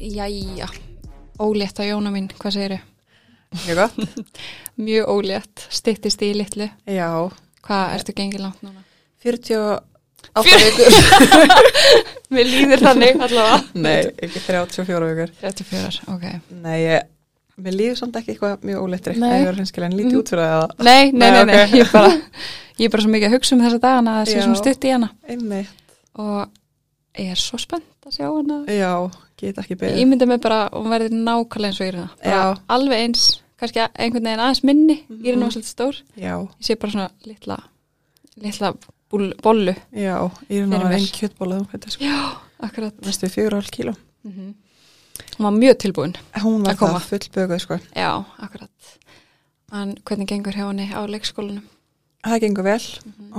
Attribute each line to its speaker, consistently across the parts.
Speaker 1: Jæja, ólétt á Jóna mín, hvað segir þau?
Speaker 2: Mjög gott.
Speaker 1: Mjög ólétt, styttist í litlu.
Speaker 2: Já,
Speaker 1: Hvað ertu gengið langt núna?
Speaker 2: 48 vikur.
Speaker 1: Mér líður þannig allavega.
Speaker 2: Nei, ekki 34 vikur.
Speaker 1: 34, ok.
Speaker 2: Nei, ég, mér líður samt ekki eitthvað mjög óleittri.
Speaker 1: Nei.
Speaker 2: Nei. Mm. Það er hinskilega en lítið út fyrir það.
Speaker 1: Nei, nei, nei,
Speaker 2: Nei,
Speaker 1: nei,
Speaker 2: ok.
Speaker 1: Ég, er bara, ég er bara svo mikið að hugsa um þessa dagana að það sé
Speaker 2: Já.
Speaker 1: svona stutt í hana.
Speaker 2: Einmitt.
Speaker 1: Og ég er svo spennt að sjá hana.
Speaker 2: Já, get ekki
Speaker 1: Ég
Speaker 2: beðið.
Speaker 1: ímynda mig bara að hún verði nákvæmlega eins og Írina. Bara
Speaker 2: Já.
Speaker 1: Alveg eins, kannski einhvern veginn aðeins minni. Írina var svolítið stór.
Speaker 2: Já,
Speaker 1: Ég sé bara svona litla, litla búl, bollu.
Speaker 2: já, ég er
Speaker 1: Fyrir
Speaker 2: náður
Speaker 1: mér.
Speaker 2: einn kjötbóla um þetta sko.
Speaker 1: Já, akkurat.
Speaker 2: Næstu fjögur og hálf kíló.
Speaker 1: Mm Hún var mjög tilbúin.
Speaker 2: Hún var
Speaker 1: Að koma.
Speaker 2: það fullböguð sko.
Speaker 1: Já, akkurat. En hvernig gengur hjá henni á leikskólanum?
Speaker 2: Það gengur vel.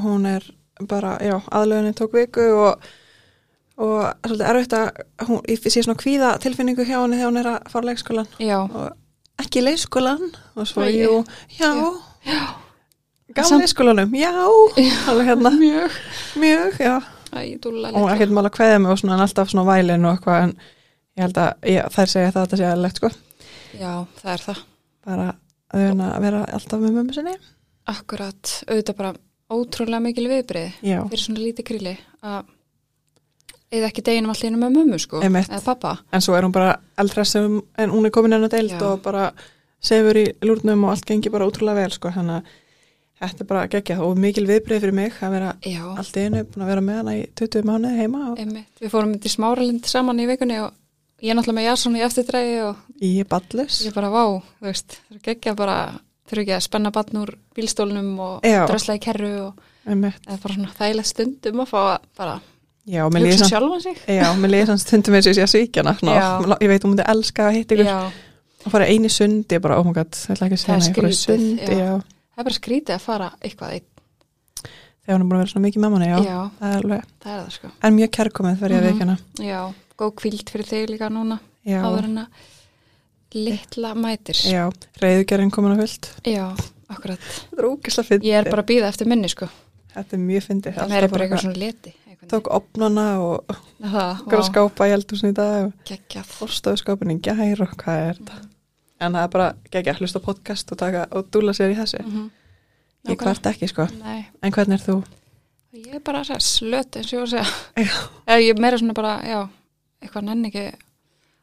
Speaker 2: Hún er bara, já, aðlöðinni tók viku og, og svolítið erfitt að hún, ég sé svona kvíða tilfinningu hjá henni þegar hún er að fara á leikskólan
Speaker 1: Já,
Speaker 2: og ekki leikskólan og svo,
Speaker 1: Æi.
Speaker 2: jú, já,
Speaker 1: Já.
Speaker 2: gá
Speaker 1: Samt-
Speaker 2: leikskólanum, já, alveg hérna,
Speaker 1: mjög.
Speaker 2: mjög, já.
Speaker 1: Æ, dúlla
Speaker 2: Og hún
Speaker 1: litla.
Speaker 2: er ekkert mál að kveða mig og svona en alltaf svona vælin og eitthvað en ég held að ég, þær segja það að þetta sé aðlegt sko,
Speaker 1: Já, það er það.
Speaker 2: bara að vera- að vera alltaf með mömmu sinni.
Speaker 1: Akkurat, auðvitað bara ótrúlega mikil viðbrið
Speaker 2: Já,
Speaker 1: fyrir svona lítið krili að eða ekki deginum allir með mömmu sko
Speaker 2: Einmitt.
Speaker 1: eða pappa.
Speaker 2: en svo er hún bara eldress um, en hún er komin hennar deild
Speaker 1: Já.
Speaker 2: og bara sefur í lúrnum og allt gengi bara ótrúlega vel sko, þannig að þetta er bara geggjað og mikil viðbrið fyrir mig að vera
Speaker 1: Já,
Speaker 2: allt í einu búin að vera með hana í 20 mánuði heima og
Speaker 1: einmitt. Við fórum myndi smáralind saman í vikunni og ég er náttúrulega með Jason í eftirdrægi og
Speaker 2: ég er ballus
Speaker 1: ég bara vá, þú veist, það er geggja bara þurfi ekki að spenna batn úr bílstólnum og
Speaker 2: Já.
Speaker 1: drösla í kerru og
Speaker 2: Einmitt.
Speaker 1: eða bara svona þægilegt stundum að fá að bara
Speaker 2: Já, mér líður
Speaker 1: hugsa
Speaker 2: samt-
Speaker 1: sjálfan sig
Speaker 2: já, mér líður sann stundum eins og ég sé að svíkja hana
Speaker 1: Já.
Speaker 2: svona. ég veit hún myndi elska að hitta ykkur
Speaker 1: Já,
Speaker 2: og fara einu sundi, ég bara, oh my god, ég ætla ekki að segja
Speaker 1: Það er skrítið, já.
Speaker 2: hana, ég fara í sund, já.
Speaker 1: það er bara skrítið að fara eitthvað einn.
Speaker 2: þegar hún er búin að vera svona mikið með manni, já,
Speaker 1: Já,
Speaker 2: það er alveg,
Speaker 1: það er það sko
Speaker 2: en mjög kærkomið þegar ég að
Speaker 1: Mhm.
Speaker 2: veikjana,
Speaker 1: Já, góð kvíld fyrir þig líka núna
Speaker 2: já,
Speaker 1: áður en að litla mætir
Speaker 2: já, reyðugerinn komin á fullt,
Speaker 1: Já, akkurat
Speaker 2: þetta er ógislega fyndi,
Speaker 1: Ég er bara að býða eftir minni sko
Speaker 2: þetta er mjög fyndi,
Speaker 1: Það er bara eitthvað svona leti einhvern
Speaker 2: tók opnana og
Speaker 1: veginn. Það,
Speaker 2: okkur að
Speaker 1: vá,
Speaker 2: skápa í eldhúsin í dag og
Speaker 1: geggjað
Speaker 2: fórstöðu skápinni gær og hvað er þetta, en það er bara gegja að hlusta á podcast og taka og dúla sér í þessi,
Speaker 1: Mhm.
Speaker 2: ég
Speaker 1: Nákvæmlega.
Speaker 2: kvart ekki sko,
Speaker 1: Nei,
Speaker 2: en hvernig er þú?
Speaker 1: ég er bara að slöt eins og ég var að segja
Speaker 2: Já.
Speaker 1: Eða Ég er meira svona bara, já, eitthvað nenni ekki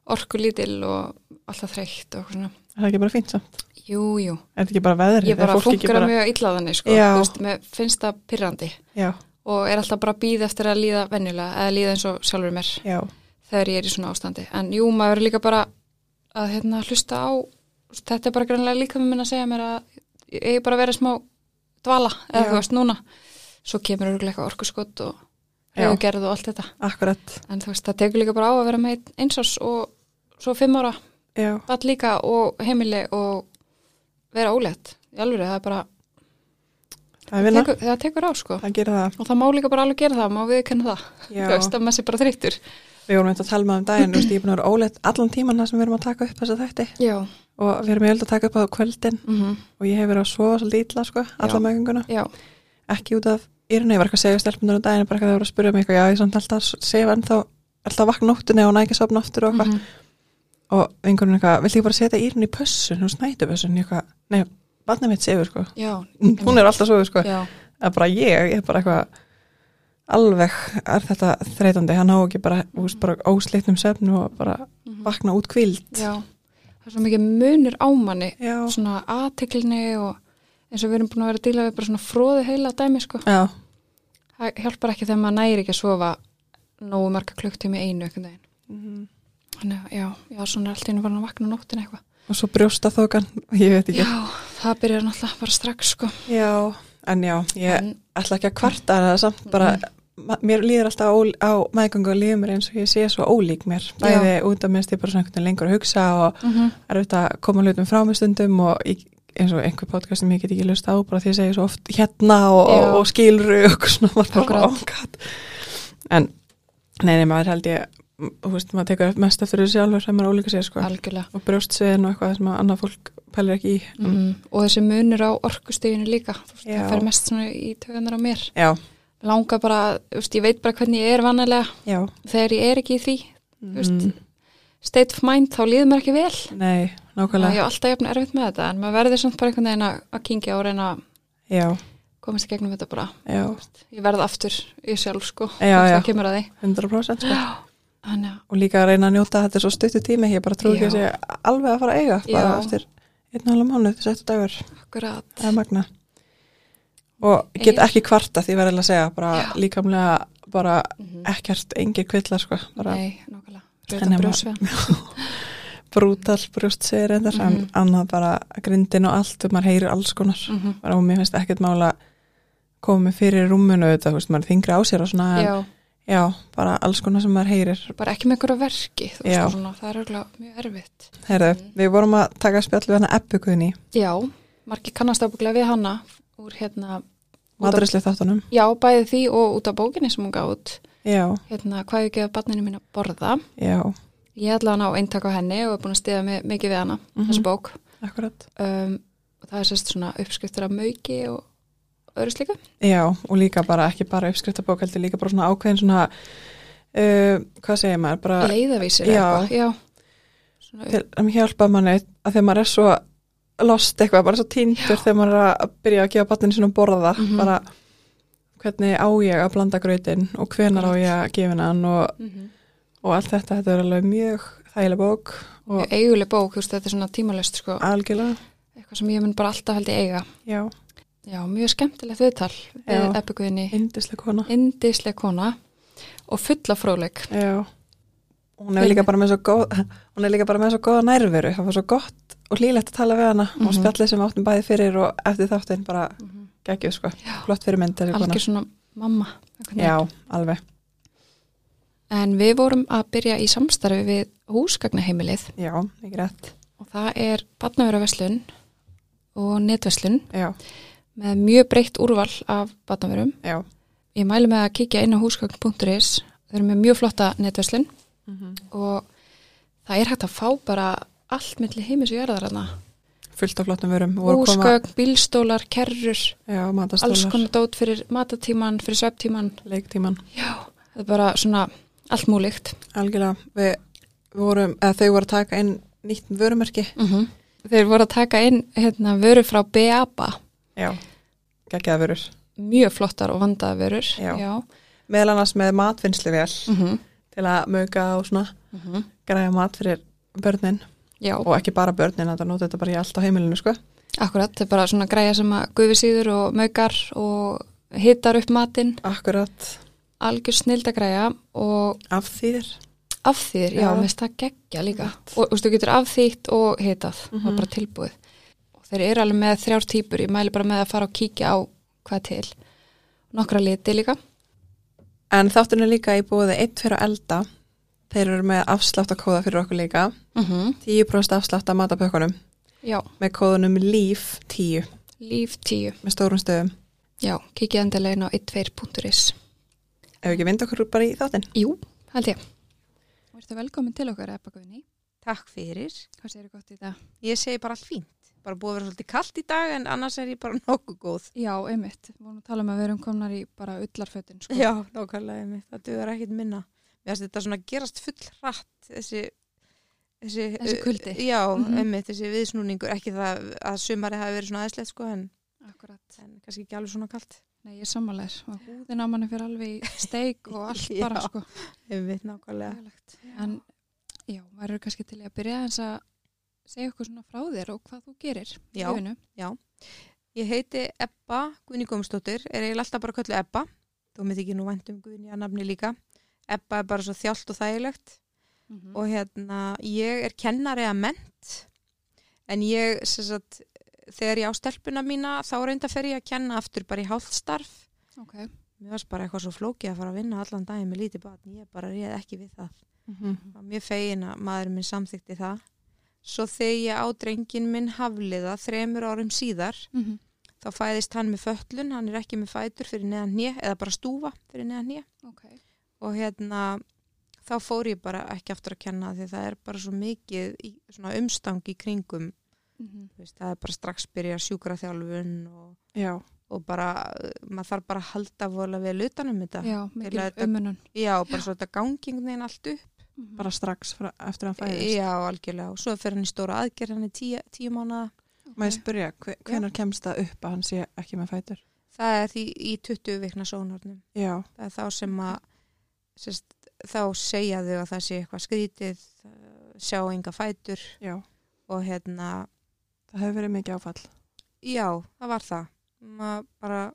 Speaker 1: orku lítil og alltaf þreytt og eitthvað svona
Speaker 2: Er það ekki bara fínt samt?
Speaker 1: Jú, jú
Speaker 2: Er þetta ekki bara veðrið?
Speaker 1: ég bara
Speaker 2: Er fólk ekki
Speaker 1: funkar bara... mjög illa þannig sko.
Speaker 2: Já.
Speaker 1: Þú veist, mér finnst það pyrrandi
Speaker 2: Já,
Speaker 1: og er alltaf bara býð eftir að líða venjulega eða líða eins og sjálfur mér
Speaker 2: já,
Speaker 1: þegar ég er í svona ástandi en jú, maður er líka bara að hérna, hlusta á þetta er bara grannlega líka með minn að segja mér að ég eigi bara að vera í smá dvala eða
Speaker 2: Já.
Speaker 1: þú veist núna svo kemur örgulega eitthvað orkuskott og
Speaker 2: Já.
Speaker 1: reyðugerð og allt þetta
Speaker 2: akkurat,
Speaker 1: en þú veist, það tekur líka bara á að vera með einn- eins ás og svo fimm ára
Speaker 2: já,
Speaker 1: all líka og heimili og vera ólétt í alvöru, það er bara
Speaker 2: það er vinna,
Speaker 1: tekur, það tekur á sko
Speaker 2: það gerir það.
Speaker 1: og það má líka bara alveg gera það, má við kenna það þú
Speaker 2: Já.
Speaker 1: veist að maður sé bara þreyttur
Speaker 2: Við vorum eitthvað að tala með um daginn, þú veist, ég er búin að vera óleitt allan tíman það sem við erum að taka upp þessa þætti
Speaker 1: já,
Speaker 2: og við erum eiginlega að taka upp á kvöldin
Speaker 1: mm
Speaker 2: og ég hef verið að sofa svolítið illa, sko, alla
Speaker 1: Já.
Speaker 2: mögunguna,
Speaker 1: já,
Speaker 2: ekki út af yrunni, ég var eitthvað að segja stelpunar um daginn, bara eitthvað að það voru að spyrja mig eitthvað, já, ég er samt alltaf að sefa ennþá, alltaf að vakna nóttinni og nækja sopna aftur og eitthvað
Speaker 1: Mhm.
Speaker 2: og vingunum eitthvað, viltu ekki bara setja írunni í pössun, hún snætu pössun, ég eitthvað, nei, barnið mitt sefur, sko,
Speaker 1: já,
Speaker 2: hún er alltaf sofið, sko,
Speaker 1: já,
Speaker 2: að bara ég, ég er bara eitthvað alveg er þetta þreytandi, hann á ekki bara, þú veist, bara óslitnum svefnu og bara
Speaker 1: Mhm.
Speaker 2: vakna út kvild.
Speaker 1: já það er svo mikið munur á manni
Speaker 2: Já.
Speaker 1: svona aðteklinni og eins og við erum búin að vera að díla við bara svona fróði heila dæmi sko,
Speaker 2: Já,
Speaker 1: það hjálpar ekki þegar maður næri ekki að sofa nógu marga klukktími í einu einhvern veginn
Speaker 2: Mhm.
Speaker 1: þannig, að, já, já, svona er allt í einu varan að vakna á nóttin eitthvað,
Speaker 2: og svo brjósta þókan, ég veit ekki.
Speaker 1: já, það byrjar náttúrulega bara strax sko,
Speaker 2: Já, en já, ég
Speaker 1: En- Mhm.
Speaker 2: ætla ekki að kvarta en það er samt bara, ma- mér líður alltaf á, á meðgöngu og líður mér eins og ég sé svo ólík mér. Bæði út af minnst ég bara svona einhvern veginn lengur að hugsa og
Speaker 1: mhm,
Speaker 2: er auðvitað að koma hlutum frá mig stundum og ég, eins og einhver podcast sem ég get ekki lust á bara því að segja svo oft hérna og,
Speaker 1: Já.
Speaker 2: og, og skilru og eitthvað svona maður bara,
Speaker 1: Akkurat.
Speaker 2: oh my god. en nei, nei, maður held ég m- þú veist, maður tekur mest eftir þessu sjálfur sem maður ólíka sér sko
Speaker 1: algjörlega
Speaker 2: og brjóstsviðin og eitthvað sem að annað fólk pælir ekki í
Speaker 1: mm og þessi munur á orkusteginu líka þú veist,
Speaker 2: Já.
Speaker 1: það fer mest svona í tögunar á mér
Speaker 2: já,
Speaker 1: langar bara, þú veist, ég veit bara hvernig ég er vanalega
Speaker 2: já Mm.
Speaker 1: þegar ég er ekki í því, þú veist state of mind þá líður mér ekki vel
Speaker 3: Nei,
Speaker 1: og ég
Speaker 3: nákvæmlega.
Speaker 1: er alltaf jafn erfitt með þetta en maður verður samt bara einhvern veginn að að kynkja og reyna að
Speaker 3: Já,
Speaker 1: komast í gegnum þetta bara
Speaker 3: já,
Speaker 1: ég verð aftur í sjálf sko
Speaker 3: Já,
Speaker 1: þegar
Speaker 3: já.
Speaker 1: það kemur að því
Speaker 3: 100% sko.
Speaker 1: þannig að
Speaker 3: Og líka að reyna að njóta að þetta er svo stuttu tími, ég bara trúi ekki að
Speaker 1: Já.
Speaker 3: sé alveg að fara að eiga, bara
Speaker 1: Já.
Speaker 3: eftir einn og halva mánu, eftir settu dagur,
Speaker 1: akkurat
Speaker 3: það er magna. Og get ekki kvarta því verðilega að segja, bara líkamlega, bara ekkert, engir kvillar sko, Mhm. bara
Speaker 1: Mm. nei, nákvæmlega,
Speaker 3: En
Speaker 1: rauðan
Speaker 3: ef
Speaker 1: brjósveðan
Speaker 3: brútal brjóst segir reyndar,
Speaker 1: Mhm.
Speaker 3: en annað bara grindin og allt og maður heyrir alls konar
Speaker 1: mm
Speaker 3: bara, og mér finnst ekkert mála komið fyrir rúmunu þetta, þú veist, maður þingri á sér og svona, en,
Speaker 1: já,
Speaker 3: já, bara alls konar sem maður heyrir
Speaker 1: bara ekki með einhverja verki þú veist
Speaker 3: Já.
Speaker 1: og svona, það er auðvitað mjög erfitt
Speaker 3: Herðu,
Speaker 1: Mhm.
Speaker 3: við vorum að taka spjall við hana eppuguðni,
Speaker 1: já, margir kannast ábygglega við hana úr hérna út af,
Speaker 3: madræsli þáttunum
Speaker 1: já, bæði því og út af bókinni sem hún gáð út
Speaker 3: já,
Speaker 1: hérna, hvað ég gefa barninu mín að borða
Speaker 3: já,
Speaker 1: ég ætla hann á eintak á henni og er búin að stiða mig, mikið við hana,
Speaker 3: Mhm.
Speaker 1: þessu bók
Speaker 3: akkurat
Speaker 1: um, og það er sérst svona uppskriftur af mauki og öðru slíku
Speaker 3: já, og líka bara, ekki bara uppskriftabók heldur líka bara svona ákveðin svona uh, hvað segir maður, bara
Speaker 1: leiðavísir
Speaker 3: Já.
Speaker 1: eða eitthvað já. Svona,
Speaker 3: til að hjálpa manni að þegar maður er svo lost eitthvað, bara svo týndur þegar maður er að byrja að gefa barninu svona að borða
Speaker 1: Mhm.
Speaker 3: bara hvernig á ég að blanda grötin og hvenar á ég að gefa hann og,
Speaker 1: mm -hmm.
Speaker 3: og allt þetta, þetta er alveg mjög þægileg bók og
Speaker 1: eiguleg bók, þú veist, þetta er svona tímalöst sko,
Speaker 3: algjörlega
Speaker 1: eitthvað sem ég mun bara alltaf held ég eiga
Speaker 3: já,
Speaker 1: já, mjög skemmtilegt viðtal
Speaker 3: Já.
Speaker 1: við epikuðinni,
Speaker 3: yndislega kona
Speaker 1: indisleg kona og fulla fróðleik
Speaker 3: Já. Hún er líka bara með svo góð hún er líka bara með svo góða nærveru það var svo gott og hlýlegt að tala við hana
Speaker 1: Mhm.
Speaker 3: og spjallið sem við áttum bæði fyrir og eftir þáttinn bara geggjuð sko flott fyrir mynd þessi kona
Speaker 1: algjör svona mamma einhvern veginn.
Speaker 3: Já, alveg,
Speaker 1: en við vorum að byrja í samstarfi við húsgagnaheimilið
Speaker 3: já, ekki rétt
Speaker 1: og það er batnaveruverslun og netverslun
Speaker 3: Já,
Speaker 1: með mjög breytt úrval af batnaverum
Speaker 3: já
Speaker 1: ég mælu með að kíkja inn á húsgögn.is þau eru með mjög flotta netverslun Mhm. og það er hægt að fá bara allt milli heimis og jörðar hana
Speaker 3: fullt af flottum vörum voru að koma-
Speaker 1: húsgögn, bílstólar, kerrur
Speaker 3: Já,
Speaker 1: alls
Speaker 3: matastólar,
Speaker 1: konar dót fyrir matatíman, fyrir sveftíman
Speaker 3: leiktíman
Speaker 1: já, það er bara svona allt múlíkt
Speaker 3: Algjörlega, við vorum eða þau voru að taka inn nýtt vörumerki
Speaker 1: Mhm. þeir voru að taka inn hérna, vöru frá Beaba
Speaker 3: Já, geggjaða vörur
Speaker 1: mjög flottar og vandaða vörur
Speaker 3: Já.
Speaker 1: já.
Speaker 3: Meðal annars með matvinnslu
Speaker 1: Mhm.
Speaker 3: til að möga og svona
Speaker 1: Mhm.
Speaker 3: græja mat fyrir börnin
Speaker 1: já.
Speaker 3: og ekki bara börnin að það nota þetta bara í allt á heimilinu sko.
Speaker 1: Akkurat, þetta er bara svona græja sem að gufi síður og mögar og hitar upp matinn,
Speaker 3: Akkurat
Speaker 1: algjör snild að græja og
Speaker 3: af þýðir
Speaker 1: afþýðir, já,
Speaker 3: Já.
Speaker 1: mér finnst það geggja líka og þú veist, þú getur afþýtt og hitað það er bara tilbúið og þeir eru alveg með þrjár típur, ég mæli bara með að fara og kíkja á hvað til nokkra liti líka
Speaker 3: En þáttun er líka í búið eitt fyrir að elda þeir eru með afsláttakóða fyrir okkur líka
Speaker 1: mm -hmm.
Speaker 3: 10% afslátt af matapökkunum
Speaker 1: Já,
Speaker 3: með kóðunum LÍF 10
Speaker 1: líf tíu
Speaker 3: með stórum stöðum
Speaker 1: Já, kíkja endilegin á 12.is
Speaker 3: ef við ekki vinda okkur bara í þáttinn
Speaker 1: Jú, held ég Og ertu velkomin til okkar, Ebba Guðni
Speaker 2: Takk fyrir.
Speaker 1: Hvað segir gott í það?
Speaker 2: Ég segi bara allt fínt. Bara búið að vera svolítið kallt í dag en annars er ég bara nokkuð góð.
Speaker 1: Já, einmitt, við vorum að tala um að við erum komnar í bara ullarfötin sko.
Speaker 2: Já, nokkarlega mitt. Það duður ekkit minna. Mér finnst þetta svona gerast full hratt þessi... Þessi,
Speaker 1: Þessi kuldi.
Speaker 2: Uh, Já,
Speaker 1: Mhm.
Speaker 2: einmitt, þessi viðsnúningur. Ekki það að sumari hafi verið svona aðeinslegt sko en,
Speaker 1: Akkurat.
Speaker 2: en kannski ekki alveg svona kallt.
Speaker 1: Nei, ég sammálaðir. Húðin á manni fyrir alveg í steik og allt
Speaker 2: Já.
Speaker 1: bara sko.
Speaker 2: Einmitt, nokkarlega.
Speaker 1: Lélegt. En já, maður eru kannski til í að byrja eins að segja okkur svona frá þér og hvað þú gerir í
Speaker 2: Já.
Speaker 1: lífinu.
Speaker 2: Ég heiti Ebba Guðni Gómsdóttir, er eiginlega alltaf bara köllu Ebba. Þú með ekki nú vænt um Guðni að nafni líka. Ebba er bara svo þjált og þægilegt.
Speaker 1: Mhm.
Speaker 2: og hérna, ég er kennari að ment en ég, sem sagt, þegar ég á stelpuna mína þá reynda fer ég að kenna aftur bara í hálfstarf
Speaker 1: Ok.
Speaker 2: mér varst bara eitthvað svo flókið að fara að vinna allan daginn með lítið batn, ég bara réð ekki við það Það var mjög fegin að maðurinn minn samþykti það svo þegar ég á drengin minn hafliða þremur árum síðar
Speaker 1: Mhm.
Speaker 2: þá fæðist hann með föllun, hann er ekki með fætur fyrir neðan hnið, eða bara stúfa fyrir neðan hnið
Speaker 1: Ok.
Speaker 2: og hérna þá fór ég bara ekki aftur að kenna því það er bara svo mikið í, svona umstang í kringum
Speaker 1: Mhm.
Speaker 2: Þú veist, það er bara strax byrja sjúkraþjálfun og,
Speaker 3: Já,
Speaker 2: og bara uh, maður þarf bara að halda vola vel utanum þetta
Speaker 1: Já, mikil
Speaker 2: þetta-
Speaker 1: umunun.
Speaker 2: Já, bara svo þetta gangingin allt upp
Speaker 3: bara strax frá, eftir að hann fæðist.
Speaker 2: Já, algjörlega. Og svo fer hann í stóra aðgerð, hann er tíu, tíu mánada.
Speaker 1: Mhm,
Speaker 3: Má ég spyrja, hve- hvenær kemst það upp að hann sé ekki með fætur?
Speaker 2: Það er því í 20 vikna sónarnum.
Speaker 3: Já,
Speaker 2: Það er þá sem að, sérst, þá segja þau að það sé eitthvað skrítið, eh, sjá enga fætur
Speaker 3: já.
Speaker 2: og hérna,
Speaker 3: Það hefur verið mikið áfall.
Speaker 2: já, það var það. Maður bara,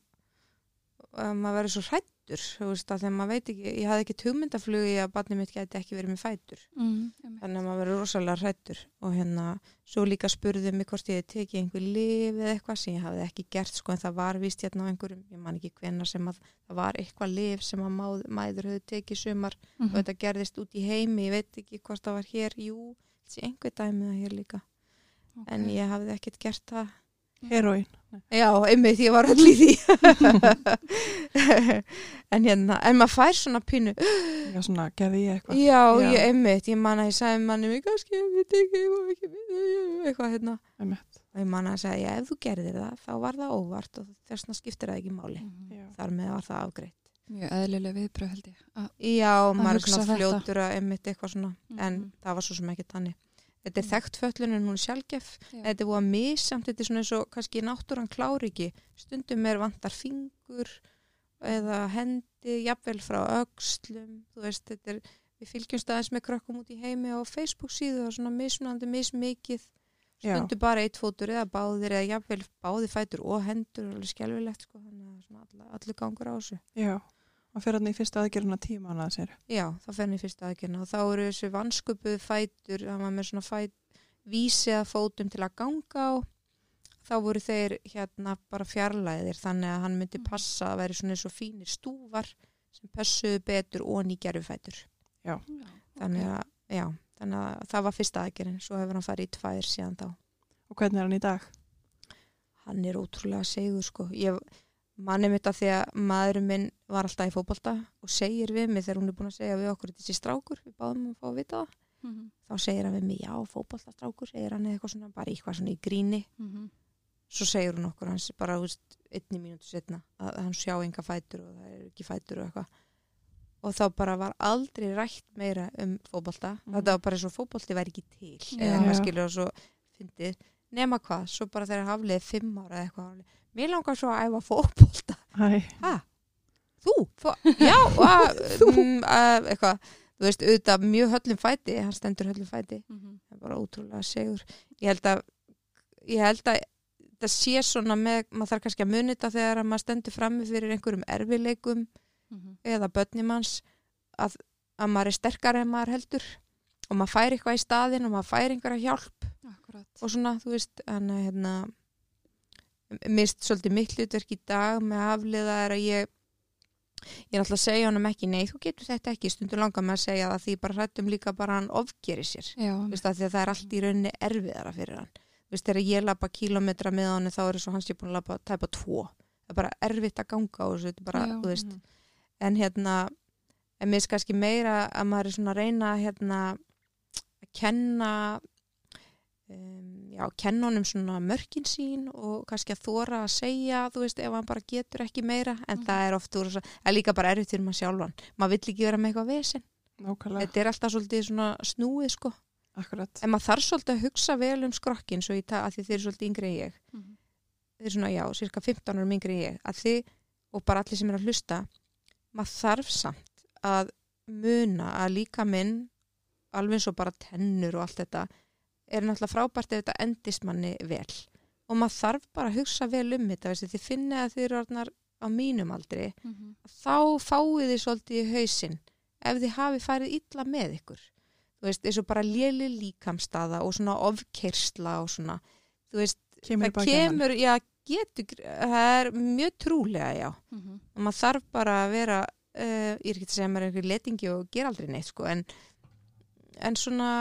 Speaker 2: eh, maður verður svo hrættur, þú veist, að þegar maður veit ekki, ég hafði ekki hugmyndaflugi að barnið mitt gæti ekki verið með fætur.
Speaker 1: Mm.
Speaker 2: þannig að maður verður rosalega hrættur og hérna, svo líka spurðið mig hvort ég hefði tekið einhver lif eða eitthvað sem ég hafði ekki gert, sko, en það var víst hérna á einhverjum, ég man ekki hvena sem að það var eitthvað lif sem að máð, mæður höfðu tekið í sumar og þetta gerðist út í heimi, ég veit ekki hvort það var hér, jú, þessi einhver dæmið það hér líka, en ég hafði ekkert gert það.
Speaker 3: Heroin.
Speaker 2: Já, einmitt, ég var öll í því. en hérna, en maður fær svona pínu, sko.
Speaker 3: Já, svona, gerði ég eitthvað.
Speaker 2: Já,
Speaker 3: Já.
Speaker 2: ég einmitt, ég man að ég sagði manni mig kannski, ég veit ekki, ég var ekki með eitthvað hérna.
Speaker 3: Einmitt.
Speaker 2: Og ég man að ég sagði, já, ef þú gerðir það, þá var það óvart og þessna skiptir það ekki máli.
Speaker 3: Já.
Speaker 2: Þar með var það afgreitt.
Speaker 1: Mjög eðlilega viðbröð held ég. Að,
Speaker 2: Já, maður er
Speaker 1: hugsa
Speaker 2: svona
Speaker 1: þetta.
Speaker 2: fljótur að einmitt eitthvað svona, en
Speaker 1: Mhm.
Speaker 2: það var svo sem ekki tannig. Þetta er
Speaker 1: Mhm.
Speaker 2: þekkt föllun en hún er sjálfgef,
Speaker 1: Já.
Speaker 2: þetta er búið að misamt, þetta er svona eins og kannski náttúran klári ekki, stundum er vantar fingur eða hendi, jafnvel frá öxlum, þú veist, þetta er, við fylgjumst aðeins með krökkum út í heimi á Facebook síðu og svona mismunandi, mismikið,
Speaker 3: Já.
Speaker 2: stundu bara eitt fótur eða báðir eða jafnvel báði fætur og hendur, alveg skelfilegt sko, þannig að svona alla- allur gangur á þessu.
Speaker 3: Já. Og fyrir hann í fyrsta aðgerðuna tíu mánuða sér.
Speaker 2: Já, þá fer hann í fyrsta aðgerna og þá eru þessu vansköpuð fætur, það var með svona fæt, vísi að fótum til að ganga á, þá voru þeir hérna bara fjarlæðir þannig að hann myndi passa að væri svona eins og fínir stúfar sem passuðu betur og nýgerðu fætur. Þannig að, já, þannig að það var fyrsta aðgerðin, svo hefur hann farið í tvær síðan þá.
Speaker 3: Og hvernig er hann í dag?
Speaker 2: Hann er ótrúlega segur sko. Ég manni mitt að því að maðurinn minn var alltaf í fótbolta og segir við mig þegar hún er búin að segja við okkur þessi strákur, við báðum um að fá að vita það. þá segir hann við mig, já, fótballastrákur segir hann eða eitthvað svona, bara eitthvað svona í gríni svo segir hún okkur hans bara þú veist, einni mínútu setna að að hann sjá enga fætur og það er ekki fætur og eitthvað og þá bara var aldrei rætt meira um fótballta
Speaker 3: Mhm.
Speaker 2: þetta var bara eins og fótballti væri ekki til
Speaker 1: Já.
Speaker 2: eða eitthvað
Speaker 3: Já.
Speaker 2: skilur og svo fyndið nema hvað, svo bara þegar hafliði fimm ára eða eitthvað, hafliði, mér langar svo að æfa fótballta
Speaker 3: Æ.
Speaker 2: þú, fó, já að, mm, að, eitthvað, þú veist, auðvitað mjög höllum fæti, hann stendur höllum fæti það er bara ótrúlega segur ég held að ég held að það sé svona með maður þarf kannski að muni þetta þegar að maður stendur frammi fyrir einhverjum erfileikum eða börnimanns að, að maður er sterkar en maður heldur og maður fær eitthvað í staðin og maður fær einhverja hjálp
Speaker 1: Akkurat.
Speaker 2: og svona, þú veist, en að hérna mist svolítið mitt hlutverk í dag með afliða er að ég ég er alltaf að segja honum ekki nei, þú getur þetta ekki, stundur langar með að segja það því bara hrættum líka bara að hann ofgeri sér
Speaker 1: Já,
Speaker 2: Þú veist, af því að það er allt í rauninni erfiðara fyrir hann Þú veist, þegar ég lappa kílometra með hann þá er svo hans ég búin að lappa tæpa tvo það er bara erfitt að ganga og þetta er bara,
Speaker 1: Já.
Speaker 2: þú veist, en hérna en mér er kannski meira að maður er svona að reyna hérna að kenna um, já, kenna honum svona mörkin sín og kannski að þóra að segja, þú veist, ef hann bara getur ekki meira, en
Speaker 1: Mhm.
Speaker 2: það er oft úr, það er líka bara erfitt fyrir maður sjálfan maður vill ekki vera með eitthvað vesen
Speaker 3: Nákvæmlega.
Speaker 2: þetta er alltaf svolítið svona snúið sko
Speaker 3: Akkurat.
Speaker 2: en maður þarf svolítið að hugsa vel um skrokkin svo ég tala að því þeir eru svolítið yngri en ég
Speaker 1: Mhm.
Speaker 2: þeir eru svona já, cirka 15 árum yngri en ég að þið, og bara allir sem eru að hlusta maður þarf samt að muna að líka minn alveg eins og bara tennur og allt þetta er náttúrulega frábært ef þetta endist manni vel og maður þarf bara að hugsa vel um þetta veist, þið finnið að þið eru orðnar á mínum aldri þá fáið þið svolítið í hausinn ef þið hafi farið illa með ykkur þú veist, eins og bara léli líkamstaða og svona ofkersla og svona, þú veist,
Speaker 3: Kemur í
Speaker 2: það
Speaker 3: bakið á hann.
Speaker 2: kemur já, getur, gr- það er mjög trúlega já, og maður þarf bara að vera, uh, ég er ekki að segja að maður er einhver letingi og gera aldrei neitt sko, en, en svona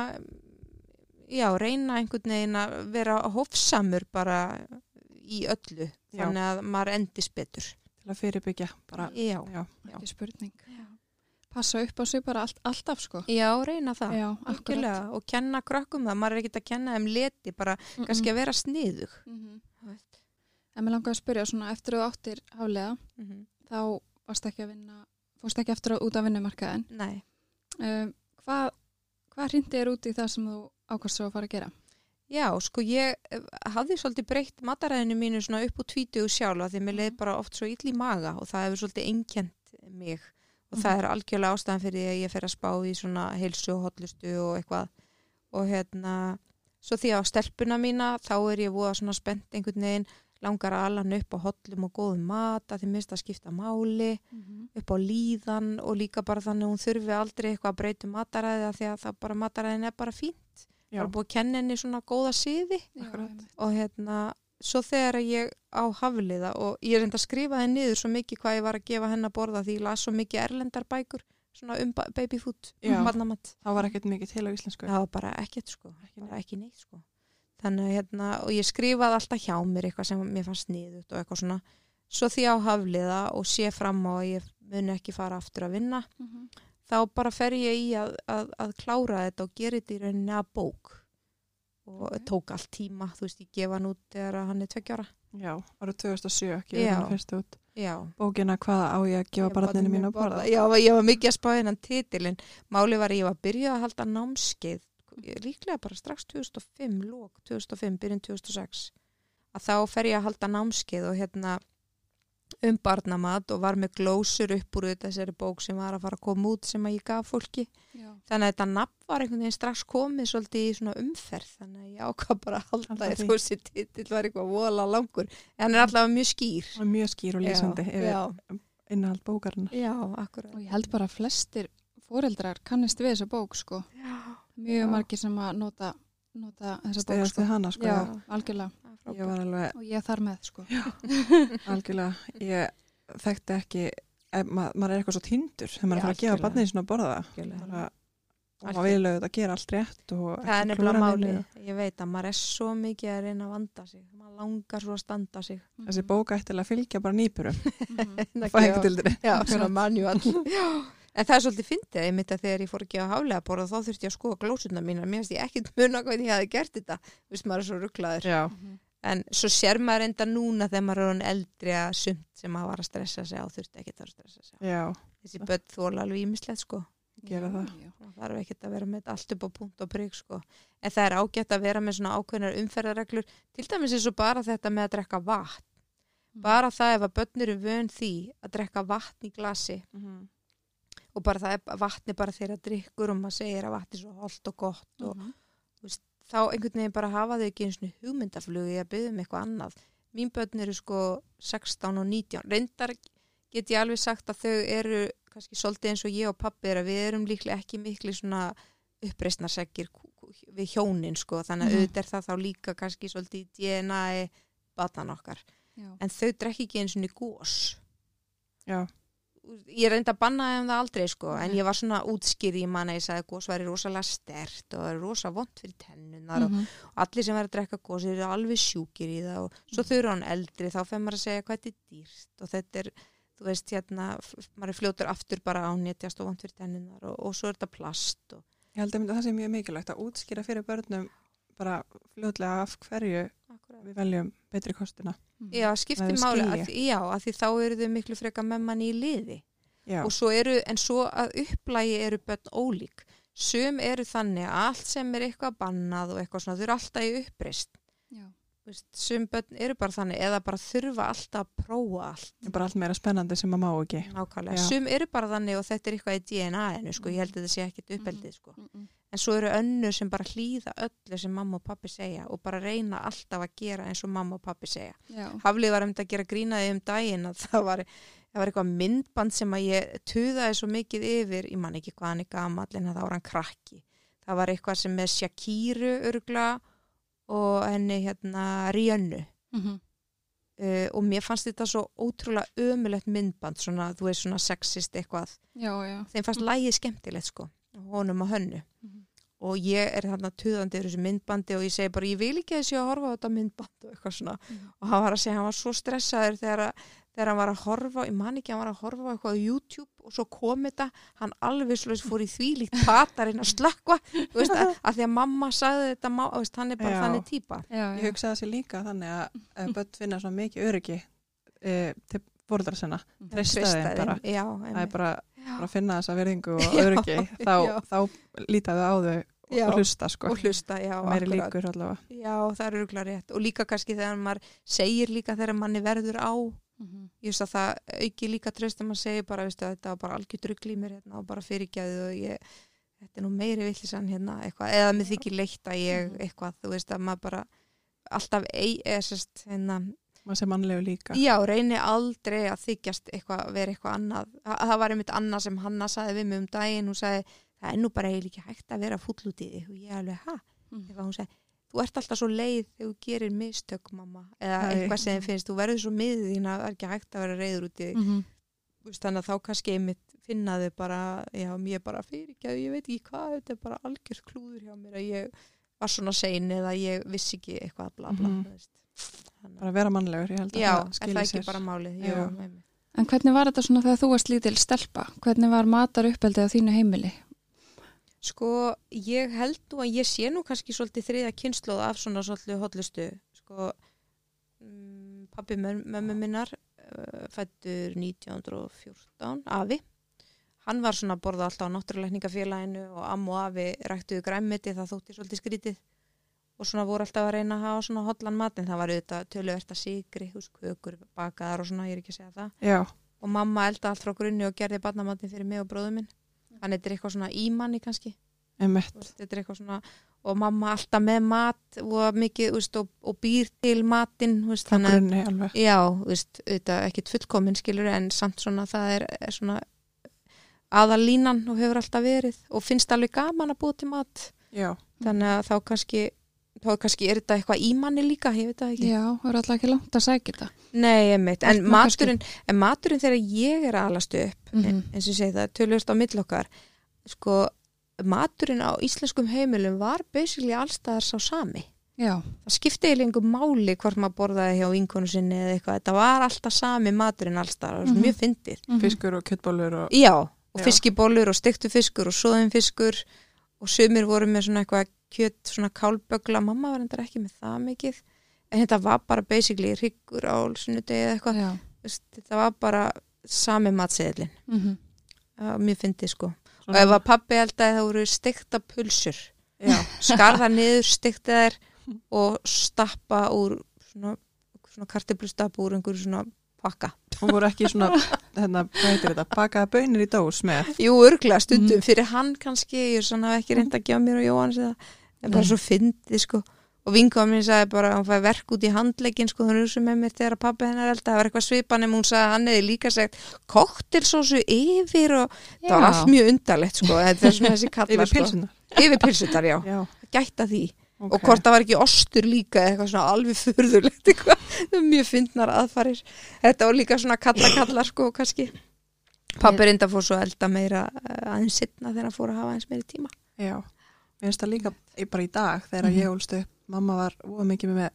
Speaker 2: já, reyna einhvern veginn að vera hófsamur bara í öllu,
Speaker 3: Já.
Speaker 2: þannig að maður endist betur.
Speaker 3: Til að fyrirbyggja. Bara.
Speaker 2: Já,
Speaker 3: Já.
Speaker 1: Ekki spurning. Passa upp á sig bara allt, alltaf sko.
Speaker 2: já reyna það.
Speaker 1: Já, akkurat.
Speaker 2: Algjörlega, og kenna krökkum það, maður er ekkert að kenna þeim leti, bara
Speaker 1: Mm,
Speaker 2: kannski
Speaker 1: mm.
Speaker 2: að vera sniðug.
Speaker 1: Mhm. En mér langaði að spyrja svona eftir að þú áttir haflega þá varst ekki að vinna, fórst ekki eftir að út af vinnumarkaðin.
Speaker 2: Nei,
Speaker 1: Um, hvað Hvað hrindi er út í það sem þú ákvæmst svo að fara að gera?
Speaker 2: Já, sko ég eh, hafði svolítið breytt mataræðinu mínu svona upp úr tvítugu sjálfa því mér leið bara oft svo illi í maga og það hefur svolítið einkjent mig og það er algjörlega ástæðan fyrir því að ég fer að spá í svona heilsu og hotlustu og eitthvað og hérna svo því að á stelpuna mína þá er ég voða svona spennt einhvern veginn langar að ala hann upp á hotlum og góðum mat að því minnst að skipta máli upp á líðan og líka bara þannig að hún þurfi aldrei eitthvað að breyta um mataræði af því að það bara mataræðin er bara fínt
Speaker 3: Já.
Speaker 2: bara búið að kenna henni svona góða siði
Speaker 3: Akkurat.
Speaker 1: Já,
Speaker 2: og hérna svo þegar ég á hafliða og ég reynda að skrifa henni niður svo mikið hvað ég var að gefa henni að borða því ég las svo mikið erlendar bækur svona um ba- baby food,
Speaker 3: Já.
Speaker 2: barnamat
Speaker 3: Það var ekkert mikið til á íslensku.
Speaker 2: það var bara ekkert sko, bara ekki neitt sko þannig að hérna, og ég skrifaði alltaf hjá mér eitthvað sem mér fannst niðut og eitthvað svona svo því á hafliða og sé fram á að ég mun ekki fara aftur að vinna
Speaker 1: einmitt.
Speaker 2: þá bara fer ég í að, að, að klára þetta og gera þetta í rauninni að bók og
Speaker 1: Ok.
Speaker 2: tók allt tíma þú veist, ég gefa hann út þegar að hann er tveggjára
Speaker 3: Já, árið 2007 ekki,
Speaker 2: Já.
Speaker 3: við erum fyrst út.
Speaker 2: já
Speaker 3: Bókina hvað á ég að gefa
Speaker 2: Ég
Speaker 3: barninu
Speaker 2: barninu
Speaker 3: mínu
Speaker 2: mínu
Speaker 3: að borða.
Speaker 2: Já, ég var mikið að spá hennan titilin máli var að ég var að byrja að halda námskeið ég- líklega bara strax 2005 lók 2005, byrjun 2006 að þá fer ég að halda námskeið og hérna um barnamat og var með glósur upp úr þessari bók sem var að fara að koma út sem að ég gaf fólki
Speaker 1: Já.
Speaker 2: þannig að þetta nafn var einhvern veginn strax komið svolítið í svona umferð þannig að ég ákvað bara að halda
Speaker 3: Halda
Speaker 2: því
Speaker 3: því.
Speaker 2: þó þessi titill var eitthvað vola langur en hann er allavega mjög skýr
Speaker 3: Það er mjög skýr og lýsandi yfir
Speaker 2: já,
Speaker 3: innahald bókarinnar.
Speaker 2: já, akkurat
Speaker 1: Og ég held bara að flestir fóreldrar kannist við þessa bók sko.
Speaker 2: já,
Speaker 1: Mjög
Speaker 2: Já.
Speaker 1: margir sem að nota, nota þessa bók
Speaker 3: Stegast
Speaker 1: sko.
Speaker 3: við hana, sko.
Speaker 1: Já,
Speaker 2: Já.
Speaker 1: algjörlega.
Speaker 2: það er
Speaker 3: Ég var alveg
Speaker 1: Og ég þar með sko.
Speaker 3: Algjörlega, ég þekkti ekki, ef ma maður er eitthvað svo tindur þegar maður
Speaker 2: Já,
Speaker 3: er að fara að gefa
Speaker 2: algjörlega.
Speaker 3: barnið sinna að borða
Speaker 2: Algjörlega.
Speaker 3: það. Og maður vilja auðvitað að gera allt rétt og
Speaker 2: Það er
Speaker 3: ekki
Speaker 2: nefnilega
Speaker 3: klúðra
Speaker 2: máli
Speaker 3: neinu.
Speaker 2: ég veit að maður er svo mikið að reyna að vanda sig maður langar svo að standa sig
Speaker 3: Þessi bók ættilega að fylgja bara nýpurum,
Speaker 1: Mhm.
Speaker 3: fængdildri.
Speaker 2: já, svona manjúall en það er svolítið fyndið einmitt að þegar ég fór ekki á hálega borða þá þurfti ég að skoða glósuna mína mér finnst ég ekkit muna hvernig ég hafi gert þetta viðst maður er svo rugglaður
Speaker 3: Já.
Speaker 1: Mhm.
Speaker 2: en svo sér maður enda núna þegar maður er hann eldri að sumt sem maður var að stressa sig á þurfti ekki að stressa sig á
Speaker 3: Já,
Speaker 2: þessi börn þóla alveg ímislegt sko
Speaker 3: Gera
Speaker 1: Já,
Speaker 3: það.
Speaker 1: já.
Speaker 2: það þarf ekki að vera með þetta allt upp á punkt og prigg sko en það er ágætt að vera með svona ákveðnar umferðarreglur til dæmis eins og bara þetta með að drekka vatn bara það ef að börn eru vön því að drekka vatn í glasi og bara það er vatni bara þeirra drikkur og maður segir að vatni svo holdt og gott og
Speaker 1: Mhm.
Speaker 2: þá einhvern veginn bara hafa þau ekki einu svona hugmyndaflugi að byggja um eitthvað annað. Mín börn eru sko 16 og 19. Reyndar get ég alveg sagt að þau eru kannski svolítið eins og ég og pappi er að við erum líklega ekki mikli svona uppreisnarsekkir kú- kú- við hjónin sko þannig að
Speaker 1: Mhm.
Speaker 2: auðvitað er það þá líka kannski svolítið í DNA batan okkar.
Speaker 1: Já.
Speaker 2: En þau drekki ekki einu svona gós.
Speaker 3: já,
Speaker 2: Ég reynda að banna þeim það aldrei sko en ég var svona útskýri í manna ég sagði að gós væri rosalega stert og það er rosa vond fyrir tennunar og
Speaker 1: Mhm.
Speaker 2: allir sem verður að drekka gósi eru alveg sjúkir í það og svo þau eru hann eldri þá fer maður að segja hvað þetta er dýrt og þetta er, þú veist, hérna f- f- maður er fljótur aftur bara á netjast og vant fyrir tenninar og, og svo er þetta plast og
Speaker 3: ég held að það sé mjög mikilvægt að útskýra fyrir börnum bara fljótlega af hverju við veljum betri kostina.
Speaker 1: Mhm.
Speaker 2: Já, skiptir
Speaker 3: Maður
Speaker 2: máli,
Speaker 3: skilji.
Speaker 2: að, því- já, að því þá eru þau miklu freka með manni í liði
Speaker 3: Já,
Speaker 2: og svo eru, en svo að upplægi eru börn ólík, sum eru þannig að allt sem er eitthvað bannað og eitthvað svona, þau eru alltaf í uppreist
Speaker 1: Já.
Speaker 2: Þú veist, sum börn eru bara þannig eða bara þurfa alltaf að prófa allt
Speaker 3: bara allt meira spennandi sem maður má ekki.
Speaker 2: Nákvæmlega,
Speaker 3: Já.
Speaker 2: sum eru bara þannig og þetta er eitthvað í DNA-inu sko, ég held að þetta sé ekkit uppeldið sko.
Speaker 1: Mhm.
Speaker 2: En svo eru önnur sem bara hlýða öllu sem mamma og pappi segja og bara reyna alltaf að gera eins og mamma og pappi segja.
Speaker 1: Já.
Speaker 2: Haflið var um þetta að gera grínaði um daginn að það var, það var eitthvað myndband sem að ég tuðaði svo mikið yfir, ég man ekki hvað hann er gamall en það var hann krakki. Það var eitthvað sem með Shakiru örgla og henni hérna Rihannu
Speaker 1: Mhm.
Speaker 2: uh, og mér fannst þetta svo ótrúlega ömulegt myndband, svona, þú veist, svona sexist eitthvað.
Speaker 1: Já, já.
Speaker 2: Þeim fannst
Speaker 3: Mhm.
Speaker 2: lægið skemmtilegt, sko, honum og hönnu.
Speaker 1: Mhm.
Speaker 2: Og ég er þarna tuðandi yfir þessu myndbandi og ég segi bara, ég vil ekki að þessi að horfa á þetta myndband og eitthvað svona.
Speaker 1: Mhm.
Speaker 2: Og hann var að segja, hann var svo stressaður þegar, að- þegar hann var að horfa, ég man ekki, hann var að horfa á eitthvað á YouTube og svo kom þetta, hann alveg slúið fór í því líkt patarinn að slökva, þú veist, að, að því að mamma sagði þetta, má, þú veist, hann er bara
Speaker 3: Já.
Speaker 2: þannig típa.
Speaker 1: Já,
Speaker 3: Ég
Speaker 1: já.
Speaker 3: hugsa þessi líka þannig að ef börn finna svona mikið öryggi e, til fóröldra sinna,
Speaker 1: Mhm.
Speaker 3: treysta þeim bara.
Speaker 2: Já,
Speaker 3: Það er
Speaker 2: einmitt.
Speaker 3: bara, bara finna þessa verðingu og
Speaker 2: Já,
Speaker 3: öryggi þá,
Speaker 2: já.
Speaker 3: þá lítaðu á þau og,
Speaker 2: Já.
Speaker 3: og hlusta sko,
Speaker 2: og hlusta, já,
Speaker 3: meiri
Speaker 2: akkurat.
Speaker 3: líkur allavega
Speaker 2: Já, það er örgulega rétt og líka kannski þegar maður segir líka þegar manni verður á
Speaker 1: Mhm.
Speaker 2: ég veist að það auki líka tröst að maður segir bara, veistu, að þetta var bara algjör drugl í mér hérna og bara fyrirgæðu og ég þetta er nú meiri villisann hérna eitthvað, eða mér þykir leitt að ég eitthvað, þú veist að maður bara alltaf ei, eða sérst, hérna
Speaker 3: maður sé mannlegu líka
Speaker 2: já, reyni aldrei að þykjast eitthvað, vera eitthvað annað að, það var einmitt annað sem Hanna saði við mig um daginn hún saði, það er nú bara eiginlega ekki hægt að vera fúll út í þig og ég alveg, ha,
Speaker 1: Mhm.
Speaker 2: eitthvað hún segi þú ert alltaf svo leið þegar þú gerir mistök mamma, eða
Speaker 3: Æ.
Speaker 2: eitthvað sem þér finnst þú verður svo miðið þín að það er ekki hægt að vera reyður út í þig,
Speaker 1: Mhm.
Speaker 2: Þú veist, þannig að þá kannski einmitt finnaði bara, já mér bara fyrirgæðu, ég veit ekki hvað, þetta er bara algjör klúður hjá mér að ég var svona sein eða ég vissi ekki eitthvað bla bla,
Speaker 3: Mhm.
Speaker 2: þú veist þannig
Speaker 3: bara vera mannlegur, ég held
Speaker 2: að já,
Speaker 3: að
Speaker 2: er það
Speaker 3: skilja
Speaker 2: ekki
Speaker 3: sér
Speaker 2: bara málið
Speaker 3: Já.
Speaker 2: já, einmitt.
Speaker 1: En hvernig var þetta svona þegar þú varst lítil stelpa? Hvernig var matar uppeldið á þínu heimili?
Speaker 2: Sko, ég held nú að ég sé nú kannski svolítið þriða kynnslóð af svona svolítið hotlustu. Sko, mm, pappi möm- mömmu minnar, uh, fættur 1914, afi. Hann var svona að borða alltaf á náttúruleikningafélaginu og amm og afi ræktuðu græmmiti, það þótti svolítið skrítið. Og svona voru alltaf að reyna að hafa svona hotlan mat, en það var auðvitað töluvert að sigri, hús, kökur, bakaðar og svona, ég er ekki að segja það
Speaker 3: já,
Speaker 2: og mamma elda allt frá grunni og gerði barnamatin fyrir mig og bróðum minn þannig þetta er eitthvað svona ímanni kannski þú
Speaker 3: emmett
Speaker 2: veist, þetta er eitthvað svona og mamma alltaf með mat og mikið þú veist, og, og býr til matin þú veist,
Speaker 3: frá
Speaker 2: þannig að
Speaker 3: grunni alveg
Speaker 2: já, þú veist, auðvitað ekkit fullkomin skilur en samt svona það er, er svona aðalínan og hefur alltaf verið og finnst alveg gaman að búa til mat
Speaker 3: já,
Speaker 2: þannig að þá kannski þá kannski er þetta eitthvað ímanni líka ég veit það ekki
Speaker 1: Já, það er alltaf ekki langt að sækja þetta.
Speaker 2: Nei, einmitt, en
Speaker 1: Allt má
Speaker 2: maturinn, en maturinn þegar ég er að alast upp,
Speaker 1: Mhm.
Speaker 2: en, eins og ég segi það, tölvöld á millokkar, sko, maturinn á íslenskum heimilum var basically allstaðar sá sami.
Speaker 1: Já,
Speaker 2: Það skipti eiginlega engu máli hvort maður borðaði hjá vinkonu sinni eða eitthvað, þetta var alltaf sami maturinn allstaðar, það var
Speaker 1: Mhm.
Speaker 2: mjög fyndið.
Speaker 3: fiskur og kjöttbólur og
Speaker 2: Já, og
Speaker 3: Já.
Speaker 2: fiskibólur og stektu fiskur og soðin fiskur og sumir voru með svona eitthvað kjött, svona kálbögla, mamma var endar ekki með það mikið, en þetta var bara basically hryggur á sunnudegi eða eitthvað
Speaker 1: já.
Speaker 2: Þú veist, þetta var bara sami matseðlin
Speaker 1: Mm -hmm.
Speaker 2: mér fyndi sko og
Speaker 3: svona-
Speaker 2: ef að pappi eldaði þá voru stekta pulsur
Speaker 3: já,
Speaker 2: skarða niður, stekta þær og stappa úr svona, svona kartiblustappa úr einhverju svona pakka
Speaker 3: hún voru ekki svona hérna, hvað heitir þetta, bakaða bönir í dós með
Speaker 2: jú, örgla
Speaker 3: Mhm.
Speaker 2: stundum, fyrir hann kannski ég er svona hef ekki reynda að gefa mér og Jóhann það er bara
Speaker 1: Nei.
Speaker 2: svo fyndi sko og vingáðum minn sagði bara að hún fæði verk út í handleikin sko, hún rusið með mér þegar að pappi hennar elda það var eitthvað svipan en hún sagði að hann hefði líka sagt koktelsósu yfir og
Speaker 1: Já.
Speaker 2: það var allt mjög undarlegt sko, þetta er svona þessi kalla
Speaker 3: yfir
Speaker 2: sko.
Speaker 3: pilsunar
Speaker 2: yfir pilsutar, já,
Speaker 3: já,
Speaker 2: gæta því
Speaker 3: ok.
Speaker 2: og hvort það var ekki ostur líka eða eitthvað svona alveg furðulegt eitthvað, það er mjög fyndnar aðfarir þetta var líka svona kalla kalla sko, kannski pappi reynda fór svo að elda meira eh, aðeins sittna þegar hann fór að hafa aðeins meiri tíma
Speaker 3: Já, mér finnst það líka í- bara í dag þegar
Speaker 1: Mhm.
Speaker 3: ég úlst upp, mamma var óa mikið með,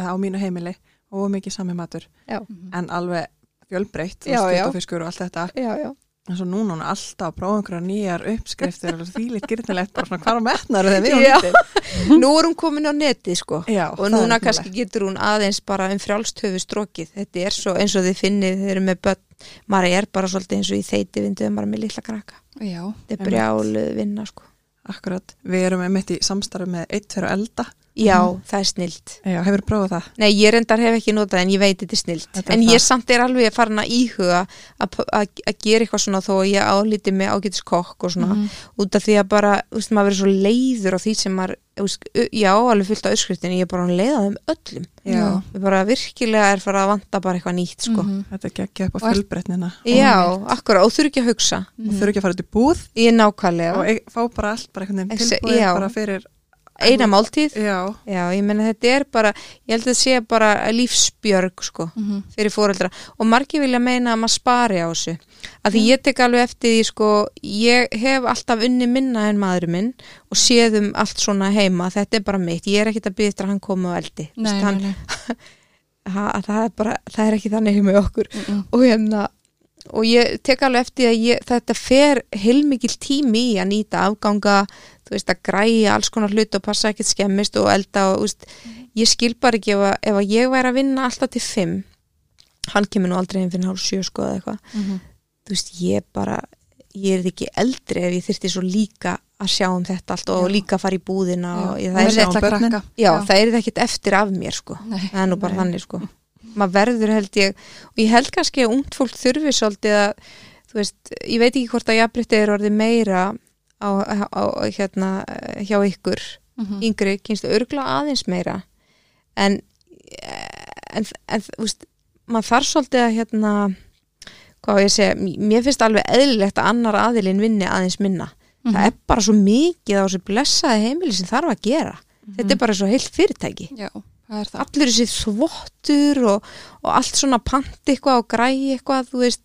Speaker 3: eða á mínu heimili óa mikið sami matur,
Speaker 2: já,
Speaker 3: en alveg fjölbreytt,
Speaker 2: Já, já.
Speaker 3: skutafiskur og allt þetta
Speaker 2: já, já,
Speaker 3: en svo núna hún er alltaf að prófa einhverja nýjar uppskriftir og því lít gyrnilegt bara svona hvar á metnar þegar við hún
Speaker 2: Já.
Speaker 3: lítið
Speaker 2: nú er hún komin á netið sko
Speaker 3: Já,
Speaker 2: og núna kannski getur hún aðeins bara um frjálstöfu strókið, þetta er svo eins og þið finnið þeir eru með börn, maður er bara svolítið eins og í þeiti vindu maður er með litla krakka
Speaker 1: Já,
Speaker 2: þetta
Speaker 3: Einmitt.
Speaker 2: er brjáluð vinna sko
Speaker 3: Akkurat, við erum einmitt í samstarfi með eitt fyrir elda
Speaker 2: Já,
Speaker 3: Mm.
Speaker 2: það er snilt.
Speaker 3: Já, hefur prófað það?
Speaker 2: Nei, ég reyndar hef ekki notað en ég veit þetta er snilt.
Speaker 3: Þetta er
Speaker 2: en
Speaker 3: það.
Speaker 2: ég samt er alveg farin að íhuga að p- að að gera eitthvað svona þó að ég álíti mig ágætis kokk og svona
Speaker 3: Mhm.
Speaker 2: út af því að bara, þú veist, maður verið svo leiður á því sem maður, þú veist, u- já, alveg fullt á öskriftinu, ég er bara hann leiðað um öllum.
Speaker 1: Já.
Speaker 2: Ég bara virkilega er farið að vanta bara eitthvað nýtt, sko.
Speaker 1: Mhm.
Speaker 3: Þetta er geggja upp á
Speaker 1: Og er-
Speaker 3: fjölbreytnina
Speaker 2: Já, akkurat, og þurfi ekki að hugsa.
Speaker 3: og þurfi ekki að fara út í búð
Speaker 2: Ég er nákvæmlega.
Speaker 3: og e fá bara allt, bara einhvern veginn
Speaker 2: Exa-
Speaker 3: tilbúið
Speaker 2: já.
Speaker 3: bara fyrir,
Speaker 2: Eina máltíð.
Speaker 3: já,
Speaker 2: Já, ég meina þetta er bara, ég held að þetta sé bara lífsbjörg, sko.
Speaker 1: Mhm.
Speaker 2: fyrir fóreldra og margir vilja meina að maður spari á þessu
Speaker 1: Mhm.
Speaker 2: að því ég tek alveg eftir því sko ég hef alltaf unni minna en maður minn og séðum allt svona heima þetta er bara mitt, ég er ekkit að byggja eftir að hann komi á eldi Þú
Speaker 1: Nei,
Speaker 2: veist,
Speaker 1: nei,
Speaker 2: hann,
Speaker 1: nei.
Speaker 2: ha, það, er bara, það er ekki þannig heima í okkur
Speaker 1: Mm
Speaker 2: og hérna og ég tek alveg eftir því að ég, þetta fer heilmikil tími í að nýta afganga þú veist að græja alls konar hlut og passa ekkert skemmist og elda og þú veist,
Speaker 1: Mm-hmm.
Speaker 2: ég skil bara ekki ef að, ef að ég væri að vinna alltaf til 5
Speaker 3: Mhm.
Speaker 2: hann kemur nú aldrei einn fyrir hálf 7 sko eða eitthvað
Speaker 1: -hmm.
Speaker 2: þú veist, ég bara ég er ekki eldri ef ég þyrti svo líka að sjá um þetta allt og
Speaker 1: Já.
Speaker 2: líka fara í búðina og ég, það,
Speaker 1: Með
Speaker 2: er,
Speaker 3: sjá
Speaker 1: litla
Speaker 3: um börnin.
Speaker 1: krakka.
Speaker 2: já, það er ekkit eftir af mér sko
Speaker 1: Nei.
Speaker 2: það er nú bara þannig sko maður verður held ég og ég held kannski að ungt fólk þurfi svolítið að þú veist, ég veit ekki hvort að jafnbrytti er orðið meira á, á, á hérna eh, hjá ykkur
Speaker 1: Mhm.
Speaker 2: yngri kynstu örgla aðeins meira en en, en þú veist, maður þarf svolítið að hérna hvað á ég að segja, m- mér finnst alveg eðlilegt að annar aðilinn vinni aðeins minna
Speaker 1: Mhm.
Speaker 2: það er bara svo mikið á þessu blessaði heimili sem þarf að gera þetta
Speaker 1: Mhm.
Speaker 2: er bara svo heilt fyrirtæki
Speaker 1: Já, það er það.
Speaker 2: allur þessi þvottur og, og allt svona pant eitthvað og græi eitthvað, þú veist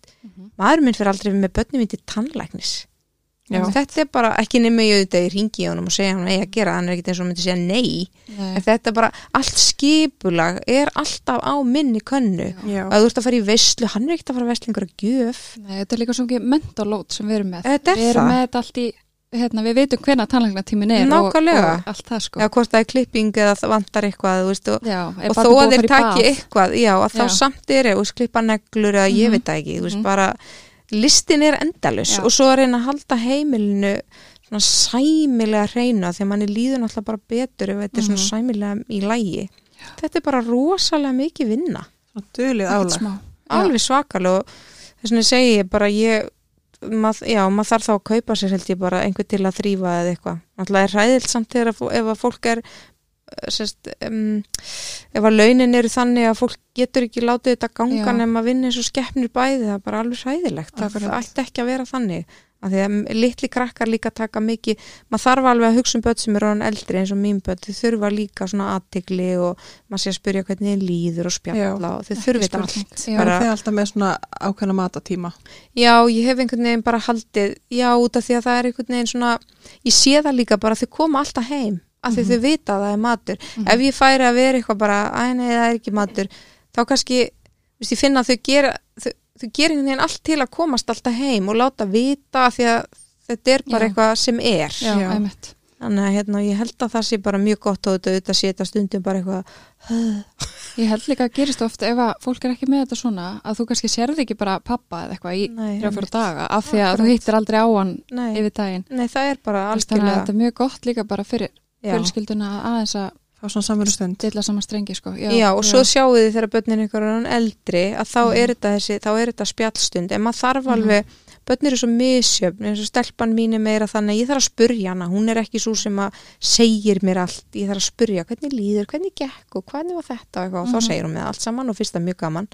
Speaker 2: maður minn fyrir aldrei með börnum mín til tannlæknis
Speaker 3: Já.
Speaker 2: þetta er bara, ekki nefnir ég auðvitað í ringi honum og segja hann að ég að gera, hann er ekkit eins og myndi segja nei,
Speaker 1: Nei.
Speaker 2: en þetta er bara allt skipulag er alltaf á minni könnu,
Speaker 3: Já.
Speaker 2: og að þú ert að fara í veislu hann er ekkit að fara að veislu einhverja gjöf
Speaker 1: Nei, þetta er líka svo ekki mentalót sem við erum með.
Speaker 2: Þetta er
Speaker 1: við erum
Speaker 2: það.
Speaker 1: með þetta allt í, hérna, við veitum hvenna tannlæknatímin er og,
Speaker 2: Nákvæmlega.
Speaker 1: og allt það sko.
Speaker 2: eða hvort það er klipping eða það vantar eitthvað, þú veist, og
Speaker 1: Já,
Speaker 2: og þó að þeir taki eitthvað já, að þá
Speaker 1: Já. Mhm.
Speaker 2: samt er eða klippa neglur eða ég veit það ekki, þú veist bara listin er
Speaker 1: Já.
Speaker 2: endalus og svo að reyna að halda heimilinu svona sæmilega reyna þegar manni líður náttúrulega bara betur ef þetta er svona
Speaker 1: Mhm.
Speaker 2: sæmilega í lægi þetta er bara rosalega mikið vinna
Speaker 3: Svo dulið álag.
Speaker 2: alveg svakalega og þess vegna segi ég bara ég Mað, já, maður þarf þá að kaupa sér held ég bara einhver til að þrýfa eða eitthvað alltaf er hræðilt samt þegar að, fó- ef að fólk er sérst, um, ef að launin eru þannig að fólk getur ekki látið þetta ganga
Speaker 1: Já.
Speaker 2: nema að vinna eins og skeppnir bæði það er bara alveg hræðilegt, það,
Speaker 1: Akkurat.
Speaker 2: það ætti ekki að vera þannig að því að m- litli krakkar líka taka mikið, maður þarf alveg að hugsa um börn sem eru orðin eldri eins og mín börn þau þurfa líka svona aðtigli og maður sé að spyrja hvernig þeim líður og spjalla
Speaker 3: Já.
Speaker 2: og þau þurfa þetta allt
Speaker 1: Já,
Speaker 3: Það
Speaker 2: bara-
Speaker 3: er alltaf með svona ákveðna matatíma.
Speaker 2: Já, ég hef einhvern veginn bara haldið, já, út af því að það er einhvern veginn svona, ég sé það líka bara að þau koma alltaf heim, af því
Speaker 1: Mhm.
Speaker 2: þau vita að það er matur. Ef ég færi að vera eitthvað bara, æ, nei, það er ekki matur, þá kannski, þú veist, ég finna að þau gera, þau, þau gera einhvern veginn allt til að komast alltaf heim og láta vita af því að þetta er bara
Speaker 1: Já.
Speaker 2: eitthvað sem er.
Speaker 1: já,
Speaker 3: Já.
Speaker 1: einmitt.
Speaker 2: Þannig að hérna, ég held að það sé bara mjög gott og þetta auðvitað sé þetta stundum bara eitthvað,
Speaker 1: Ég held líka að gerist oft ef að fólk er ekki með þetta svona að þú kannski sérði ekki bara pappa eða eitthvað í
Speaker 2: Nei,
Speaker 1: þrjá fjóra
Speaker 2: einmitt.
Speaker 1: daga af því að þú
Speaker 2: Akkurat.
Speaker 1: hittir aldrei á hann
Speaker 2: nei,
Speaker 1: yfir daginn.
Speaker 2: nei, það er bara
Speaker 1: Þannig að þetta
Speaker 2: algjörlega.
Speaker 1: er mjög gott líka bara fyrir
Speaker 2: Já.
Speaker 1: fjölskylduna að aðeins að
Speaker 3: Fá svona samveru stund.
Speaker 1: dilla saman strengi sko. Já,
Speaker 2: Já, Mm. og svo sjáu þið þegar börnin ykkur er hann eldri að þá er þetta þessi, þá er þetta spjallstund en maður þarf alveg, börn eru svo misjöfn eins og stelpan mín er meira þannig að ég þarf að spurja hana, hún er ekki svo sem að segir mér allt, ég þarf að spurja hvernig líður, hvernig gekk og hvernig var þetta og, eitthvað, og þá segir hún með allt saman og fyrst það er mjög gaman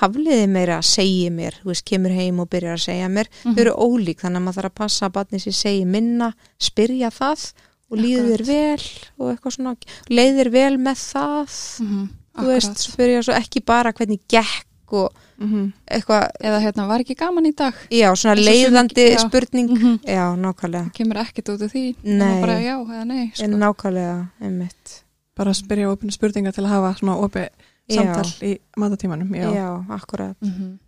Speaker 2: hafliði meira að segja mér þú veist, kemur heim og byrjar að segja mér þau eru ólík þannig að maður þarf að passa að barnið sér segi minna, spyrja það og líður þér vel og eitthvað svona, leiðir vel með það
Speaker 1: Mhm,
Speaker 2: þú veist,
Speaker 1: akkurat.
Speaker 2: spyrja svo ekki bara hvernig gekk og Mhm. eitthvað,
Speaker 1: Eða hérna, var ekki gaman í dag?
Speaker 2: já, svona
Speaker 1: Eins og
Speaker 2: leiðandi
Speaker 1: sumir- já.
Speaker 2: spurning,
Speaker 1: Mhm.
Speaker 2: já, nákvæmlega
Speaker 1: Kemur ekkit út af því?
Speaker 2: Nei.
Speaker 1: Nema Bara já eða nei sko.
Speaker 2: en nákvæmlega, einmitt
Speaker 3: Bara að spyrja opinu spurningar til að hafa svona opið
Speaker 2: Já.
Speaker 3: samtal í matatímanum.
Speaker 2: já,
Speaker 3: Já.
Speaker 2: akkurat,
Speaker 1: Mhm.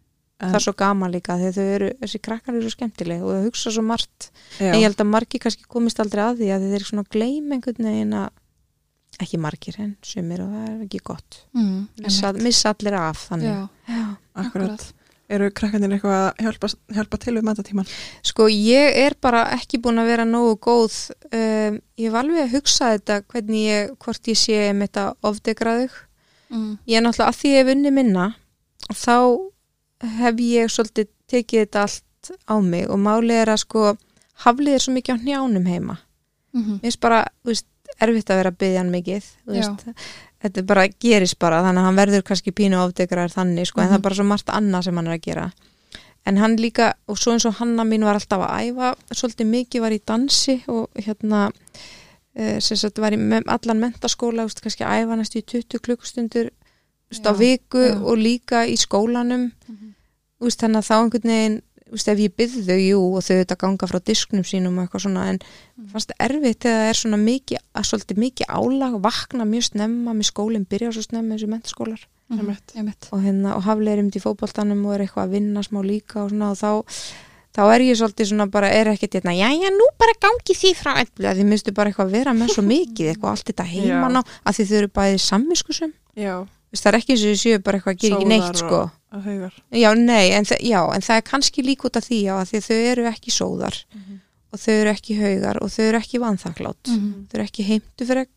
Speaker 2: það er svo gaman líka þegar þau eru, þessi krakkar eru svo skemmtileg og þau hugsa svo margt, en ég
Speaker 3: já.
Speaker 2: held að margir kannski komist aldrei að því að þeir eru svona gleym einhvern veginn að ekki margir en sumir og það er ekki gott
Speaker 1: Mhm,
Speaker 2: missa,
Speaker 1: einmitt.
Speaker 2: missa allir af þannig
Speaker 1: Já,
Speaker 2: já.
Speaker 3: Akkurat.
Speaker 1: akkurat.
Speaker 3: Eru krakkanir eitthvað að hjálpa, hjálpa til við matatíman?
Speaker 2: Sko, ég er bara ekki búin að vera nógu góð. Um, ég var alveg að hugsa þetta hvernig ég, hvort ég sé um þetta ofdegraðug.
Speaker 1: Mm.
Speaker 2: Ég er náttúrulega að því ég hef unni minna, þá hef ég svolítið tekið þetta allt á mig og málið er að sko haflið er svo mikið á njánum heima.
Speaker 1: Mhm.
Speaker 2: Mér finnst bara, þú veist, erfitt að vera að byggja hann mikið, þú veist. Þetta bara gerist bara, þannig að hann verður kannski pínu ofdegraður þannig, sko, en
Speaker 1: Mhm.
Speaker 2: það er bara svo margt annað sem hann er að gera. En hann líka, og svo eins og hanna mín var alltaf að æfa, svolítið mikið var í dansi og hérna, eh, sem sagt, var í me allan mentaskóla, þú veist, kannski að æfa næstu í 20 klukkustundur, þú veist, á
Speaker 1: Já,
Speaker 2: viku
Speaker 1: já.
Speaker 2: og líka í skólanum,
Speaker 1: Mhm.
Speaker 2: þú veist, þannig að þá einhvern veginn, þú veist, ef ég byrði þau, jú, og þau þetta ganga frá disknum sínum og eitthvað svona, en fannst það erfitt þegar það er svona mikið, að svolítið mikið álag, vakna mjög snemma, mér skólinn byrja svo snemma eins og mentaskólar
Speaker 1: Mhm,
Speaker 3: Einmitt.
Speaker 1: einmitt.
Speaker 2: og hérna, og haflega erum til fótboltanum og er eitthvað að vinna smá líka og svona og þá, þá er ég svolítið svona bara, er ekkert hérna, já, já, nú bara gangi því frá öllu, að því minnstu bara eitthvað að vera með svo mikið, eitthvað allt þetta heiman á, að því þau eru bæði samviskusum,
Speaker 3: Já.
Speaker 2: Veist, það er ekki eins og þau séu bara eitthvað að gera ekki
Speaker 3: Sóðar
Speaker 2: neitt,
Speaker 3: og-
Speaker 2: sko,
Speaker 3: að haugar.
Speaker 2: Já, nei, en, þe- já, en það er kannski lík út af því já, af því að þau eru ekki sóðar og þau eru ekki haugar og þau eru ekki vanþaklátt.
Speaker 1: Mm. Mhm,
Speaker 2: Þau eru ekki heimtufreg.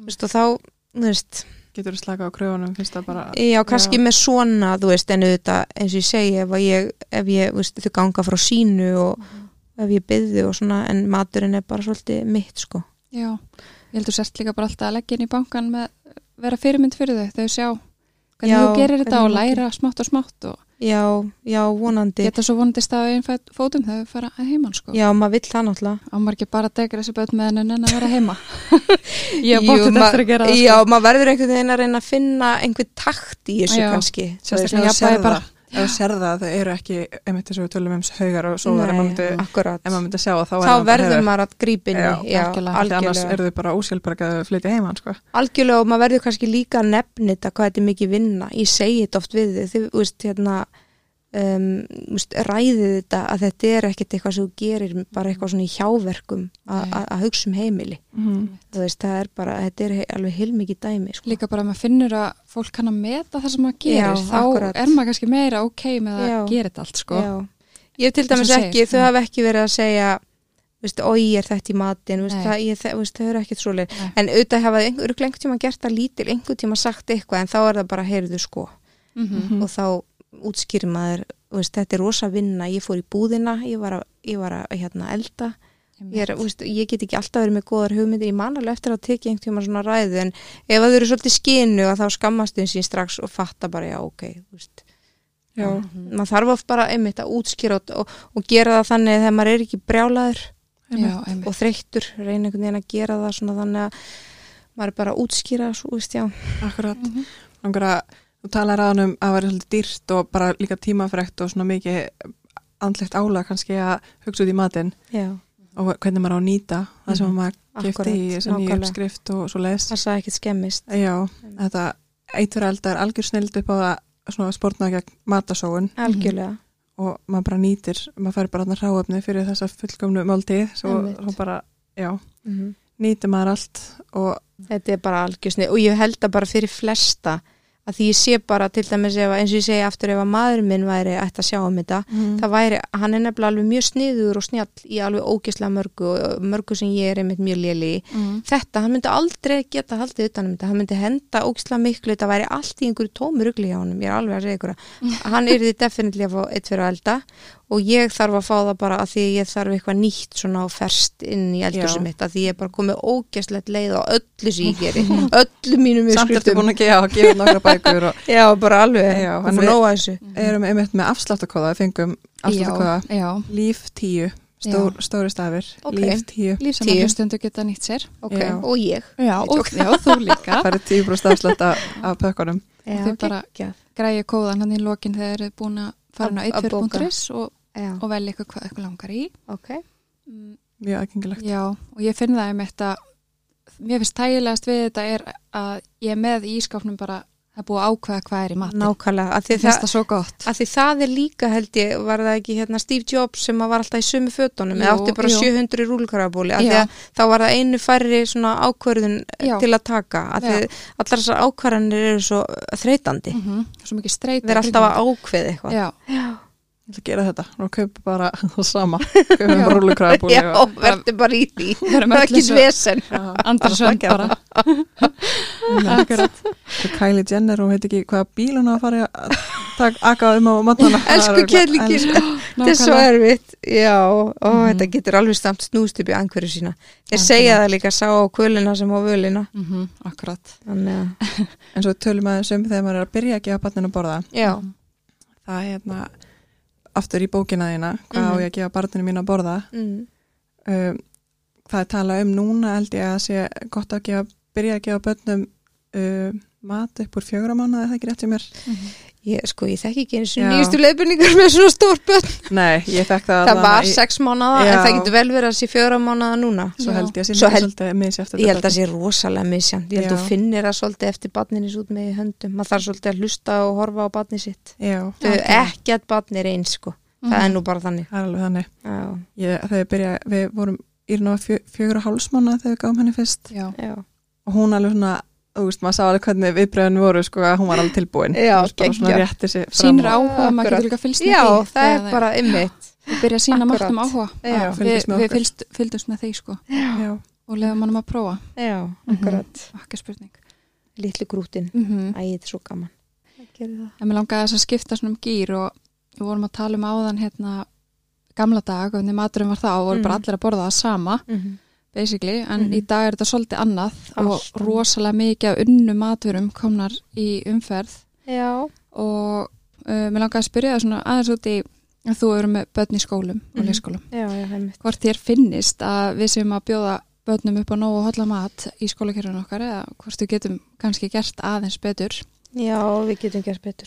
Speaker 2: Þú veist, og þá, þú veist,
Speaker 3: Getur þú slaka á kröfunum, finnst það
Speaker 1: Ah,
Speaker 3: bara...
Speaker 2: já, kannski með svona, þú veist, en auðvitað, eins og ég segi, ef að ég, ef ég, þú veist, þau ganga frá sínu og
Speaker 1: Mhm.
Speaker 2: ef ég byði og svona, en maturinn er bara svolítið mitt, sko.
Speaker 1: Já, ég heldur sért líka bara alltaf að leggja inn í bankan með vera fyrirmynd fyrir þau, þau sjá hvernig
Speaker 2: Já,
Speaker 1: þú gerir þetta og
Speaker 2: hvernig þú
Speaker 1: læra smátt og smátt og
Speaker 2: Já, já, vonandi.
Speaker 1: geta svo vonandi stað á einn fæt- fótum þegar þau fara að heiman sko.
Speaker 2: Já, maður vill það náttúrulega.
Speaker 1: Á maður ekki bara að degra þessu börn með henni en að vera heima. ég hef bótt
Speaker 2: Jú,
Speaker 1: þetta
Speaker 2: ma-
Speaker 1: eftir að gera það
Speaker 2: Já,
Speaker 1: sko.
Speaker 2: maður verður einhvern veginn að reyna að finna einhvern takt í þessu
Speaker 1: Já.
Speaker 2: kannski
Speaker 3: Sérstaklega
Speaker 1: Já,
Speaker 3: að serða,
Speaker 1: bara-
Speaker 3: bara, að serða að þau eru ekki, einmitt þess að við tölum um haugar og sóðar, ef maður myndi,
Speaker 2: akkurat
Speaker 3: ef maður myndi sjá að þá er
Speaker 2: Þá
Speaker 3: það bara,
Speaker 2: verður
Speaker 3: heyrðu,
Speaker 2: maður að grípa inn í
Speaker 3: Já,
Speaker 2: já,
Speaker 1: algjörlega.
Speaker 3: Því annars
Speaker 2: algjörlega.
Speaker 3: eru þau bara ósjálfberg að flytja heimann sko.
Speaker 2: algjörlega og maður verður kannski líka að nefna þetta hvað þetta er mikið vinna, ég segi þetta oft við þið, þið veist, hérna um, veist, ræðið þetta að þetta er ekkert eitthvað sem þú gerir bara eitthvað svona í hjáverkum a-
Speaker 1: Nei.
Speaker 2: a- að hugsa um heimili þú veist, það er bara, þetta er he- alveg heilmikið dæmi sko.
Speaker 1: Líka bara að maður finnur að fólk kann að meta það sem maður gerir,
Speaker 2: Já,
Speaker 1: þá
Speaker 2: akkurat.
Speaker 1: er maður kannski meira ok með að
Speaker 2: Já.
Speaker 1: gera þetta allt sko.
Speaker 2: Já. Ég hef til
Speaker 1: Það sem
Speaker 2: dæmis
Speaker 1: segir,
Speaker 2: ekki, þau
Speaker 1: já.
Speaker 2: hafa ekki verið að segja veist, oi, er þetta í matin veist,
Speaker 1: Nei.
Speaker 2: það, ég, það, veist, þau eru ekkert svoleið
Speaker 1: Nei.
Speaker 2: en auðvitað hafa einhver lengt tíma gert það lítil einhver tíma sagt eitthvað en þá er það bara heyrðu sko
Speaker 1: Mm
Speaker 3: Mhm.
Speaker 2: og þá útskýrir maður veist, þetta er rosa vinna, ég fór í búðina ég var að, ég var að hérna, elda ég, er, veist, ég get ekki alltaf verið með góðar hugmyndir ég man alveg eftir að teki einhvern tíma svona ræðu en ef að þau eru svolítið skinu þá skammast þau sín strax og fatta bara já ok, þú veist
Speaker 3: Já,
Speaker 2: maður þarf oft bara einmitt að útskýra og, og, og gera það þannig að þegar maður er ekki brjálaður
Speaker 1: Já, einmitt.
Speaker 2: og þreyttur reyna einhvern veginn að gera það svona þannig að maður er bara að útskýra svo, veist, já,
Speaker 3: akkurat
Speaker 2: Mhm.
Speaker 3: Langar að þú talar aðan um að vera svolítið dýrt og bara líka tímafrekt og svona mikið andlegt ála kannski að hugsa út í matinn
Speaker 2: já,
Speaker 3: og hvernig maður á að nýta það sem maður gefti
Speaker 2: Mhm.
Speaker 3: í
Speaker 2: Akkurat,
Speaker 3: þessu nýju
Speaker 2: nákvæmlega.
Speaker 3: uppskrift og svo les.
Speaker 2: það sagði ekkert skemmist
Speaker 3: Já, þetta eitur elda er algjör snild upp á það svona spórna gegn matasóun
Speaker 2: algjörlega,
Speaker 3: og maður bara nýtir, maður fær bara þarna ráöfni fyrir þessa fullkomnu máltið svo,
Speaker 2: Einmitt.
Speaker 3: svo bara, já, Mhm. nýtir maður allt og
Speaker 2: þetta er bara algjörsni og ég held að bara fyrir flesta að því ég sé bara til dæmis ef, að- eins og ég segi aftur ef að maður minn væri ætti að sjá um þetta það væri, hann er nefnilega alveg mjög sniður og snjall í alveg ógislega mörgu og mörgu sem ég er einmitt mjög léli í
Speaker 3: Mm.
Speaker 2: þetta, hann myndi aldrei geta haldið utanum þetta, hann myndi henda ógislega miklu þetta væri allt í einhverju tómi rugli hjá honum ég er alveg að segja ykkur að hann er því definitely að fá eitt fyrir að elda og ég þarf að fá það bara að því ég þarf eitthvað nýtt svona á ferst inn í
Speaker 3: Já.
Speaker 2: eldursum mitt að því ég er bara komið ógeslegt leið á öllu sem ég geri öllu mínum
Speaker 3: samt ertu
Speaker 2: uppskriftum
Speaker 3: búin að gefa, gefa nokkra bækur og
Speaker 2: já, bara alveg,
Speaker 3: Já, hann
Speaker 2: hann
Speaker 3: er-
Speaker 2: fyrir nóa þessu
Speaker 3: erum einmitt með afsláttakóða, við fengum afsláttakóða
Speaker 1: Já, já,
Speaker 3: líf tíu, stór, stóri stafir
Speaker 2: Ok.
Speaker 3: líf tíu,
Speaker 2: líf
Speaker 1: sem að
Speaker 2: tíu,
Speaker 1: hlustundu geta nýtt sér.
Speaker 2: ok,
Speaker 3: Já.
Speaker 2: og ég
Speaker 1: Já, og, já þú líka.
Speaker 3: það er tíu brúst afslátt af, af pökkunum
Speaker 2: já,
Speaker 1: Þau bara-
Speaker 2: geggjað.
Speaker 1: Græja kóðan hann í lokin þegar þið eru búin að fara inn á
Speaker 2: Að- að bóka.
Speaker 1: 1.is og,
Speaker 2: já,
Speaker 1: og velja ykkur hvað ykkur langar í.
Speaker 2: ok
Speaker 1: Mm,
Speaker 3: mjög aðgengilegt
Speaker 1: Já, og ég finn það um þetta, mér finnst tægilegast við þetta er að ég er með í ískapnum bara að búa að ákveða hvað er í matinn.
Speaker 2: nákvæmlega, að því
Speaker 1: Mér
Speaker 2: það
Speaker 1: finnst það svo gott.
Speaker 2: að því það er líka held ég, var það ekki hérna Steve Jobs sem að var alltaf í sömu fötunum eða
Speaker 1: Jú,
Speaker 2: átti bara
Speaker 1: jú.
Speaker 2: 700 rúlkarabóli að
Speaker 1: Já.
Speaker 2: því að þá var það einu færri svona ákvörðun eh,
Speaker 1: Já.
Speaker 2: til að taka að því
Speaker 1: Já.
Speaker 2: allar þessar ákvarðanir eru svo þreytandi,
Speaker 1: Mm Svo mikið streyta.
Speaker 2: þeir eru alltaf að ákveða eitthvað
Speaker 1: Já,
Speaker 3: ég ætla að gera þetta, og kaupa bara það sama, kaupa bara rúlukræðabúli
Speaker 2: Já, verður bara í því
Speaker 1: Við erum
Speaker 2: það er
Speaker 1: öll
Speaker 2: ekki
Speaker 1: eins og-
Speaker 2: svesen
Speaker 1: Andersson
Speaker 3: Slakið á
Speaker 1: bara. Akkurat.
Speaker 3: og Kylie Jenner, hún veit ekki hvaða bíl hún á að fara í að taka aka um á matana
Speaker 2: elsku kjærlíkin, þetta er
Speaker 1: Nákvæmlega.
Speaker 2: svo
Speaker 1: Mm.
Speaker 2: erfitt já, ó, þetta getur alveg stamt snúst upp í angverju sína þeir segja það líka sá á kvölina sem á völina
Speaker 1: Mhm, Akkurat.
Speaker 2: þannig að,
Speaker 3: en svo tölum aðeins um þegar maður er að byrja að gefa barninu að borða
Speaker 2: já,
Speaker 3: það er hérna aftur í bókina þína, hvað
Speaker 2: Mhm.
Speaker 3: á ég að gefa barninu mín að borða
Speaker 2: mm.
Speaker 3: um, það er tala um núna held ég að sé gott að gefa, byrja að gefa börnum um, mat upp úr fjögur á mánuði, er það ekki rétt sem er
Speaker 2: Ég, sko, ég þekki ekki eins og
Speaker 3: Já.
Speaker 2: nýjustu leiðbyrningar með svona stór börn.
Speaker 3: Nei, ég fekk það,
Speaker 2: Það
Speaker 3: allavega
Speaker 2: var
Speaker 3: í-
Speaker 2: sex mánada,
Speaker 3: Já.
Speaker 2: en það getur vel verið að sé fjöra mánada núna.
Speaker 3: Svo held ég að sé
Speaker 2: Svo
Speaker 3: líka
Speaker 2: held-
Speaker 3: svolítið misjæft
Speaker 2: Ég held að það sé rosalega misjant. Ég held
Speaker 3: Já.
Speaker 2: að þú finnir það svolítið eftir badninins út með í höndum. Maður þarf svolítið að hlusta og horfa á badni sitt.
Speaker 3: Já,
Speaker 2: Þau ekki að badni er eins, sko. Það er nú bara þannig.
Speaker 3: það er alveg þannig
Speaker 2: Já,
Speaker 3: ég, Þegar ég byrja, við vorum Írna var fjö, fjögur og háls mánuði þegar við gáum henni fyrst
Speaker 1: Já,
Speaker 2: já,
Speaker 3: og hún alveg svona þú veist, maður sá alveg hvernig viðbröðin voru sko að hún var alveg tilbúin
Speaker 2: Já,
Speaker 3: Þú veist, bara svona
Speaker 2: geggjað.
Speaker 3: rétti sig fram
Speaker 1: sínir áhuga, maður
Speaker 2: Akkurat.
Speaker 1: getur líka fylgst með
Speaker 2: Já,
Speaker 1: því
Speaker 2: það er
Speaker 1: þegar
Speaker 2: bara ymmit.
Speaker 1: þau byrja að sína margt um
Speaker 2: Akkurat.
Speaker 1: áhuga
Speaker 2: Já,
Speaker 1: Já,
Speaker 3: fylgist
Speaker 1: við,
Speaker 3: með
Speaker 1: við
Speaker 3: okkur.
Speaker 1: fylgst, fylgdumst með þeir sko
Speaker 3: Já,
Speaker 1: og lefa mannum að prófa,
Speaker 2: Já, Mhm. akkurat.
Speaker 1: ekki spurning
Speaker 2: Lítli grútin.
Speaker 1: mm
Speaker 2: Æ, þetta er svo gaman. Það gerir það.
Speaker 1: en mér langaði þess að skipta svona um gýr og við vorum að tala um áðan hérna gamla dag, hvernig maturum var það og voru bara
Speaker 2: Mhm.
Speaker 1: allir að borða það sama basically, en
Speaker 2: Mhm.
Speaker 1: í dag er þetta svolítið annað
Speaker 2: Allt
Speaker 1: og
Speaker 2: annað.
Speaker 1: rosalega mikið af unnu maturum komnar í umferð
Speaker 2: Já.
Speaker 1: og uh, mér langaði að spyrja það svona aðeins út í að þú eru með börn í skólum og
Speaker 2: Mhm.
Speaker 1: leikskólum
Speaker 2: Já, já, það er mitt.
Speaker 1: hvort þér finnist að við sem að bjóða börnum upp á nógu og holla mat í skólakerfinu okkar eða hvort við getum kannski gert aðeins betur
Speaker 2: Já, við getum gert betur.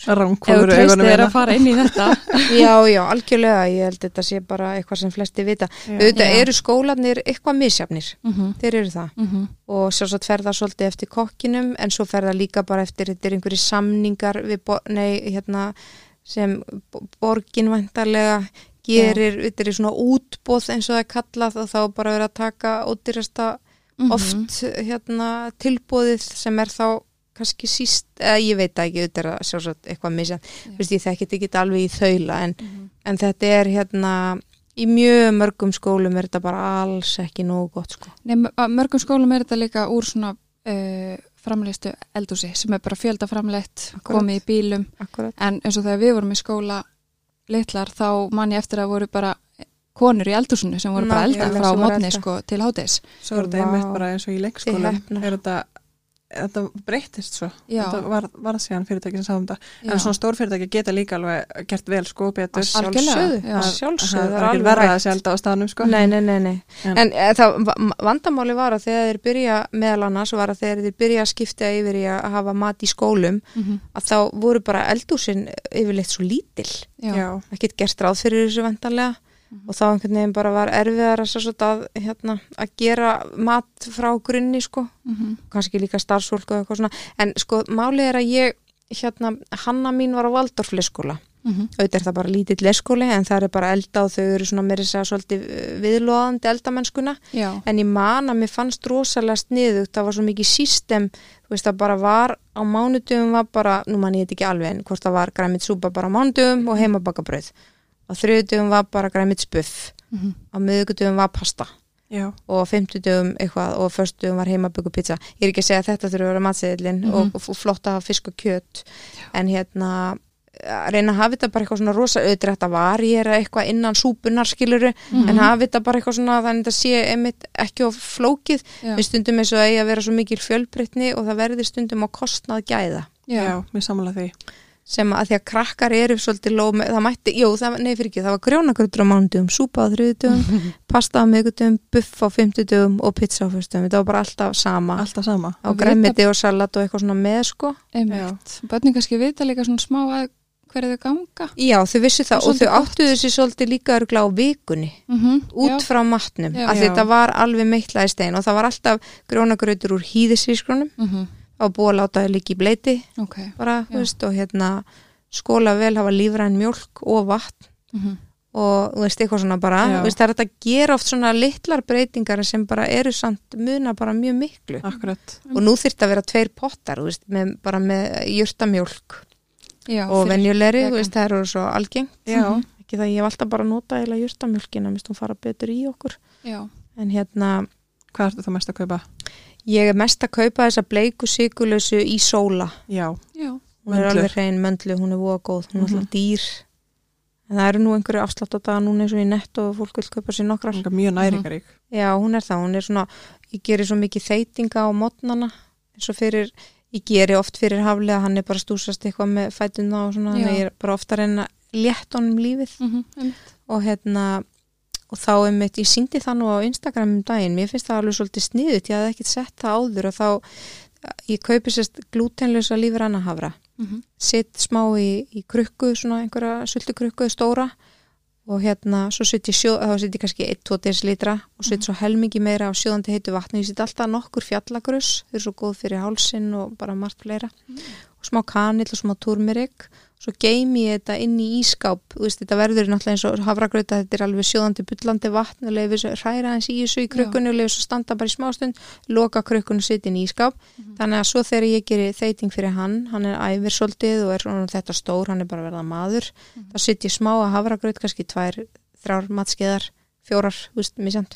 Speaker 1: Ef þú
Speaker 3: ránkólur í augunum
Speaker 1: treystir þér
Speaker 3: hérna.
Speaker 1: að fara inn í þetta
Speaker 2: Já, já, algjörlega. Ég held þetta sé bara eitthvað sem flesti vita. Auðvitað
Speaker 1: Já.
Speaker 2: eru skólanir eitthvað misjafnir.
Speaker 1: Mhm,
Speaker 2: Þeir eru það.
Speaker 1: mhm,
Speaker 2: og sjálfsagt fer það svolítið eftir kokkinum en svo fer það líka bara eftir þetta er einhverju samningar við bo- nei, hérna, sem bo- borgin vantarlega gerir þetta er svona útbóð eins og það er kallað og þá er bara verið að taka ódýrasta
Speaker 1: mhm.
Speaker 2: oft hérna, tilbóðið sem er þá kannski síst, eða ég veit það ekki þetta er að sjálfsagt eitthvað misja
Speaker 1: Já.
Speaker 2: Vist, ég þekki þetta ekki alveg í þaula en,
Speaker 1: Mhm.
Speaker 2: en þetta er hérna í mjög mörgum skólum er þetta bara alls ekki nógu gott sko
Speaker 1: Nei, m- að mörgum skólum er þetta líka úr svona uh, framleistu eldúsi sem er bara fjöldaframleitt
Speaker 2: Akkurat.
Speaker 1: komið í bílum
Speaker 2: Akkurat.
Speaker 1: en eins og þegar við vorum í skóla litlar þá man ég eftir að voru bara konur í eldúsinu sem voru bara að elda
Speaker 2: Nákvæmlega,
Speaker 1: frá
Speaker 2: sem voru að
Speaker 1: mótni
Speaker 2: elda.
Speaker 1: sko til hátis
Speaker 3: Svo er þetta
Speaker 2: Vá.
Speaker 3: einmitt bara eins og í
Speaker 2: Þið
Speaker 3: leikskólum
Speaker 2: heppnar.
Speaker 3: er þetta Þetta breyttist svo,
Speaker 1: Já.
Speaker 3: þetta var, var síðan fyrirtæki sem sá um þetta, en svona stór fyrirtæki geta líka alveg gert vel sko betur,
Speaker 1: Að Algjörlega, já.
Speaker 2: Að sjálfsögðu,
Speaker 3: það
Speaker 2: það
Speaker 3: er ekki
Speaker 2: alveg
Speaker 3: verða að
Speaker 2: hægt.
Speaker 3: sjálfda á staðnum sko.
Speaker 2: Nei, nei, nei, nei.
Speaker 3: En-
Speaker 2: En, en það, va- vandamáli var að þegar þeir byrja meðal annars var að þegar þeir byrja að skipta yfir í að hafa mat í skólum
Speaker 1: Mhm.
Speaker 2: að þá voru bara eldúsin yfirleitt svo lítil.
Speaker 1: Já.
Speaker 3: Já.
Speaker 2: Ekkert gert ráð fyrir þessu vandanlega og þá einhvern veginn bara var erfiðar að, svo, að, hérna, að gera mat frá grunni sko.
Speaker 1: Mhm.
Speaker 2: Kanski líka starfsfólk og eitthvað svona. En sko, málið er að ég, hérna, Hanna mín var á Valdorf leyskóla
Speaker 1: Mhm.
Speaker 2: auðvitað er það bara lítill leskóli en það er bara elda og þau eru svona meiri segja svolítið eh, viðloðandi eldamennskuna
Speaker 1: Já.
Speaker 2: en ég man að mér fannst rosalega sniðugt, það var svo mikið sístem þú veist það bara var á mánudum var bara, nú man ég þetta ekki alveg en hvort það var græmit súpa bara á mánudum og heimabakabröð á þriðutum var bara græmit spuff,
Speaker 1: Mhm.
Speaker 2: á miðugutum var pasta
Speaker 3: Já.
Speaker 2: og á fimmtudum eitthvað og á föstudum var heimaböku pizza ég er ekki að segja að þetta þurfa að vera matseðilinn
Speaker 1: Mhm.
Speaker 2: og, og flotta að hafa fisk og kjöt en hérna að reyna að hafa þetta bara eitthvað svona rosa auðvitað þetta var ég er eitthvað innan súpunar skiluru
Speaker 1: Mhm.
Speaker 2: en hafa þetta bara eitthvað svona þannig að þetta sé einmitt ekki of flókið
Speaker 1: Já.
Speaker 2: en stundum eins og eigi að vera svo mikil fjölbreytni og það verði stundum á kostnað gæða
Speaker 3: Já. mér samanlega því.
Speaker 2: sem að því að krakkar eru svolítið ló með, það mætti, jú, það, nei fyrir ekki, það var grjónagröður á mánudum, súpa á þriðutum pasta á miðgutum, buff á fymtutum og pizza á fyrstum, þetta var bara alltaf sama
Speaker 3: Alltaf sama.
Speaker 2: á græmiti og salat og eitthvað svona með sko
Speaker 1: Einmitt. Bönni kannski vita líka svona smá að hverju þau ganga.
Speaker 2: Já, þau vissu
Speaker 1: Og
Speaker 2: það og þau
Speaker 1: svolítið gott.
Speaker 2: áttu þessi svolítið líka örgla á vikunni
Speaker 1: Mm
Speaker 2: út frá matnum,
Speaker 1: Já.
Speaker 2: að
Speaker 3: Já.
Speaker 2: þetta var alveg meittlaði stein og það var alltaf grjónagröður úr hýðisískronum
Speaker 1: Mm
Speaker 2: og búið að láta þau líka í bleiti
Speaker 1: Ok.
Speaker 2: bara,
Speaker 1: Já.
Speaker 2: þú veist, og hérna skóla vel hafa lífræn mjólk og vatn
Speaker 1: Mm
Speaker 2: og þú veist, eitthvað svona bara
Speaker 3: Já.
Speaker 2: þú veist, það er hægt að gera oft svona litlar breytingar sem bara eru samt muna bara mjög miklu
Speaker 3: Akkurat.
Speaker 2: og nú þyrfti að vera tveir pottar þú veist, með, bara með jurtamjólk
Speaker 1: Já,
Speaker 2: og
Speaker 1: fyrir-
Speaker 2: venjulegri, þú
Speaker 1: vegan.
Speaker 2: veist, það eru svo algeng
Speaker 3: Já,
Speaker 2: ekki það ég hef alltaf bara notað eða jurtamjólkina, minnst hún fara betur í okkur
Speaker 1: Já.
Speaker 2: en hérna,
Speaker 3: hvað ertu þá mest að kaupa?
Speaker 2: ég er mest að kaupa þessa bleiku sigulösu í sóla
Speaker 3: Já,
Speaker 1: Já.
Speaker 2: hún er
Speaker 3: Möndlu.
Speaker 2: alveg hrein möndlu, hún er voða góð hún er
Speaker 3: Mhm.
Speaker 2: alltaf dýr en það eru nú einhverju afslátt á daga núna eins og í nett og fólk vil kaupa sér nokkrar
Speaker 3: Þanga mjög næringarík.
Speaker 2: Já, hún er það, hún er svona, ég gerir svo mikið þeitinga á mótnana eins og fyrir, ég geri oft fyrir haflega, hann er bara að stúsast eitthvað með fætuna og svona, þannig
Speaker 1: Já.
Speaker 2: að ég er bara ofta að reyna að létt honum lífið
Speaker 1: Mm Einmitt.
Speaker 2: og hérna, og þá er mitt, ég síndi það nú á Instagram um daginn, mér finnst það alveg svolítið sniðut, ég hafði ekkit sett það áður og þá, ég kaupi sérst glútenlösa lífranna hafra
Speaker 1: Mm -hmm.
Speaker 2: sitt smá í, í krukku, svona einhverja sultukrukku stóra og hérna, svo sitt ég sjóð, þá sitt ég kannski 1-2 desilitra og sitt svo helmingi meira á sjóðandi heitu vatni, ég sitt alltaf nokkur fjallagrus, þau eru svo góð fyrir hálsin og bara margt fleira og smá kanill og smá túrmerik svo geimi ég þetta inn í ískáp þú veist, þetta verður náttúrulega eins og hafragrauta þetta er alveg sjóðandi bullandi vatn og leifir svo hræra hans í þessu í krukkunni og leifir svo standa bara í smástund, loka krukkunni og sitja inn í ískáp, þannig að svo þegar ég gerir þeiting fyrir hann, hann er æfir svolítið og er svona þetta stór, hann er bara að verða maður, þá sitt ég smá að hafragraut kannski tvær, þrjár matskeðar fjórar, þú veist, misjant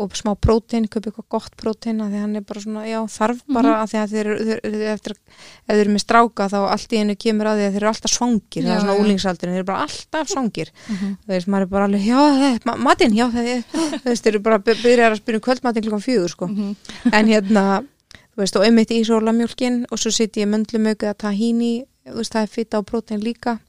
Speaker 2: og smá prótein, köpa eitthvað gott prótein að því hann er bara svona, já, þarf
Speaker 1: Mhm.
Speaker 2: bara að því að þeir, eru- þeir, þeir, eftir, ef þeir eru með stráka þá allt í einu kemur að því að þeir eru alltaf svangir, það
Speaker 1: Já,
Speaker 2: er svona
Speaker 1: já. Mhm.
Speaker 2: úlingsaldurinn þeir eru bara alltaf svangir, þú veist, maður er bara alveg, já, það- ma- matinn, já, það er þú veist, þeir eru bara, by- byrjar að spyrja um kvöldmatinn klukkan fjögur, sko,
Speaker 1: Mhm.
Speaker 2: en hérna þú veist, og einmitt í sólamjólkin og svo sitt ég möndlumöku að tahini þú veist, það er fita og prótein líka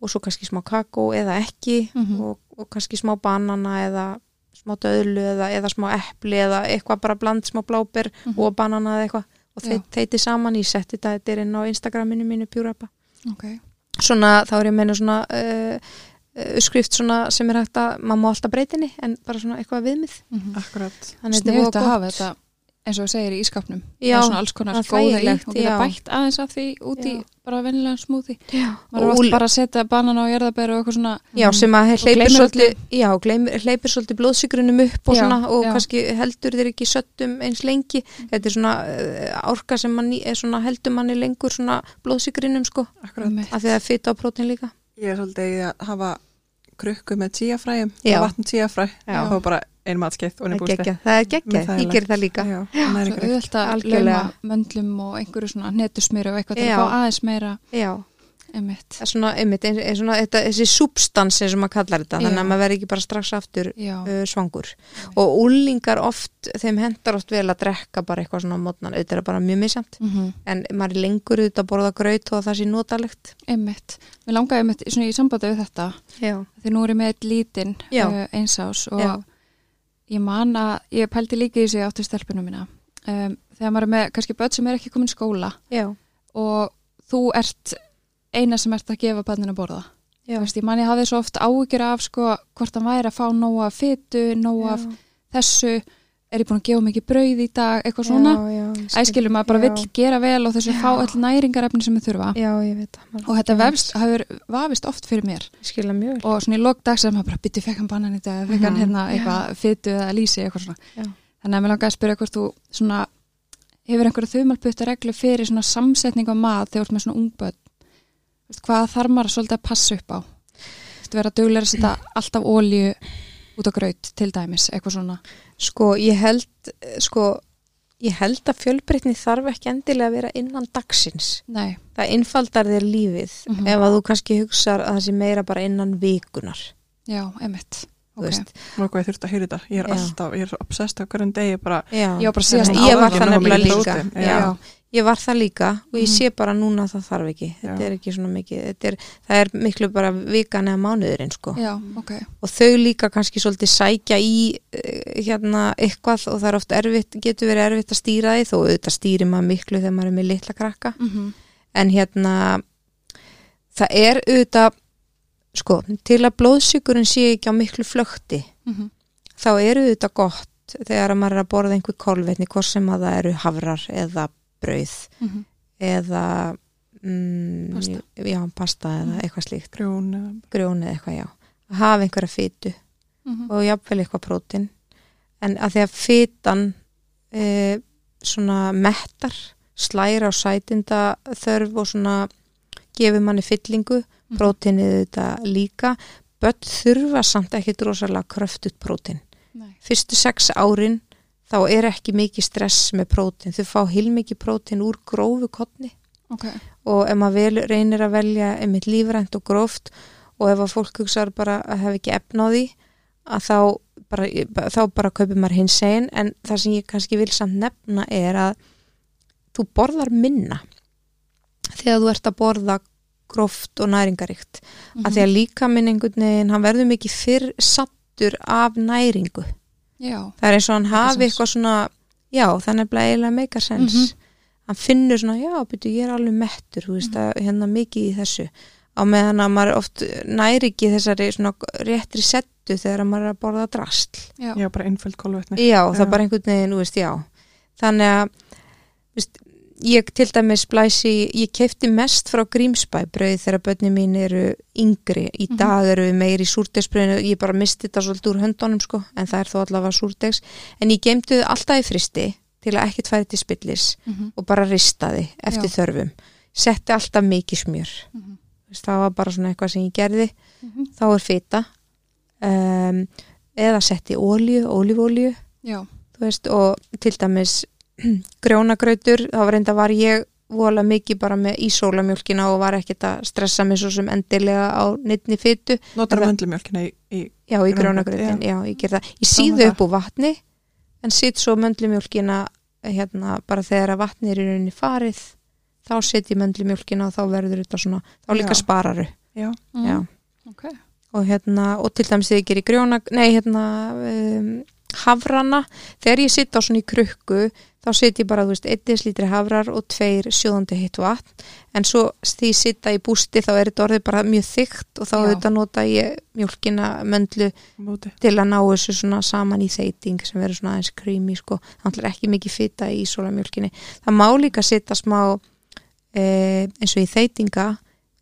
Speaker 2: og svo kannski smá kakó eða ekki
Speaker 1: Mhm.
Speaker 2: og, og kannski smá banana eða smá döðlu eða, eða smá epli eða eitthvað bara bland smá bláber og banana eða eitthvað og
Speaker 1: Mhm. Já.
Speaker 2: þeit- þeiti saman, ég setti þetta þetta er inn á Instagraminu mínu pjúrapa
Speaker 1: ok,
Speaker 2: svona, þá er ég að meina svona uh, uh, skrift svona sem er hægt að maður má alltaf breytinni en bara svona eitthvað viðmið
Speaker 3: akkurat
Speaker 2: þannig að þetta er
Speaker 1: sniðut Mhm.
Speaker 2: voða
Speaker 1: að
Speaker 2: gott.
Speaker 1: hafa þetta eins og þú segir í ískapnum það
Speaker 2: Já,
Speaker 1: er svona alls konar
Speaker 2: það er
Speaker 1: góða í
Speaker 2: þægilegt,
Speaker 1: og geta
Speaker 2: já.
Speaker 1: bætt aðeins af því út í
Speaker 2: Já.
Speaker 1: bara vennilega smúði
Speaker 2: Já,
Speaker 1: maður er
Speaker 2: og
Speaker 1: oft
Speaker 2: úl-
Speaker 1: bara að setja banana og jarðabæri og eitthvað svona
Speaker 2: Já, sem að hleypir
Speaker 1: gleymir
Speaker 2: svolítið, já, gleymir, hleypir svolítið blóðsikrunum upp og
Speaker 1: Já,
Speaker 2: svona og
Speaker 1: já.
Speaker 2: kannski heldur þeir ekki söttum eins lengi. Þetta er svona uh, orka sem mann, er svona, heldur manni lengur svona blóðsikrunum sko,
Speaker 3: akkurat
Speaker 1: Einmitt.
Speaker 2: af því að það er fita á prótin líka.
Speaker 3: Ég er svolítið í að hafa krukku með tíafræjum,
Speaker 2: Já.
Speaker 3: vatn tíafræ
Speaker 2: Já.
Speaker 3: og bara ein matskeitt og
Speaker 2: Það
Speaker 3: einu
Speaker 2: er
Speaker 3: bústi.
Speaker 2: geggjað, það er
Speaker 3: Mér
Speaker 2: geggjað,
Speaker 3: það er
Speaker 2: ég ger það líka.
Speaker 3: Já, það er
Speaker 1: svo
Speaker 3: ekki
Speaker 1: auðvelt að lauma
Speaker 2: Algjörlega.
Speaker 1: möndlum og einhverju svona netusmýri og eitthvað til
Speaker 2: Já.
Speaker 1: að fá aðeins meira
Speaker 2: Já,
Speaker 1: emitt
Speaker 2: það er svona, einmitt, eins- eins svona þetta, þessi substans eins og maður kallar þetta, þannig
Speaker 1: Já.
Speaker 2: að maður verður ekki bara strax aftur
Speaker 1: Já,
Speaker 2: uh, svangur og úlingar oft, þeim hendar oft vel að drekka bara eitthvað svona á mótnan, auðvitað er bara mjög misjant
Speaker 1: mhm.
Speaker 2: en maður er lengur auðvitað að borða graut og það sé notalegt
Speaker 1: einmitt. Mér langaði einmitt svona í sambandi við þetta
Speaker 2: já,
Speaker 1: því nú er ég með eitt lítinn
Speaker 2: Já.
Speaker 1: uh, einsás og
Speaker 2: Já.
Speaker 1: ég man að ég pældi líka í þessu ég átti stelpunum mína um, þegar maður er með kannski börn sem er ekki komin í skóla
Speaker 2: já,
Speaker 1: og þú ert eina sem ert að gefa barninu að borða
Speaker 2: já,
Speaker 1: Þú veist, ég man ég hafði svo oft áhyggjur af sko, hvort hann væri að fá nóga fytu nóga af þessu er ég búin að gefa mikið brauð í dag eitthvað svona,
Speaker 2: já, já, ég skil.
Speaker 1: æskilum maður bara
Speaker 2: Já.
Speaker 1: vill gera vel og þessu
Speaker 2: Já.
Speaker 1: fá öll næringarefni sem við þurfa
Speaker 2: já, ég veit það maður-
Speaker 1: og þetta
Speaker 2: ég
Speaker 1: vefst, hafur vafist oft fyrir mér
Speaker 2: ég skil það mjög vel.
Speaker 1: og svona í lokdag sem maður bara bytti fekkan banan í dag eða fekkan
Speaker 2: Mhm.
Speaker 1: hérna
Speaker 2: Já.
Speaker 1: eitthvað fytu eða lýsi eitthvað svona
Speaker 2: Já.
Speaker 1: þannig að mér langaði að spyrja hvort þú svona hefur einhverja þumalputta reglu fyrir svona samsetning á mat þegar þú ert með svona ungböld hvað þarf maður svolítið að passa upp á Þú verður að duglega að setja alltaf ólíu út á graut til dæmis eitthvað svona
Speaker 2: sko, ég held eh, sko, ég held að fjölbreytni þarf ekki endilega að vera innan dagsins
Speaker 1: Nei,
Speaker 2: það innfaldar þér lífið
Speaker 1: Mhm.
Speaker 2: ef að þú kannski hugsar að það sé meira bara innan vikunar
Speaker 1: já, emitt
Speaker 2: þú veist.
Speaker 3: Nókuð ég þurft að heyra þetta. Ég er
Speaker 2: Já.
Speaker 3: alltaf, ég er svo obsessed á hverjum degi bara
Speaker 2: já,
Speaker 1: Já, bara síðast
Speaker 2: Þannig að ég
Speaker 3: áður
Speaker 2: var
Speaker 3: en
Speaker 2: það
Speaker 3: hún kom
Speaker 2: nefnilega
Speaker 3: í
Speaker 2: líka
Speaker 3: prótein.
Speaker 2: já.
Speaker 1: Já,
Speaker 2: ég var það líka og ég
Speaker 1: Mhm.
Speaker 2: sé bara núna að það þarf ekki þetta
Speaker 3: Já.
Speaker 2: er ekki svona mikið þetta er, það er miklu bara vikan eða mánuðurinn sko.
Speaker 1: já, ok
Speaker 2: og þau líka kannski svolítið sækja í eh, hérna eitthvað og það er oft erfitt, getur verið erfitt að stýra því þó auðvitað stýri maður miklu þegar maður er með litla krakka
Speaker 1: mm -hmm.
Speaker 2: en hérna það er auðvitað sko, til að blóðsíkurinn sé ekki á miklu flökti
Speaker 1: mhm,
Speaker 2: þá er auðvitað gott þegar maður er að borða einhver kolvetni hvort sem að það eru hafrar eða brauð
Speaker 1: mhm,
Speaker 2: eða mm,
Speaker 1: Pasta. Mm.
Speaker 2: já, pasta eða eitthvað slíkt
Speaker 3: grjón.
Speaker 2: grjóni eða eitthvað, já að hafa einhverja fytu
Speaker 1: mhm.
Speaker 2: og jafnvel eitthvað prótin en að því að fitan e, svona mettar slæra á sætinda þörf og svona gefur manni fyllingu,
Speaker 1: Mhm.
Speaker 2: prótinið þetta líka, börn þurfa samt ekki drosalega kröftut prótin
Speaker 1: Nei,
Speaker 2: fyrstu sex árin þá er ekki mikið stress með prótin þau fá hilmikið prótin úr grófu kottni
Speaker 1: ok
Speaker 2: og ef maður vel, reynir að velja einmitt lífrænt og gróft og ef að fólk hugsaður bara að hef ekki efna á því að þá bara, þá bara kaupir maður hins einn en það sem ég kannski vil samt nefna er að þú borðar minna þegar þú ert að borða gróft og næringaríkt mm
Speaker 1: mm
Speaker 2: að því að líka minn einhvern veginn hann verður mikið fyrr sattur af næringu
Speaker 1: Já,
Speaker 2: það er eins og hann hafi
Speaker 1: sens.
Speaker 2: eitthvað svona já, það er nefnilega eiginlega meikasens mm
Speaker 1: Mhm.
Speaker 2: hann finnur svona, já, byrju, ég er alveg mettur, þú veist, að hérna mikið í þessu á meðan að maður oft næri ekki þessari svona réttri settu þegar að maður er að borða drastl
Speaker 1: já,
Speaker 3: Já, bara einföld kolvetni.
Speaker 2: já, það
Speaker 3: Já.
Speaker 2: er bara einhvern veginn, þú veist, já þannig að þú veist, ég til dæmis blæsi, ég kefti mest frá Grímsbæ brauð þegar börni mín eru yngri, í
Speaker 1: Mhm.
Speaker 2: dag eru við meiri í súrdegsbrauðinu, ég bara misti þetta svolítið úr höndunum sko, en það er þó allavega súrdegs, en ég gemdi þau alltaf í fristi til að ekkert færi til spillis
Speaker 1: Mhm.
Speaker 2: og bara ristaði eftir þörfum, setti alltaf mikið smjör,
Speaker 1: Mhm.
Speaker 2: Þú veist, það var bara svona eitthvað sem ég gerði,
Speaker 1: Mhm.
Speaker 2: þá er fita, um, eða setti ólíu, ólífólíu,
Speaker 1: Já,
Speaker 2: þú veist, og til dæmis grjónagrautur, þá var enda var ég vola mikið bara með ísólamjólkina og var ekkert að stressa mig svo sem endilega á neittni fytu
Speaker 3: Notar
Speaker 2: Það-
Speaker 3: möndlumjölkina í, í
Speaker 2: já, í
Speaker 3: Grjónagraut,
Speaker 2: grjónagrautin, já. ég ger það ég
Speaker 1: Sama
Speaker 2: síðu
Speaker 1: þar.
Speaker 2: upp úr vatni en sitt svo möndlumjólkina hérna, bara þegar að vatni er í rauninni farið þá set ég möndlumjólkina og þá verður þetta svona, þá líka
Speaker 3: Já.
Speaker 2: spararu
Speaker 3: já,
Speaker 1: mm.
Speaker 2: já.
Speaker 1: ok
Speaker 2: og hérna, og til dæmis þegar ég gerir grjóna, nei hérna um, hafrana, þegar ég sitt á svona í krukku, þá sitt ég bara þú veist, 1 slítri hafrar og tveir sjóðandi heitt vatn, en svo því ég sitta í bústi þá er þetta orðið bara mjög þygt og þá
Speaker 1: Já.
Speaker 2: auðvitað nota ég mjólkina möndlu
Speaker 3: móti.
Speaker 2: til að ná þessu svona saman í þeiting sem verður svona aðeins krými sko, þannig er ekki mikið fita í ísólamjólkinni það má líka sitta smá eh, eins og í þeitinga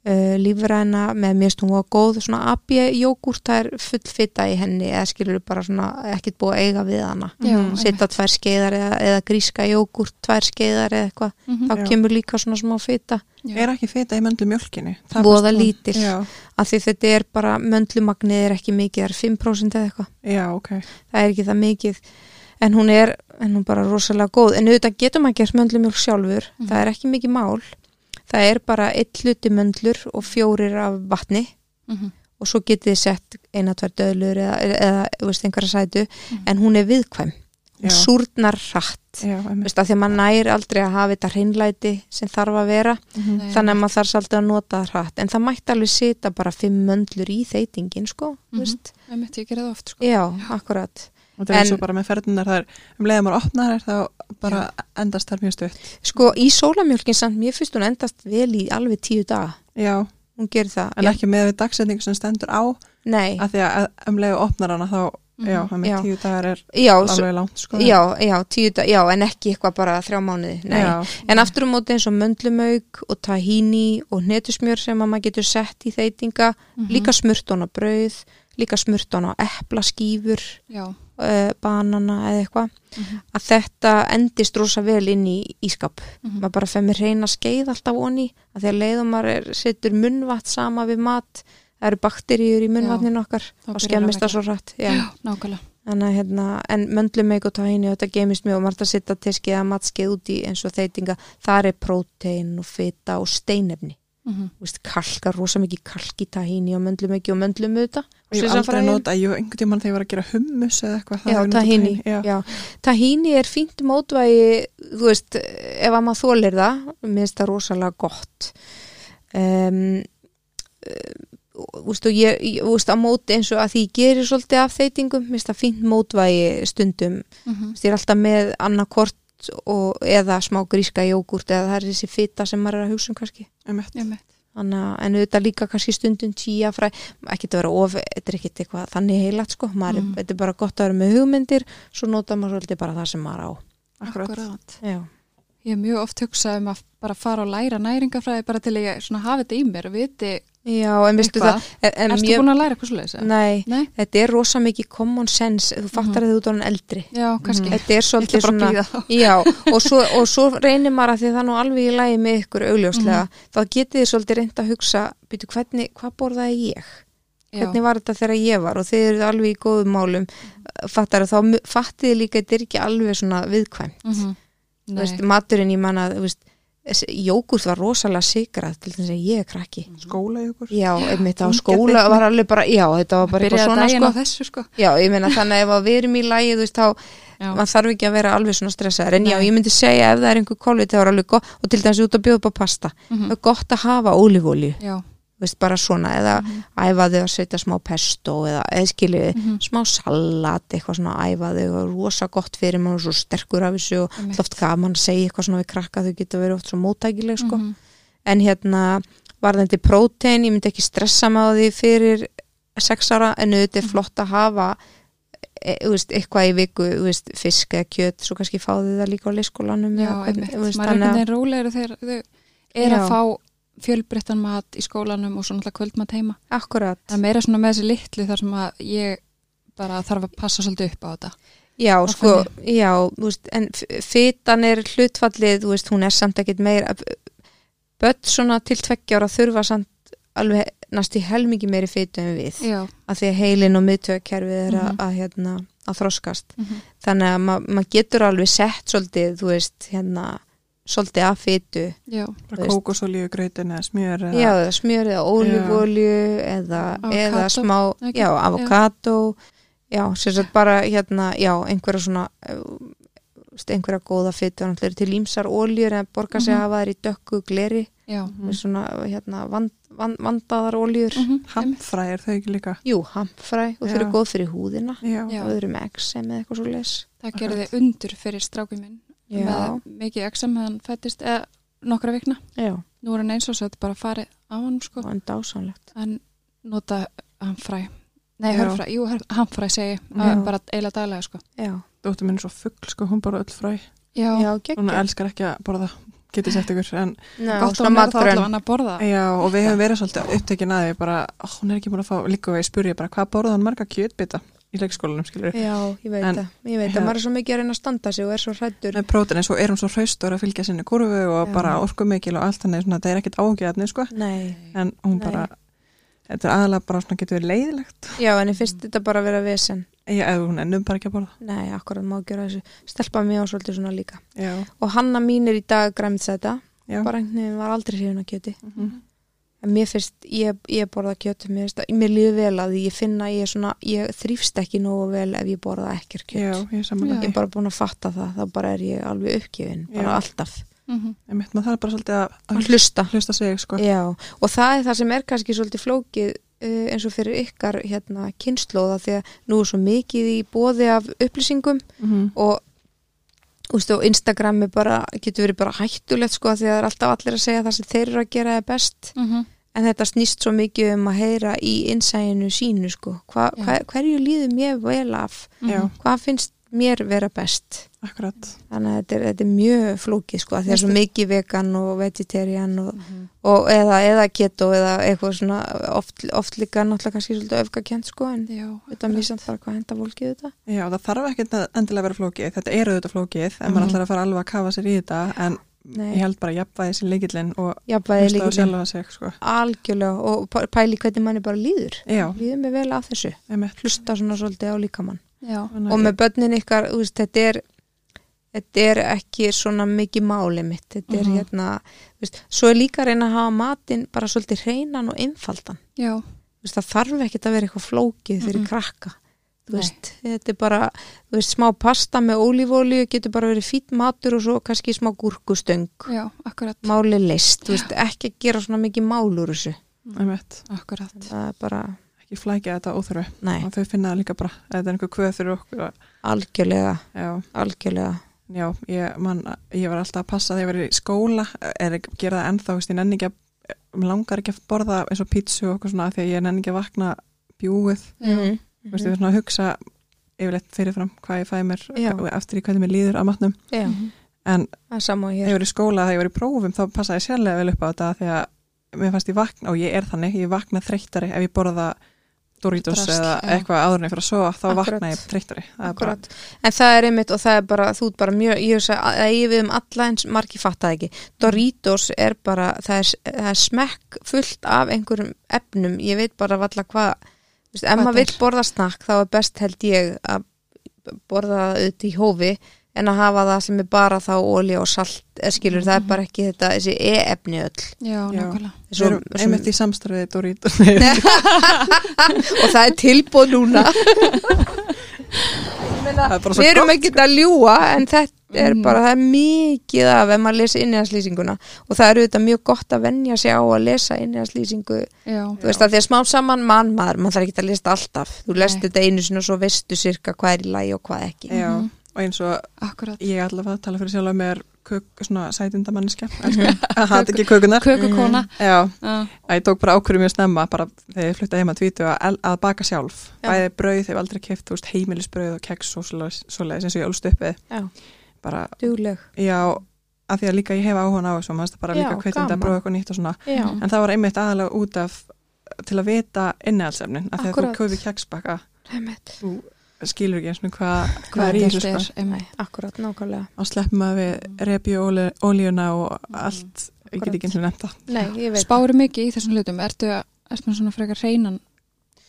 Speaker 2: eh, lífræna með mér stum og góð svona abje jógúrt það er full fita í henni eða skilur bara svona ekkert búið að eiga við hana
Speaker 1: Já,
Speaker 3: Mhm.
Speaker 1: einmitt.
Speaker 2: sitta tvær skeiðar eða, eða gríska jógúrt tvær skeiðar eða eitthvað
Speaker 1: Mhm.
Speaker 2: þá
Speaker 3: Já.
Speaker 2: kemur líka svona smá fita
Speaker 1: Já.
Speaker 3: Er ekki fita í möndlumjölkinni?
Speaker 2: Voða lítil.
Speaker 3: Já,
Speaker 2: af því þetta er bara möndlumagnið er ekki mikið, það er 5% eða eitthvað
Speaker 3: já, ok.
Speaker 2: það er ekki það mikið en hún er, en hún bara rosalega góð en auðvitað getur maður gert möndlumjólk sjálfur
Speaker 1: Mhm.
Speaker 2: það er ekki mikið mál það er bara eitt hluti möndlur og fjórir af vatni
Speaker 1: Mhm.
Speaker 2: og svo getið þið sett eina tvær döðlur eða, eða þú veist, einhverja sætu
Speaker 1: Mhm.
Speaker 2: en hún er viðkvæm, hún
Speaker 3: Já,
Speaker 2: súrnar hratt
Speaker 3: já,
Speaker 2: Þú
Speaker 3: emmi.
Speaker 2: veist, af því að maður nær aldrei að hafa þetta hreinlæti sem þarf að vera
Speaker 3: Mhm.
Speaker 1: Nei,
Speaker 2: þannig að maður þarf svolítið að nota það hratt en það mætti alveg sita bara fimm möndlur í þeitingin sko,
Speaker 1: Mhm.
Speaker 2: mm veist
Speaker 1: einmitt, ég gerði það oft sko.
Speaker 2: já, akkurat
Speaker 3: Og það er eins
Speaker 2: en-
Speaker 3: og bara með ferðunar, það er, um leiðum að opna þær þá bara endast þær mjög stutt.
Speaker 2: Sko í sólamjölkin samt, mér finnst hún endast vel í alveg tíu daga.
Speaker 3: Já,
Speaker 2: Hún gerir það.
Speaker 3: en ekki með við dagsetningu sem stendur á,
Speaker 2: Nei,
Speaker 3: af því að um leiðum opnar hana þá, já,
Speaker 1: Mhm.
Speaker 3: það með
Speaker 2: Já.
Speaker 3: tíu dagar er
Speaker 2: já, svo,
Speaker 3: alveg langt, sko.
Speaker 2: já, já, tíu daga, já, en ekki eitthvað bara þrjá mánuði. Nei.
Speaker 3: Já,
Speaker 2: En aftur á móti eins og möndlumauk og tahini og hnetusmjör sem að maður getur sett í þeitinga,
Speaker 1: Mhm.
Speaker 2: líka smurtón á brauð, líka smurtón á eplaskýfur,
Speaker 1: Já,
Speaker 2: uh, banana eða eitthvað,
Speaker 1: Mhm.
Speaker 2: að þetta endist rosa vel inn í ískap.
Speaker 1: Mhm.
Speaker 2: maður bara fer með reyna skeið alltaf onni að því að leiðum maður er, setur munnvatt sama við mat, það eru bakteríur í munnvatnin okkar
Speaker 1: Þá
Speaker 2: og
Speaker 1: byrjar að
Speaker 2: skemmist það svo rætt já.
Speaker 1: nákvæmlega
Speaker 2: en, hérna, en möndlumeik og tahini og þetta gemist mjög og maður er að setja teskeið að matskeið út í eins og þeitinga, þar er prótein og fita og steinefni
Speaker 1: Mhm.
Speaker 2: Þú veist, kalkar, rosa mikið kalk í tahini og möndlumeiki og möndlumuta
Speaker 3: og ég hef aldrei nota, ég hef einhvern tímann þegar ég var að gera hummus eða eitthvað. þá
Speaker 2: Já,
Speaker 3: hef ég notað
Speaker 2: tahini,
Speaker 3: Já,
Speaker 2: Já. Tahini er fínt mótvægi, þú veist, ef að maður þólir það, mér finnst það rosalega gott. Um, Ústu, ég, ég, úst, á móti eins og að því ég gerir svolítið af þeitingum, mér finnst það fínt mótvægi stundum,
Speaker 1: Mhm.
Speaker 2: Vist, ég er alltaf með annarkort og, eða smá gríska jógurt eða það er þessi fita sem maður er að hugsa um kannski
Speaker 3: einmitt.
Speaker 1: Einmitt.
Speaker 2: Þannig, að- en auðvitað líka kannski stundum tíja fræ, ekki að vera of, þetta er ekkit eitthvað þannig heilat sko, maður,
Speaker 1: Mm.
Speaker 2: er, þetta er bara gott að vera með hugmyndir, svo nota maður svolítið bara það sem maður á.
Speaker 3: Akkurat.
Speaker 1: Akkúrat.
Speaker 2: Já,
Speaker 1: Ég hef mjög oft hugsað um að bara fara og læra næringafræði bara til að ég svona hafi þetta í mér og viti
Speaker 2: Já en veistu það,
Speaker 1: eitthvað.
Speaker 2: en, en
Speaker 1: Erstu búin að læra eitthvað svoleiðis? eða?
Speaker 2: nei,
Speaker 1: Nei? Mhm.
Speaker 2: þetta er rosa mikið common sense, þú fattar mm. þið út á hann eldri.
Speaker 1: Já, kannski.
Speaker 3: Mhm.
Speaker 2: Þetta er
Speaker 1: Ég ætla
Speaker 2: svolítið
Speaker 1: bara að
Speaker 2: svona,
Speaker 1: býða þá.
Speaker 2: já, og svo, og svo reynir maður að því það nú alveg í lagi með ykkur
Speaker 1: Mhm.
Speaker 2: augljóslega, þá getið þið svolítið reynd að hugsa, býtu hvernig, hvað borðaði ég?
Speaker 1: Já.
Speaker 2: hvernig var þetta þegar ég var og þið eruð alveg í góðum málum fattar þá mu- fattið þið líka að þetta er ekki alveg svona viðkvæm
Speaker 1: Mhm.
Speaker 2: Þú
Speaker 1: Nei.
Speaker 2: veist, maturinn ég manna þú veist, þessi- jógurt var rosalega sigrað til þess að ég er krakki
Speaker 1: Mm.
Speaker 3: Skóla ykkur.
Speaker 2: já, einmitt á
Speaker 3: Ungir
Speaker 2: skóla
Speaker 3: bitni.
Speaker 2: var alveg bara, já, þetta var bara
Speaker 1: Byrjaði
Speaker 2: eitthvað svona
Speaker 1: daginn á
Speaker 2: sko.
Speaker 1: þessu sko.
Speaker 2: já, ég meina þannig að ef að við erum í lagi þú veist, þá
Speaker 1: Já.
Speaker 2: maður þarf ekki að vera alveg svona stressaður en já,
Speaker 1: Nei.
Speaker 2: ég myndi segja ef það er einhver kólvið það var alveg gott og til dæmis út að bjóða upp á pasta
Speaker 1: Mhm.
Speaker 2: það er gott að hafa ólífólju
Speaker 1: Já.
Speaker 2: veist, bara svona, eða æfaðu að setja smá pesto eða, eða skiljiði,
Speaker 1: Mhm.
Speaker 2: smá salat eitthvað svona æfaðu og rosa gott fyrir mann og svo sterkur af þessu og
Speaker 1: Einmitt.
Speaker 2: oft gaman að segja eitthvað svona við krakka þau geta verið oft svo móttækileg sko
Speaker 1: Mhm.
Speaker 2: en hérna varðandi prótein, ég
Speaker 1: Mhm.
Speaker 2: myndi ekki stressa með á því fyrir sex ára en auðvitað er flott að hafa e, þú veist, eitthvað í viku þú veist, fisk eða kjöt, svo kannski fáðu það líka á leyskólanum
Speaker 1: Já,
Speaker 2: eða hvernig,
Speaker 1: einmitt,
Speaker 2: þú veist,
Speaker 1: maður er einhvern
Speaker 2: þannig að-
Speaker 1: veginn rólegri þegar þau er
Speaker 2: Já.
Speaker 1: að fá fjölbryttan mat í skólanum og svo náttúrulega kvöldmat heima.
Speaker 2: akkurat
Speaker 1: Það er meira svona með þessi litlu þar sem að ég bara þarf að passa svolítið upp á þetta.
Speaker 2: Já,
Speaker 1: Á
Speaker 2: sko, já, þú veist, en f- fitan er hlutfallið, þú veist, hún er samt ekkit meira, börn svona til tveggja ára þurfa samt alveg næst í helmingi meiri fitu en við,
Speaker 1: Já,
Speaker 2: af því að heilin og miðtöðkerfið er að,
Speaker 1: Mhm.
Speaker 2: að, hérna, að þroskast.
Speaker 1: mm -hmm.
Speaker 2: Þannig að ma- maður getur alveg sett svolítið, þú veist, hérna, svolítið af fitu,
Speaker 1: já,
Speaker 2: Þú
Speaker 3: bara
Speaker 2: veist.
Speaker 3: kókosolíu, grautin eða smjör
Speaker 2: já,
Speaker 3: eða,
Speaker 2: eða smjör eða ólífólju eða, eða
Speaker 1: Avocado,
Speaker 2: smá,
Speaker 1: ekki?
Speaker 2: já, avokado, já, sem sagt bara hérna, já, einhverja svona, eh, veist, einhverja góða fytu, hann til ímsar óljur en borga sig
Speaker 1: Mhm.
Speaker 2: að hafa þær í dökku gleri,
Speaker 1: já.
Speaker 3: Mhm.
Speaker 2: mm svona hérna vand, vand, vandaðar óljur,
Speaker 1: Mm
Speaker 3: hamfræ er þau ekki líka
Speaker 2: jú, hamfræ og þau eru
Speaker 3: Já.
Speaker 2: góð fyrir húðina,
Speaker 3: já,
Speaker 1: Já.
Speaker 2: og þau eru með exem eða eitthvað svo les.
Speaker 1: Það gerði undur fyrir strákinn minn
Speaker 2: Já,
Speaker 1: með mikið eksam meðan fættist eða nokkra vikna.
Speaker 2: já,
Speaker 1: Nú er hann eins og svo þetta bara farið á hann sko.
Speaker 2: og en dásanlegt.
Speaker 1: Hann nota hamfræ. Nei,
Speaker 3: Já.
Speaker 1: hörfræ, jú, hörf- hamfræ segi ég, Eh,
Speaker 3: Já.
Speaker 1: bara eiginlega daglega sko.
Speaker 2: Já,
Speaker 3: dóttir minn er svo fuggl sko, hún bara öll fræ
Speaker 1: Já,
Speaker 2: já,
Speaker 3: hún
Speaker 2: geggjum.
Speaker 3: elskar ekki að borða, getið sett ykkur en,
Speaker 1: gott að hún er það allavega að borða.
Speaker 3: já, og við hefum verið svolítið upptekin að því bara, ó, hún er ekki búin að fá líka og ég spurði bara, hvað borða hann marga kjötbita í leikskólanum, skilur
Speaker 2: Já, ég veit
Speaker 3: En-
Speaker 2: það, ég veit það,
Speaker 3: Já.
Speaker 2: maður er svo mikið að reyna að standa sig og er svo hrættur
Speaker 3: með prótinn, en svo er hún svo hraustur að fylgja sinni kurvu og
Speaker 2: Já.
Speaker 3: bara orkumikil og allt þannig, svona, það er ekkit ágjöfni, sko
Speaker 2: Nei.
Speaker 3: en hún
Speaker 2: Nei.
Speaker 3: bara, þetta er aðalega bara svona getur verið leiðilegt,
Speaker 2: Já, en ég finnst þetta bara að vera vesen.
Speaker 3: já, ef hún ennum bara ekki að borða
Speaker 2: Nei, akkurat má gera þessu. Stelpa mig á svolítið svona líka.
Speaker 3: já,
Speaker 2: Og hanna mín er í dag græmt þetta.
Speaker 3: já,
Speaker 2: Bara einhvern veginn var aldrei hrifin á kjöti.
Speaker 3: Mhm.
Speaker 2: En mér finnst, ég, ég borða kjöti, mér, finnst, að- mér líður vel að því ég finna, ég, er svona, ég þrýfst ekki nógu vel ef ég borða ekkert kjöt.
Speaker 3: já ég er
Speaker 1: Já.
Speaker 2: Ég er
Speaker 3: samanlega
Speaker 2: bara búin að fatta það, þá bara er ég alveg uppgefin, bara
Speaker 3: Já.
Speaker 2: alltaf.
Speaker 1: Mhm.
Speaker 3: Einmitt, maður þarf bara svolítið að-
Speaker 2: Að
Speaker 3: að
Speaker 2: hlusta.
Speaker 3: hlusta sig, sko
Speaker 2: Já, og það er það sem er kannski svolítið flókið uh, eins og fyrir ykkar hérna, kynnslóða því að nú er svo mikið í bóði af upplýsingum
Speaker 3: Mhm.
Speaker 2: og þú veist, og Instagram er bara, getur verið bara hættulegt sko af því að það er alltaf allir að segja það sem þeir eru að gera er best
Speaker 1: Mhm.
Speaker 2: en þetta snýst svo mikið um að heyra í innsæginu sínu sko hva,
Speaker 1: Já.
Speaker 2: hva, hverju líður mér vel af
Speaker 1: mhm.
Speaker 3: Já,
Speaker 2: hvað finnst mér vera best
Speaker 3: akkurat.
Speaker 2: þannig að þetta er, þetta er mjög flókið sko af því að það er svo mikið vegan og vegetarian og,
Speaker 1: Mhm.
Speaker 2: og eða, eða keto eða eitthvað svona oft, oft líka náttúrulega kannski svolítið öfgakent sko en
Speaker 1: Já,
Speaker 2: þetta misant bara hvað henda fólkið þetta
Speaker 3: Já, það þarf ekki endilega að vera flókið. Þetta er auðvitað flókið en maður
Speaker 2: Mhm.
Speaker 3: ætlar að fara alveg að kafa sér í þetta en
Speaker 2: Nei,
Speaker 3: ég held bara að jafnvæði sér leikillin og
Speaker 2: jafnvægi
Speaker 3: hlusta á
Speaker 2: lykillinn.
Speaker 3: sjálfa sig, sko.
Speaker 2: algjörlega og p- pæli hvernig manni bara líður
Speaker 3: Já,
Speaker 2: líður mig vel af þessu,
Speaker 3: einmitt.
Speaker 2: hlusta svona svolítið á líkamann
Speaker 1: já,
Speaker 3: Þannig
Speaker 2: og
Speaker 3: að-
Speaker 2: með börnin ykkar, þú veist, þetta er þetta er ekki svona mikið máli mitt, þetta er
Speaker 3: Mhm.
Speaker 2: hérna þú veist, svo er líka að reyna að hafa matinn bara svolítið hreinan og einfaldan
Speaker 1: já,
Speaker 2: Þú veist, það þarf ekkert að vera eitthvað flókið fyrir
Speaker 1: Mhm.
Speaker 2: krakka Þú
Speaker 1: Nei.
Speaker 2: veist, þetta er bara, þú veist, smá pasta með ólífólíu getur bara verið fýtt matur og svo kannski smá gúrkustöng
Speaker 1: já, akkurat,
Speaker 2: máli list, þú veist, ekki að gera svona mikið mál úr þessu
Speaker 3: Einmitt.
Speaker 1: akkurat.
Speaker 2: það er bara,
Speaker 3: Ekki flækja þetta óþörfi.
Speaker 2: nei,
Speaker 3: Og þau finna það líka bara. Þetta er einhver kvöð fyrir okkur. að-
Speaker 2: algjörlega
Speaker 3: Já,
Speaker 2: algjörlega,
Speaker 3: já ég, man, ég var alltaf að passa þegar ég var í skóla er að gera það ennþá, þú veist, ég nenni ekki að mér langar ekki að borða eins og pítsu og okkur svona af því að ég nenni ekki að vakna bjúið
Speaker 2: Mhm.
Speaker 3: Þú veist, ég verð svona að hugsa yfirleitt fyrirfram hvað ég fæði mér
Speaker 2: Já.
Speaker 3: og eftir í hvernig mér líður á matnum.
Speaker 2: já,
Speaker 1: Mhm.
Speaker 3: En
Speaker 2: það er sama og
Speaker 3: þegar
Speaker 2: hér
Speaker 3: ég var í skóla, þegar ég var í prófum, þá passaði ég sérlega vel upp á þetta því að mér fannst ég vakna, og ég er þannig, ég vakna þreyttari ef ég borða Doritos
Speaker 1: Drasl, já.
Speaker 3: eða eitthvað áður en ég fyrir að sofa, þá
Speaker 2: Akkurat.
Speaker 3: vakna ég þreyttari. Það er bara-
Speaker 2: Akkurat. en það er einmitt og það er bara þú ert bara mjög, ég hugsa að að ég við um alla eins margi fattaði ekki, Doritos er bara, það er, það er smekk fullt af einhverjum efnum ég veit bara valla hvað þú veist, ef
Speaker 1: Hvað
Speaker 2: maður
Speaker 1: þetta
Speaker 2: vill borða snakk þá er best held ég að borða það auðvitað í hófi en að hafa það sem er bara þá olja og salt eða skilur, það
Speaker 3: Mhm.
Speaker 2: er bara ekki þetta þessi e-efni öll
Speaker 1: Já,
Speaker 3: Já.
Speaker 1: nákvæmlega.
Speaker 3: Við erum einmitt í samstarfið Doritos. Nei,
Speaker 2: og það er tilbúð núna
Speaker 3: það er bara svo
Speaker 2: við erum
Speaker 3: gott. Mhm.
Speaker 2: ekki að ljúa en þetta er
Speaker 1: Mm.
Speaker 2: bara, það er mikið af ef maður lesa innihaldslýsinguna og það er auðvitað mjög gott að venja sig á að lesa innihaldslýsingu,
Speaker 1: Já,
Speaker 2: þú veist að því að smám saman mann maður, maður þarf ekki að lesa þetta alltaf þú lest
Speaker 1: Nei.
Speaker 2: þetta einu sinni og svo veistu sirka hvað er í lagi og hvað ekki
Speaker 3: Já, og eins og
Speaker 1: akkurat.
Speaker 3: ég ætla að tala fyrir sjálf að mér kök, svona sætindamannskja að hata ekki kökunar
Speaker 1: kökukona
Speaker 3: Já,
Speaker 1: mm.
Speaker 3: að ég tók bara ákvörðu mjög snemma bara þegar ég flutta heima að tvítu að, el- að baka sjálf
Speaker 2: Já.
Speaker 3: bæði brauð, þegar aldrei keft, þú veist, heimilisbrauð og keks og svoleiðis svoleiðis eins og ég ólst uppið
Speaker 2: Já.
Speaker 3: bara,
Speaker 2: Dugleg.
Speaker 3: já, að því að líka ég hef áhugan á þessu, maður það bara
Speaker 2: Já,
Speaker 3: líka kveitandi
Speaker 2: gaman.
Speaker 3: að bróða eitthvað nýtt og svona
Speaker 2: Já.
Speaker 1: Mhm.
Speaker 3: en það var einmitt aðalega út af til að vita innihaldsefnin af því að
Speaker 2: Akkúrat.
Speaker 3: þú kaupir keksbakka
Speaker 2: Einmitt.
Speaker 3: skilur ekki eins og hvað hva er í þessu sko.
Speaker 2: Nei, akkurat, nákvæmlega.
Speaker 3: og sleppum maður við repjuólíuna og
Speaker 1: Mhm.
Speaker 3: allt, ég
Speaker 2: Akkúrat.
Speaker 3: get ekki eins og nefnt það
Speaker 2: Nei, ég veit.
Speaker 1: spáru mikið í þessum hlutum ertu, að- ertu með svona frekar hreinan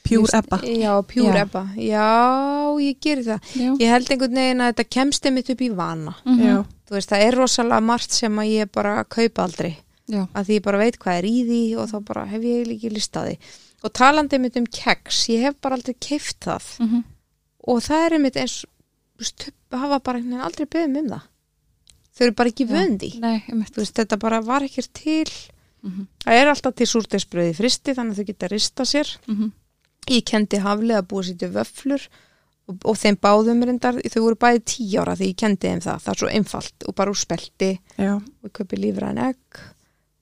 Speaker 3: pjúr ebba
Speaker 2: Já, pjúr
Speaker 1: Já.
Speaker 2: ebba. Já, ég gerir það.
Speaker 1: já,
Speaker 2: Ég held einhvern veginn að þetta kemst einmitt upp í vana.
Speaker 1: mm
Speaker 3: já,
Speaker 2: Þú veist, það er rosalega margt sem að ég bara kaupa aldrei.
Speaker 1: já.
Speaker 2: Að því ég bara veit hvað er í því og þá bara hef ég eiginlega ekki listaði. Og talandi einmitt um keks, ég hef bara aldrei keift það.
Speaker 1: Mm
Speaker 2: Og það er einmitt eins, þú veist, þau hafa bara einhvern veginn aldrei beðum um það. Þau eru bara ekki
Speaker 1: Já.
Speaker 2: vöndi.
Speaker 1: nei, einmitt
Speaker 2: Þú veist, þetta bara var ekkert til.
Speaker 1: Mhm.
Speaker 2: Það er alltaf til súrdeisbröði fristi þannig að þau geta rista sér.
Speaker 1: Mhm.
Speaker 2: Ég kendi haflega að búa sér til vöflur og, og þeim báðum reyndar, þau voru bæði tíu ára því ég kendi þeim það, það er svo einfalt og bara úr spelti
Speaker 3: já,
Speaker 2: og ég kaupi lífræðin egg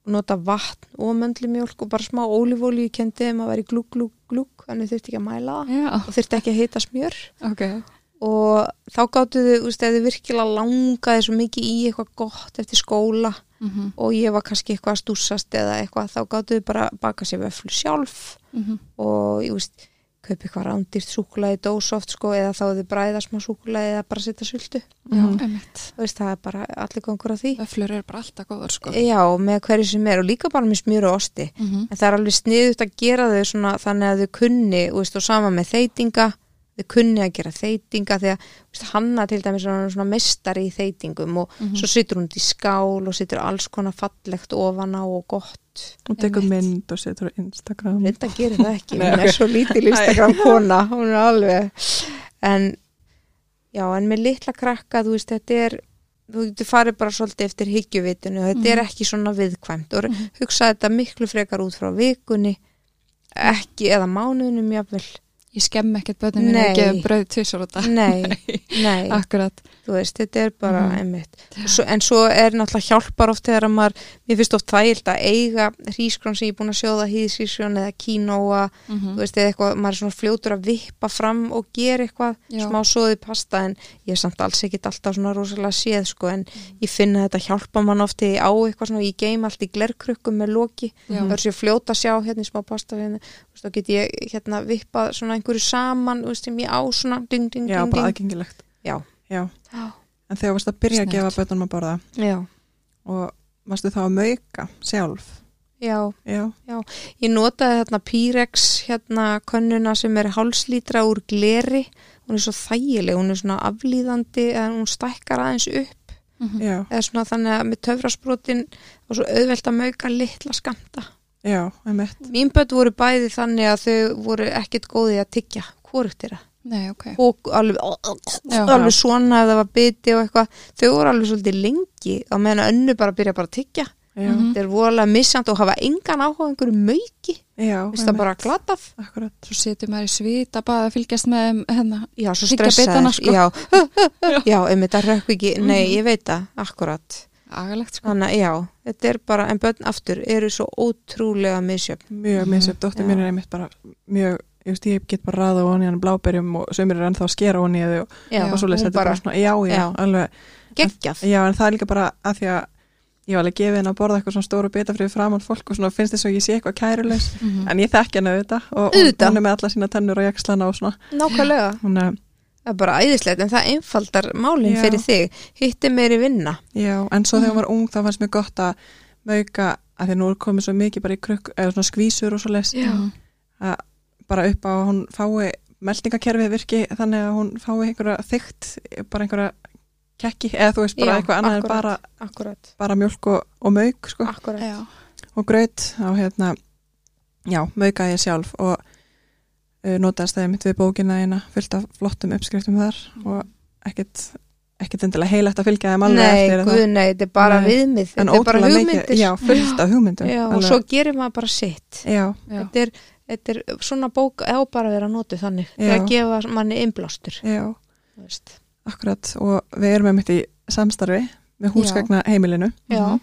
Speaker 2: og nota vatn og möndlumjólk og bara smá ólífóli, ég kendi þeim að vera í glúk, glúk, glúk, þannig þurfti ekki að mæla það
Speaker 1: já,
Speaker 2: og þurfti ekki að hita smjör
Speaker 1: ok
Speaker 2: og þá gáttu þau, þú veist, ef þau virkilega langaði svo mikið í eitthvað gott eftir skóla
Speaker 1: Mhm,
Speaker 2: og ég var kannski eitthvað að stúsast eða eitthvað, þá gáttu þau bara að baka sér vöflu sjálf
Speaker 1: mhm,
Speaker 2: og ég veist kaupi eitthvað rándýrt súkulaði dósoft sko eða þá þið bræða smá súkulaði eða bara setja sultu
Speaker 1: já,
Speaker 3: Mhm.
Speaker 1: einmitt
Speaker 2: þú veist það er bara allir gangur á því
Speaker 1: öflur eru bara alltaf góður sko
Speaker 2: já með hverju sem er og líka bara með smjur og osti
Speaker 1: Mhm,
Speaker 2: en það er alveg sniðut að gera þau svona þannig að þau kunni þú veist, og sama með þeitinga þau kunni að gera þeitinga því að þú veist, hanna til dæmis er orðin svona mestari í þeitingum og
Speaker 1: mhm.
Speaker 2: svo situr hún út í skál og situr alls konar fallegt ofan á og gott
Speaker 3: og tekur
Speaker 1: Einmitt.
Speaker 3: mynd og setur á Instagram
Speaker 2: reynda að gera það ekki,
Speaker 3: Nei,
Speaker 2: hún er svo lítil Instagram kona, hún er alveg en já, en með litla krakka, þú veist, þetta er þú getur farið bara svolítið eftir hyggjuvitinu og þetta er
Speaker 1: Mhm.
Speaker 2: ekki svona viðkvæmt og
Speaker 1: Mhm.
Speaker 2: hugsa þetta miklu frekar út frá vikunni ekki eða mánuðinum jafnvel,
Speaker 1: ég skemm ekkert bönnum minni
Speaker 2: Nei.
Speaker 1: að gefa bröði tvisar út að
Speaker 2: nei, nei
Speaker 1: akkurat,
Speaker 2: þú veist, þetta er bara
Speaker 1: Mhm.
Speaker 2: einmitt Og svo, en svo er náttúrulega hjálpar oft þegar að maður, mér finnst oft þægild að eiga hrísgrón sem ég er búin að sjóða hýðsísjón eða kínóa
Speaker 1: Mhm,
Speaker 2: þú veist, eða eitthvað, maður er svona fljótur að vippa fram og gera eitthvað,
Speaker 1: já
Speaker 2: smá svoði pasta en ég er samt alls ekkit alltaf svona rosalega séð, sko, en
Speaker 1: Mhm.
Speaker 2: ég finn að þetta hjálpa mann oft þegar ég á eitthvað svona, ég geim allt í glerkrukkum með loki,
Speaker 1: já,
Speaker 2: það er sér fljóta að sjá hérna í smá pasta, hérna, þú veist, þá get ég hérna vippað svona einhverju saman, þú veist, sem ég á svona, ding, ding,
Speaker 3: já,
Speaker 2: ding,
Speaker 3: bara
Speaker 2: ding,
Speaker 3: aðgengilegt
Speaker 2: Já.
Speaker 3: já.
Speaker 2: Já.
Speaker 3: en þegar varst að byrja að
Speaker 1: Snjallt.
Speaker 3: gefa bötunum að borða
Speaker 2: já,
Speaker 3: og varstu þá að mauka sjálf
Speaker 2: já,
Speaker 3: já,
Speaker 2: ég notaði þarna Pyrex, hérna, könnuna sem er hálslítra úr gleri, hún er svo þægileg, hún er svona aflíðandi, en hún stækkar aðeins upp
Speaker 1: mhm,
Speaker 3: já,
Speaker 2: eða svona þannig að með töfrasbrotin og svo auðvelt að mauka litla skamta.
Speaker 3: já, einmitt
Speaker 2: Mín börn voru bæði þannig að þau voru ekkert góðið að tyggja hvort þeirra.
Speaker 1: nei, ok
Speaker 2: Og alveg,
Speaker 1: Já.
Speaker 2: alveg svona ef það var biti og eitthvað. Þau voru alveg svolítið lengi og meðan önnu bara byrja bara að tyggja.
Speaker 3: já,
Speaker 1: Mhm.
Speaker 2: Þeir voru alveg missjandi og hafa engan áhuga á einhverju mauki.
Speaker 3: já,
Speaker 2: Vist það bara glatað?
Speaker 3: akkurat
Speaker 1: svo setur maður í svita bara að fylgjast með þeim hérna,
Speaker 2: Já, svo
Speaker 1: Tyggja bitana,
Speaker 2: stressaðir.
Speaker 1: sko.
Speaker 2: Já, já, um þetta rökk ekki. Nei,
Speaker 3: Mhm.
Speaker 2: ég veit það, akkurat.
Speaker 1: agalegt sko
Speaker 2: Þannig að já, þetta er bara, en börn aftur eru svo ótrúlega misjöfn.
Speaker 3: mjög
Speaker 1: Mhm.
Speaker 3: misjöf, dóttir mín
Speaker 2: Já.
Speaker 3: er einmitt bara mjög, ég veist, ég get bara raða onni hann bláberjum og sömur er ennþá að skera onni og,
Speaker 2: Já,
Speaker 3: og svo leist
Speaker 2: hún
Speaker 3: þetta er bara svona, já, já,
Speaker 2: Já.
Speaker 3: alveg
Speaker 2: geggjað
Speaker 3: Já, en það er líka bara að því að ég var alveg gefið henn að borða eitthvað svona stóru beta fyrir framann fólk og svona finnst þess að ég sé eitthvað kærulegs
Speaker 1: Mhm.
Speaker 3: en ég þekki henni auðvitað og hún,
Speaker 2: Auðvitað.
Speaker 3: hún er með alla sína tennur og jakslana og svona
Speaker 2: nákvæmlega,
Speaker 3: hún er,
Speaker 2: það er bara æðislegt en það einfaldar málinn
Speaker 3: Já.
Speaker 2: fyrir þig hitti meiri vinna
Speaker 3: já, en svo þegar hún var ung þá fannst mér gott að mauka að því að nú er komið svo mikið bara í krukk eða svona skvísur og svo les
Speaker 1: Mhm.
Speaker 3: bara upp á að hún fái meldingakerfið virki þannig að hún fái einhverja þygt, bara einhverja kekki eða þú veist bara
Speaker 2: Já,
Speaker 3: eitthvað annað en
Speaker 2: akkúrat.
Speaker 3: bara,
Speaker 2: akkurat,
Speaker 3: bara mjölk og, og mauk sko.
Speaker 2: akkurat
Speaker 1: já,
Speaker 3: og gröyt á hérna já, maukaði ég sjálf og uh, notaðist það mitt við bókina eina fullt af flottum uppskriftum þar og ekkit, ekkit endilega heilagt að fylgja þeim alveg
Speaker 2: nei,
Speaker 3: eftir
Speaker 2: guð, nei, þetta er bara
Speaker 3: Nei.
Speaker 2: viðmið
Speaker 3: en
Speaker 2: þetta er bara
Speaker 3: ótrúlega
Speaker 2: hugmyndir
Speaker 3: mikið, já, fullt af hugmyndum
Speaker 2: Já, og
Speaker 3: alveg.
Speaker 2: svo gerir maður bara sitt
Speaker 3: já,
Speaker 1: já,
Speaker 2: þetta er, þetta er svona bók á bara að vera notu þannig
Speaker 3: Já.
Speaker 2: til að gefa manni innblástur
Speaker 3: já,
Speaker 2: þú veist.
Speaker 3: akkurat og við erum einmitt í samstarfi með húsgagna heimilinu
Speaker 1: Já.
Speaker 2: Mhm.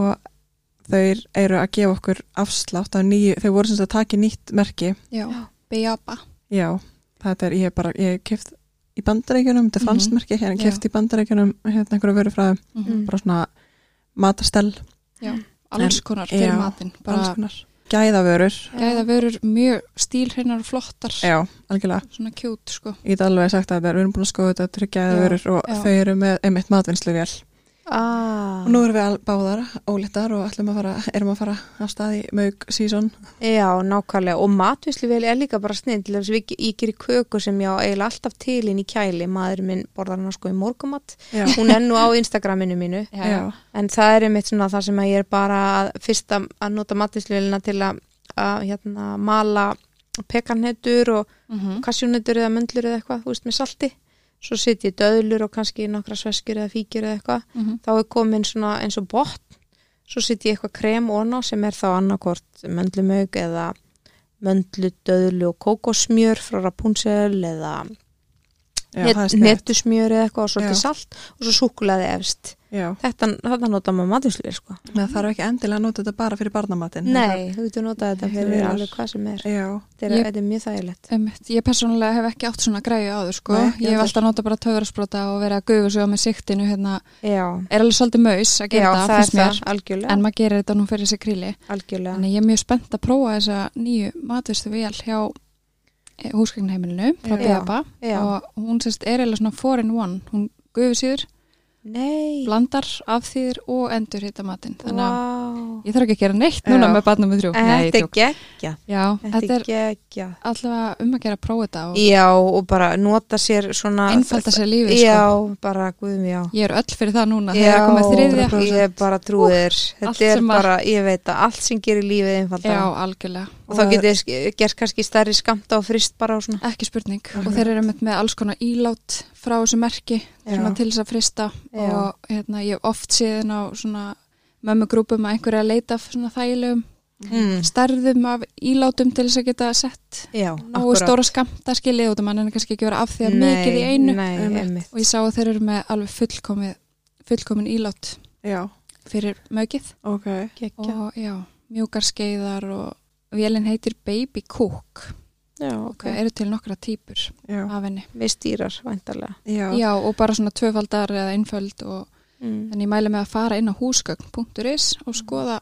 Speaker 3: og þau eru að gefa okkur afslátt af nýju, þau voru sem sagt að taka nýtt merki
Speaker 1: Já. Bejaba.
Speaker 3: Já, þetta er, ég er bara, ég hef keft í bandarækjunum, þetta er
Speaker 1: Mhm.
Speaker 3: franskt merki, hérna
Speaker 1: Já.
Speaker 3: keft í bandarækjunum, hérna einhverju veru frá þeim,
Speaker 2: Mhm.
Speaker 3: bara svona matastell,
Speaker 1: Alls konar fyrir
Speaker 3: Já,
Speaker 1: matinn.
Speaker 3: alls
Speaker 1: Bara
Speaker 3: konar, gæðavörur,
Speaker 1: gæða verur mjög stílhreinar og flottar.
Speaker 3: já, algjörlega,
Speaker 1: Svona kjút, sko.
Speaker 3: ég get alveg sagt að þetta er, við erum búin að skoða þetta, þetta eru gæðavörur og
Speaker 1: já.
Speaker 3: þau eru með einmitt matvinnsluvél.
Speaker 2: Ah,
Speaker 3: Og nú erum við al- báðar, ólittar og ætlum að fara, erum að fara á staði mög sísón.
Speaker 2: já, nákvæmlega og matvisluvel er líka bara snill ég, ég gerir köku sem ég á eiginlega alltaf til inn í kæli, maður minn borðar hana sko í morgumat,
Speaker 3: Já,
Speaker 2: hún er nú á Instagraminu mínu,
Speaker 3: já,
Speaker 2: en það er einmitt svona það sem að ég er bara að, fyrst að, að nota matvisluvelina til að, að hérna, mala pekanhetur og
Speaker 1: Mhm.
Speaker 2: kassjónetur eða möndlur eða eitthvað, þú veist, með salti svo setjum ég döðlur og kannski nokkra sveskjur eða fíkjur eða eitthvað
Speaker 1: Mhm.
Speaker 2: þá er komin svona eins og botn svo setjum ég eitthvað krem orna sem er þá annarkort möndlumauk eða möndlu, döðlu og kókosmjör frá Rapunzel eða
Speaker 3: já,
Speaker 2: net,
Speaker 3: það er snett,
Speaker 2: netusmjör eða eitthvað og svolítið
Speaker 3: Já.
Speaker 2: salt og svo súkulaði efst
Speaker 3: já,
Speaker 2: þetta, þetta nota maður matvislu sko.
Speaker 3: það þarf ekki endilega að nota þetta bara fyrir barnamatin.
Speaker 2: nei, þú getur notað þetta fyrir
Speaker 3: Heilar.
Speaker 2: alveg hvað sem er
Speaker 3: Já,
Speaker 2: þetta er,
Speaker 1: Ég-
Speaker 2: þetta er mjög þægilegt
Speaker 1: Einmitt. Ég persónulega hef ekki átt svona græju áður sko.
Speaker 3: Nei,
Speaker 1: ég hef
Speaker 3: heldur.
Speaker 1: alltaf nota bara töfrasprota og verið að gufa sig á með siktinu hérna.
Speaker 2: já,
Speaker 1: Er alveg svolítið maus að
Speaker 2: já
Speaker 1: gera
Speaker 2: það,
Speaker 1: þetta,
Speaker 2: er
Speaker 1: finnst mér.
Speaker 2: það algjörlega,
Speaker 1: En maður gerir þetta nú fyrir sig gríli.
Speaker 2: algjörlega.
Speaker 1: Þannig ég er mjög spennt að prófa þessa nýju matvistu vél hjá húsgagnheimilinu frá
Speaker 3: Já.
Speaker 1: Beba
Speaker 2: Já.
Speaker 1: og hún sérst er eða svona 4 in 1 hún gufið síður,
Speaker 2: Nei,
Speaker 1: blandar af þýður og endur hitta matinn þannig að
Speaker 2: wow.
Speaker 1: ég þarf ekki að gera neitt núna
Speaker 3: Já.
Speaker 1: með barnum með þrjú Nei,
Speaker 2: þetta er
Speaker 1: djók.
Speaker 2: geggja
Speaker 1: Já,
Speaker 2: Þetta er geggja
Speaker 1: allavega um að gera að prófa þetta og
Speaker 2: Já, og bara nota sér svona
Speaker 1: einfalda sér lífið
Speaker 2: Já,
Speaker 1: sko.
Speaker 2: bara guðum já
Speaker 1: Ég er öll fyrir það núna
Speaker 2: Já,
Speaker 1: þegar komið þriðja
Speaker 3: 100%.
Speaker 2: ég bara trúðir
Speaker 1: allt
Speaker 2: Þetta er
Speaker 1: sem að-
Speaker 2: bara, ég veit að allt sem gerir lífið einfalda
Speaker 1: Já, algjörlega,
Speaker 2: og þá getur þið gert kannski stærri skamta og frist bara og svona
Speaker 1: ekki spurning og þeir eru með, með alls konar ílát frá þessu merki svona til þess að frista
Speaker 2: Já.
Speaker 1: og hérna, ég hef oft séðin á svona mömmugrúpum að einhverja leita af svona þægilegum
Speaker 2: mm.
Speaker 1: stærðum af ílátum til þess að geta sett
Speaker 2: Já,
Speaker 1: nógu stóra skamta skilið út og mann er kannski ekki að vera af því að
Speaker 2: Nei,
Speaker 1: mikið í einu
Speaker 2: Nei,
Speaker 3: Einmitt.
Speaker 2: einmitt
Speaker 1: og ég sá að þeir eru með alveg fullkomi, fullkomin ílát
Speaker 3: já,
Speaker 1: fyrir mögið
Speaker 3: ok,
Speaker 2: Geggja
Speaker 1: og já, mjúkar skeiðar og vélinn heitir Baby Cook
Speaker 2: Já,
Speaker 1: og það eru til nokkra típur
Speaker 3: já,
Speaker 1: af henni
Speaker 2: Við stýrar, væntarlega
Speaker 3: já,
Speaker 1: já, og bara svona tvöfaldar eða einföld og
Speaker 2: mm.
Speaker 1: Þannig ég mæli með að fara inn á húsgögn.is og skoða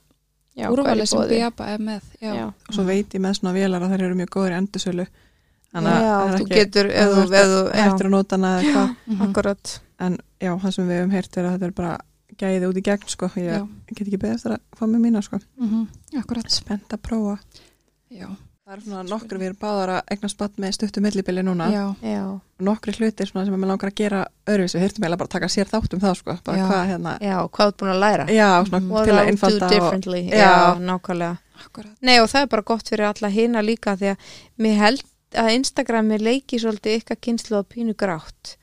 Speaker 2: Já,
Speaker 1: úrvalið sem
Speaker 2: hvað er í boði?
Speaker 1: Biaba er með. Já,
Speaker 2: Já.
Speaker 3: og svo veit ég með svona vélar að þær eru mjög góður í endursölu
Speaker 2: Já,
Speaker 3: það er
Speaker 2: þú
Speaker 3: ekki-
Speaker 2: getur
Speaker 3: ef
Speaker 2: ef þú-
Speaker 3: ert-
Speaker 2: ef þú- já,
Speaker 3: hættir að nota hana eða eitthvað
Speaker 1: Mhm.
Speaker 2: Akkurat
Speaker 3: en já, það sem við hefum heyrt er að þetta er bara gæðið út í gegn sko ég
Speaker 1: já.
Speaker 3: get ekki beðið eftir að fá með mína sko
Speaker 1: mhm, akkurat.
Speaker 3: spennt að prófa
Speaker 1: Já,
Speaker 3: það er svona nokkru við erum báðar að egna spatt með stuttum millibili núna
Speaker 1: já,
Speaker 2: Já,
Speaker 3: nokkri hlutir svona sem við langar að gera öðruvísi við hyrtum eiginlega bara að taka sér þátt um það sko bara
Speaker 1: Já.
Speaker 3: hvað hérna
Speaker 2: já, hvað þú ert búin að læra?
Speaker 3: já, svona
Speaker 2: What I would
Speaker 3: til að
Speaker 2: do
Speaker 3: einfalda og,
Speaker 2: differently, já.
Speaker 3: Já.
Speaker 2: nákvæmlega.
Speaker 1: akkurat.
Speaker 2: Nei, og það er bara gott fyrir alla hina líka því að mér held að Instagrami leiki svolítið ykkar kynslu að pínu grátt.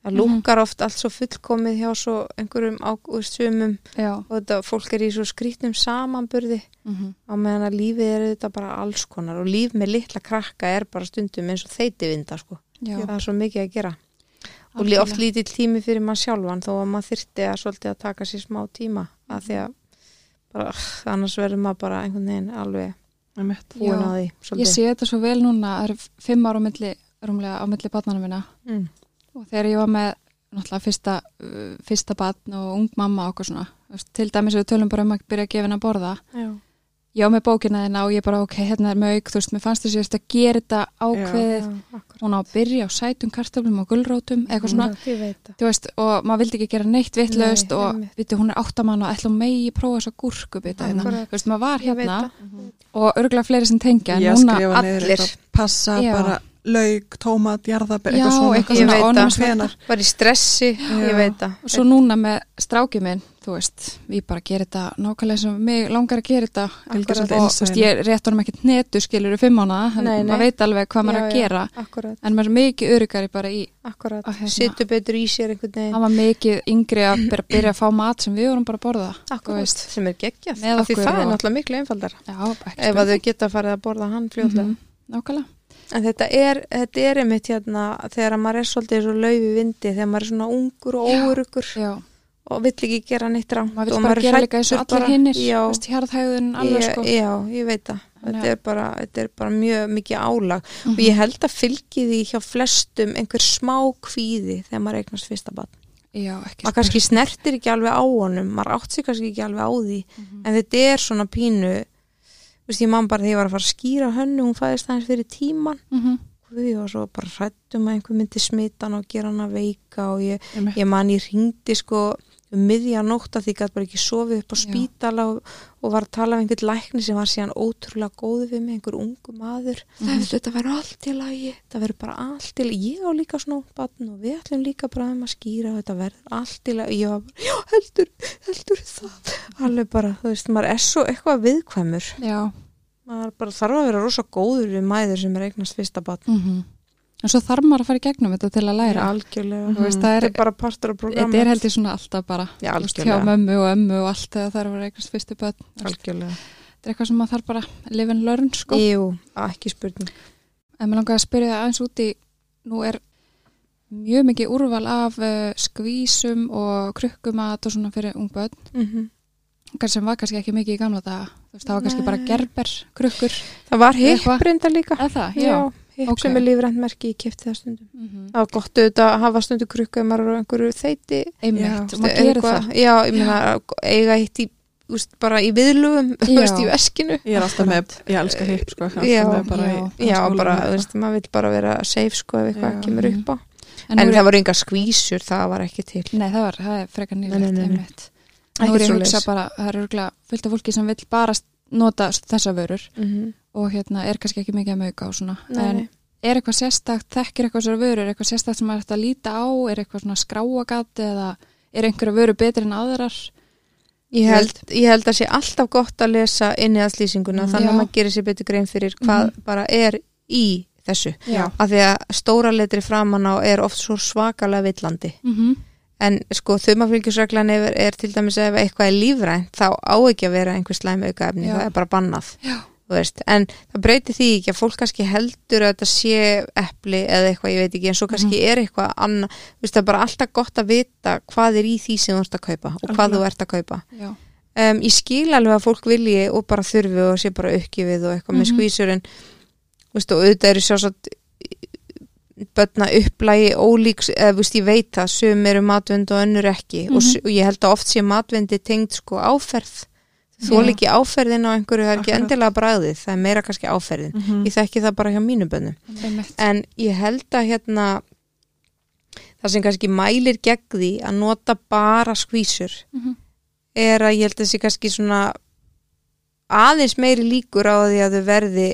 Speaker 2: Það
Speaker 1: Mhm.
Speaker 2: lúkar oft allt svo fullkomið hjá svo einhverjum ágústsumum
Speaker 1: Já,
Speaker 2: og þetta fólk er í svo skrítnum samanburði
Speaker 1: mhm,
Speaker 2: á meðan að lífið er þetta bara alls konar og líf með litla krakka er bara stundum eins og þeitivinda sko.
Speaker 1: já.
Speaker 2: Það er svo mikið að gera. og lí-
Speaker 1: algjörlega.
Speaker 2: oft lítið tími fyrir mann sjálfan þó að maður þyrti að svolítið að taka sér smá tíma að því að bara, annars verður maður bara einhvern veginn alveg
Speaker 3: Einmitt.
Speaker 2: búin
Speaker 1: Já.
Speaker 2: að því
Speaker 1: Ég
Speaker 2: svolítið.
Speaker 1: sé þetta svo vel núna, það eru fimm ára á milli, rúmlega á milli barnana minna
Speaker 2: Mm.
Speaker 1: og þegar ég var með náttúrulega fyrsta, uh, fyrsta barn og ung mamma og okkur svona, þú veist, til dæmis ef við tölum bara um að byrja að gefa henni að borða,
Speaker 2: Já.
Speaker 1: ég á með bókina þina og ég bara, ok, hérna er mög, þú veist, mér fannst þess að ég veist að gera þetta ákveðið
Speaker 2: Eh, akkurat.
Speaker 1: hún á að byrja á sætum kartöflum og gulrótum eitthvað svona,
Speaker 2: Svona, ég veit það.
Speaker 1: þú veist, og maður vildi ekki gera neitt vitlaust
Speaker 2: Mm. Nei,
Speaker 1: og
Speaker 2: einmitt.
Speaker 1: viti, hún er áttamann og ætla hún megi prófa þess að gúrkubita hérna,
Speaker 2: Akkurat.
Speaker 1: þú veist, maður var
Speaker 2: Ég veit
Speaker 1: hérna
Speaker 2: það.
Speaker 1: og örgulega fleiri sem tengja, en
Speaker 3: ég
Speaker 1: núna
Speaker 3: skrifa niður
Speaker 2: allir.
Speaker 3: eitthvað, passa
Speaker 1: Já.
Speaker 3: bara lauk, tómat, jarðabir,
Speaker 1: Já,
Speaker 3: eitthvað svona,
Speaker 1: eitthvað
Speaker 2: svona
Speaker 3: svona
Speaker 1: ónæmisvert.
Speaker 3: hvenar
Speaker 2: Bara í stressi, ég veit það.
Speaker 1: og svo núna með strákið minn, þú veist við bara gerir þetta nákvæmlega sem mig langar að gera þetta
Speaker 3: Fylgja
Speaker 1: og
Speaker 3: svolítið
Speaker 1: þú veist,
Speaker 3: innsæinu.
Speaker 1: ég rétt honum ekkert netu skilur við fimm ána, en
Speaker 2: Nei, nei.
Speaker 1: maður veit alveg hvað maður er
Speaker 2: Já,
Speaker 1: að
Speaker 2: já.
Speaker 1: gera
Speaker 2: Akkurat,
Speaker 1: en maður er mikið örugari bara í
Speaker 2: akkurat.
Speaker 1: Að hérna-
Speaker 2: Sittu betur í sér einhvern
Speaker 1: hann
Speaker 2: veginn.
Speaker 1: var mikið yngri að byrja, byrja að fá mat sem við vorum bara að borða þú
Speaker 2: Akkurat,
Speaker 1: veist.
Speaker 2: sem er geggjað.
Speaker 1: Með
Speaker 2: Af Því
Speaker 1: okkur
Speaker 2: það er
Speaker 1: og-
Speaker 2: náttúrulega miklu einfaldar.
Speaker 1: Já, ekki
Speaker 2: Ef
Speaker 1: spurning.
Speaker 2: að þau geta farið að borða hann
Speaker 1: Mhm,
Speaker 2: fljóðlega.
Speaker 1: Nákvæmlega.
Speaker 2: En þetta er, þetta er einmitt hérna þegar að maður er svolítið svo lauf í vindi, þegar maður er svona ungur og óurugur
Speaker 1: Já,
Speaker 2: og vill ekki gera neitt rámt
Speaker 1: maður vil bara gera líka eins og allir hinnir
Speaker 2: já,
Speaker 1: hérðhæðun alveg
Speaker 2: ég,
Speaker 1: sko
Speaker 2: já, ég veit það
Speaker 1: Þannig
Speaker 2: þetta
Speaker 1: að-
Speaker 2: er, bara, þetta er bara mjög mikið álag
Speaker 1: Mhm.
Speaker 2: og ég held að fylgi því hjá flestum einhver smá kvíði þegar maður eignast fyrsta barn
Speaker 1: já, ekki
Speaker 2: maður kannski snertir ekki alveg á honum maður átt sig kannski ekki alveg á því
Speaker 1: Mhm.
Speaker 2: en þetta er svona pínu veist ég mann bara þegar ég var að fara að skýra hönnu hún fæðist aðeins fyrir tíman
Speaker 1: Mhm.
Speaker 2: og ég var svo bara hrættum að einhver myndi smita hann og gera hann að veika og ég
Speaker 3: Einmitt.
Speaker 2: ég man ég ringdi sko um miðja nótt að því gæti bara ekki sofið upp á
Speaker 1: Já.
Speaker 2: spítala og, og var að tala við einhvern lækni sem var síðan ótrúlega góði við mig, einhver ungu maður það er þetta verður allt í lagi það verður bara allt í lagi, ég á líka snóbatn og við ætlum líka bara um að skýra og þetta verður allt í lagi, ég var bara já, heldur, heldur það alveg bara, þú veist, maður er svo eitthvað viðkvæmur
Speaker 1: já
Speaker 2: maður bara þarf að vera rosa góður við mæður sem er eignast fyrsta batn
Speaker 1: Mhm. en svo þarf maður að fara í gegnum þetta til að læra
Speaker 2: algjörlega,
Speaker 1: þú veist, það er,
Speaker 2: Mhm. þetta er bara partur
Speaker 1: þetta er
Speaker 2: af programma
Speaker 1: held ég svona alltaf bara
Speaker 2: Já,
Speaker 1: þú veist, hjá
Speaker 2: algjörlega.
Speaker 1: mömmu og ömmu og allt þegar það er að vera eitthvað fyrstu börn þú veist,
Speaker 2: algjörlega
Speaker 1: þetta er eitthvað sem maður þarf bara að live and learn sko
Speaker 2: Jú, ekki spurning.
Speaker 1: En mér langaði að spyrja þig aðeins út í, nú er mjög mikið úrval af uh, skvísum og krukkumat og svona fyrir ung börn,
Speaker 2: Mhm.
Speaker 1: kannski sem var kannski ekki mikið í gamla daga. Þú veist, það var kannski
Speaker 2: Nei.
Speaker 1: bara gerber, krukkur,
Speaker 2: Það var
Speaker 1: Eitthvað?
Speaker 2: hipprindar líka.
Speaker 1: eða það, já.
Speaker 2: hipp
Speaker 1: ok.
Speaker 2: sem er lífrænt merki í kipti það stundum.
Speaker 1: Mhm.
Speaker 2: Það var gott auðvitað að hafa stundu krukku ef maður er á einhverju þeiti.
Speaker 1: Einmitt,
Speaker 2: Já,
Speaker 1: og maður
Speaker 2: eitthvað-
Speaker 1: gerir það.
Speaker 2: Já, ég meina, eiga eitt í, úst, bara í viðlugum, þú
Speaker 1: Já.
Speaker 2: veist, í veskinu.
Speaker 3: Ég er alltaf með, ég elska hipp sko, alltaf
Speaker 2: Já.
Speaker 3: með bara
Speaker 1: Já.
Speaker 3: í
Speaker 2: Já,
Speaker 3: skólanum
Speaker 2: bara,
Speaker 3: eitthvað.
Speaker 2: þú veist, maður vil bara vera safe, sko, ef
Speaker 3: Já.
Speaker 2: eitthvað kemur upp á.
Speaker 1: En,
Speaker 2: En,
Speaker 1: nú er,
Speaker 2: það voru enga skvísur, það var ekki til.
Speaker 1: Nei, það var, það er frekar
Speaker 2: Nei,
Speaker 1: nýlegt,
Speaker 2: nei, nei, nei.
Speaker 1: einmitt. Nú er ég að
Speaker 2: svoleiðis.
Speaker 1: hugsa bara, það er örgulega fullt af fólki sem vill bara nota þessa vörur
Speaker 2: Mhm.
Speaker 1: og hérna er kannski ekki mikið að mögka og svona.
Speaker 2: Nei,
Speaker 1: en
Speaker 2: nei.
Speaker 1: er eitthvað sérstakt, þekkir eitthvað sér vörur, er eitthvað sérstakt sem maður ætti að líta á, er eitthvað svona skráagat eða er einhverja vöru betri en aðrar?
Speaker 2: Ég held, ég held að sé alltaf gott að lesa inni að slýsinguna
Speaker 3: Mm.
Speaker 2: þannig að
Speaker 1: Já.
Speaker 2: maður gerir sér betur grein fyrir hvað bara er í þessu.
Speaker 3: Já.
Speaker 2: Af því að stóra letri framan á er oft svo svakalega villandi.
Speaker 1: Mm
Speaker 2: En sko þumafylgjusreglan er, er til dæmis ef eitthvað er lífrænt þá á ekki að vera einhver slæm aukaefni,
Speaker 1: Já.
Speaker 2: það er bara bannað.
Speaker 1: Já.
Speaker 2: þú Veist. En það breytir því ekki að fólk kannski heldur að þetta sé epli eða eitthvað, ég veit ekki, en svo kannski er eitthvað annað, þú veist það er bara alltaf gott að vita hvað er í því sem þú ert að kaupa og hvað þú ert að kaupa
Speaker 1: Já.
Speaker 2: um, ég skil alveg að fólk vilji og bara þurfi og sé bara uppgjöfið og eitthvað með
Speaker 1: Mhm.
Speaker 2: skvísur en veist, og auðvitað eru sjálfsagt bönna upplægi ólíks eða veist, ég veit það, sum eru matvend og önnur ekki og, s-
Speaker 1: Mhm.
Speaker 2: og ég held að oft sé matvendi tengd sko áferð þú
Speaker 1: Já.
Speaker 2: er ekki áferðin á einhverju, það er ekki
Speaker 3: Akkurat.
Speaker 2: endilega bræðið það er meira kannski áferðin
Speaker 3: Mhm.
Speaker 2: ég þekki það bara hjá mínu bönnum
Speaker 1: Einmitt.
Speaker 2: en ég held að hérna það sem kannski mælir gegn því að nota bara skvísur
Speaker 1: Mhm.
Speaker 2: er að ég held að þessi kannski svona aðeins meiri líkur á því að þau verði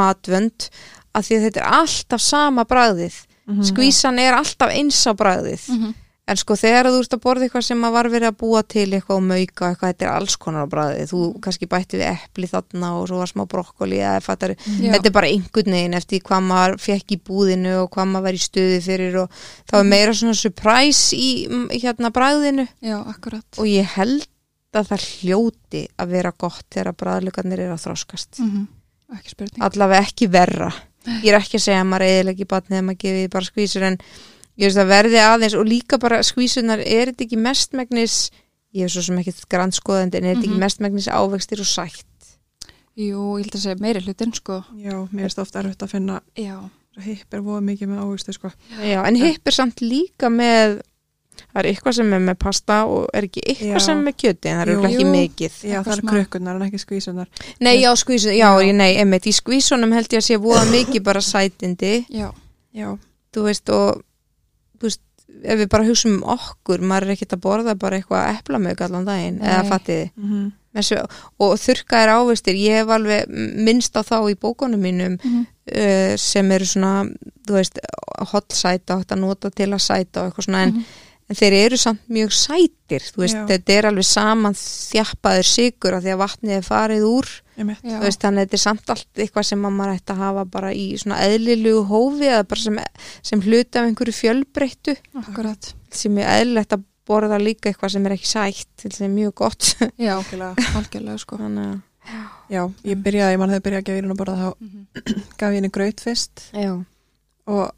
Speaker 2: matvönd að því að þetta er alltaf sama bragðið
Speaker 3: Mhm.
Speaker 2: skvísan er alltaf eins á bragðið
Speaker 1: Mhm.
Speaker 2: en sko þegar þú ert að borða eitthvað sem að var verið að búa til eitthvað og mauka eitthvað, þetta er alls konar á bragðið þú
Speaker 1: Mhm.
Speaker 2: kannski bætti við epli þarna og svo var smá brokkoli eða fattar
Speaker 1: Já.
Speaker 2: þetta er bara einhvern veginn eftir hvað maður fekk í búðinu og hvað maður var í stöði fyrir og það var
Speaker 1: Mhm.
Speaker 2: meira svona surprise í mm, hérna bragðinu
Speaker 1: Já, akkurat.
Speaker 2: og ég held að það hljóti að vera gott þegar bræðlugarnir eru að þróskast
Speaker 1: Mm Ekki spurning.
Speaker 2: allavega ekki verra ég er ekki að segja að maður eða ekki batnið að maður gefi því bara skvísur en ég veist að verði aðeins og líka bara skvísunar er þetta ekki mestmegnis ég er svo sem ekki grannskoðandi en er þetta
Speaker 1: Mhm.
Speaker 2: ekki mestmegnis ávextir og sætt
Speaker 1: Jú, ég held að segja meiri hlutin, sko.
Speaker 3: Já, mér finnst ofta erfitt að finna
Speaker 1: Já.
Speaker 3: hipp er voða mikið með ávistu sko.
Speaker 2: Já, en hipp er samt líka með það er eitthvað sem er með pasta og er ekki eitthvað
Speaker 3: Já.
Speaker 2: sem er með kjöti en það er
Speaker 3: Jú.
Speaker 2: örugglega ekki
Speaker 1: Jú.
Speaker 2: mikið
Speaker 3: Já,
Speaker 1: Eitthvað
Speaker 3: það er
Speaker 1: smá.
Speaker 3: krökkunar en ekki skvísunar.
Speaker 2: Nei, já, skvísun, já,
Speaker 3: Já.
Speaker 2: ég, nei, einmitt, í skvísunum held ég að sé voða mikið bara sætindi
Speaker 1: Já.
Speaker 3: Já,
Speaker 2: þú veist og þú veist, ef við bara hugsaum um okkur maður er ekkert að borða bara eitthvað eplamauk allan daginn
Speaker 1: Nei.
Speaker 2: eða fattiði
Speaker 3: mm -hmm.
Speaker 2: og þurrka er ávistir, ég hef alveg minnst á þá í bókunum mínum
Speaker 1: Mm
Speaker 2: uh, sem eru svona þú veist, hotsæta, átt að nota til að sæta og eitthvað svona en, en þeir eru samt mjög sætir þú veist,
Speaker 3: Já.
Speaker 2: þetta er alveg saman þjappaður sigur af því að vatnið er farið úr
Speaker 3: ég mitt.
Speaker 1: Já.
Speaker 2: þú veist, þannig að þetta er samt allt eitthvað sem að maður ætti að hafa bara í svona eðlilugu hófi eða bara sem, sem hluti af einhverju fjölbreyttu
Speaker 1: Akkurat.
Speaker 2: sem er eðlilegt að borða líka eitthvað sem er ekki sætt sem er mjög gott sko.
Speaker 1: Já, algjörlega, sko.
Speaker 2: þannig að
Speaker 3: Já, ég
Speaker 2: Mhm.
Speaker 3: byrjaði, ég mann þegar ég byrjaði að gefa hérna að borða þá
Speaker 1: Mhm.
Speaker 3: gaf ég henni graut fyrst
Speaker 2: Já.
Speaker 3: og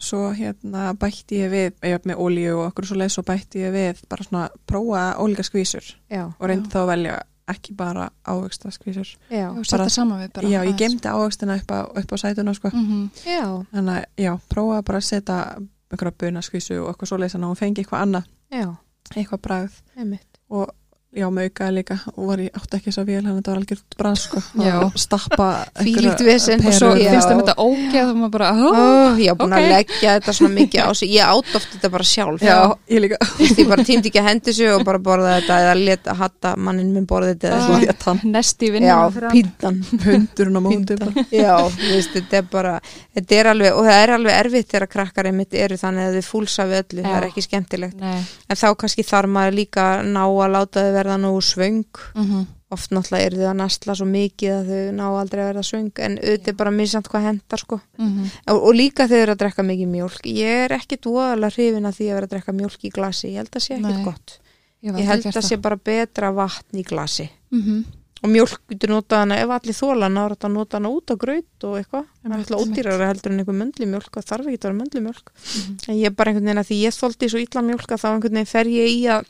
Speaker 3: svo hérna bætti ég við, ég var með ólíu og okkur svo leið, svo bætti ég við bara svona prófa ólíka skvísur
Speaker 2: já,
Speaker 3: og reyndi þá að velja ekki bara ávegsta skvísur.
Speaker 2: já,
Speaker 1: og setja
Speaker 3: bara-
Speaker 1: saman við bara
Speaker 3: Já, ég gemdi ávegstina upp á, upp á sætuna sko.
Speaker 1: mm -hmm.
Speaker 2: já,
Speaker 3: Þannig að já, prófa bara að setja einhverja bunaskvísu og eitthvað svoleiðis þannig að hún fengi eitthvað annað,
Speaker 2: já,
Speaker 3: eitthvað bragð
Speaker 2: einmitt.
Speaker 3: og já, með aukaði líka og var ég átti ekki þess að vél hann þetta var algjört bragð sko
Speaker 1: Já.
Speaker 3: og stappa
Speaker 2: Fílíkt vesen.
Speaker 1: og svo
Speaker 2: Já.
Speaker 1: finnst það með þetta ógeð og maður bara, hó,
Speaker 2: Oh, ég á búin
Speaker 1: ok.
Speaker 2: að leggja þetta svona mikið á sig, ég átt oft þetta bara sjálf.
Speaker 3: Já, ég líka
Speaker 2: Því bara týndi ekki að hendi sig og bara borða þetta eða leta hatta mannin minn borða þetta eða
Speaker 1: Ah.
Speaker 2: svona.
Speaker 3: lét hann
Speaker 1: nest í vinnu
Speaker 2: Já, píntan.
Speaker 3: hundurinn á móti bara.
Speaker 2: Já, þú veist, þetta er bara, þetta er alveg, og það er alveg erfitt þegar krakkar einmitt eru þannig að þau fúlsa við öllu, það er
Speaker 1: Já.
Speaker 2: ekki skemmtilegt.
Speaker 1: Nei,
Speaker 2: En þá kannski þarf maður líka að ná að láta þau verða nú svöng,
Speaker 1: mhm,
Speaker 2: oft náttúrulega eru þau að nasla svo mikið að þau ná aldrei að verða svöng, en auðvitað er bara misjant hvað hendar sko.
Speaker 1: mhm,
Speaker 2: Og, og líka þau eru að drekka mikið mjólk, ég er ekki dvoðalega hrifin að því að vera að drekka mjólk í glasi, ég held að sé ekkit
Speaker 1: Nei.
Speaker 2: gott.
Speaker 1: hef
Speaker 2: Ég
Speaker 1: aldrei
Speaker 2: held
Speaker 1: gert
Speaker 2: að
Speaker 1: það.
Speaker 2: sé bara betra vatn í glasi.
Speaker 1: Mhm.
Speaker 2: og mjólk getur notað hana ef allir þóla hana, þá er þetta að nota hana út á graut og eitthvað, það er alltaf
Speaker 1: einmitt. Mhm.
Speaker 2: ódýrara heldur en einhver möndli mjólk og þarf ekki að vera möndli mjólk en ég er bara einhvern veginn að því ég þóldi svo illa mjólk að þá einhvern veginn fer ég í að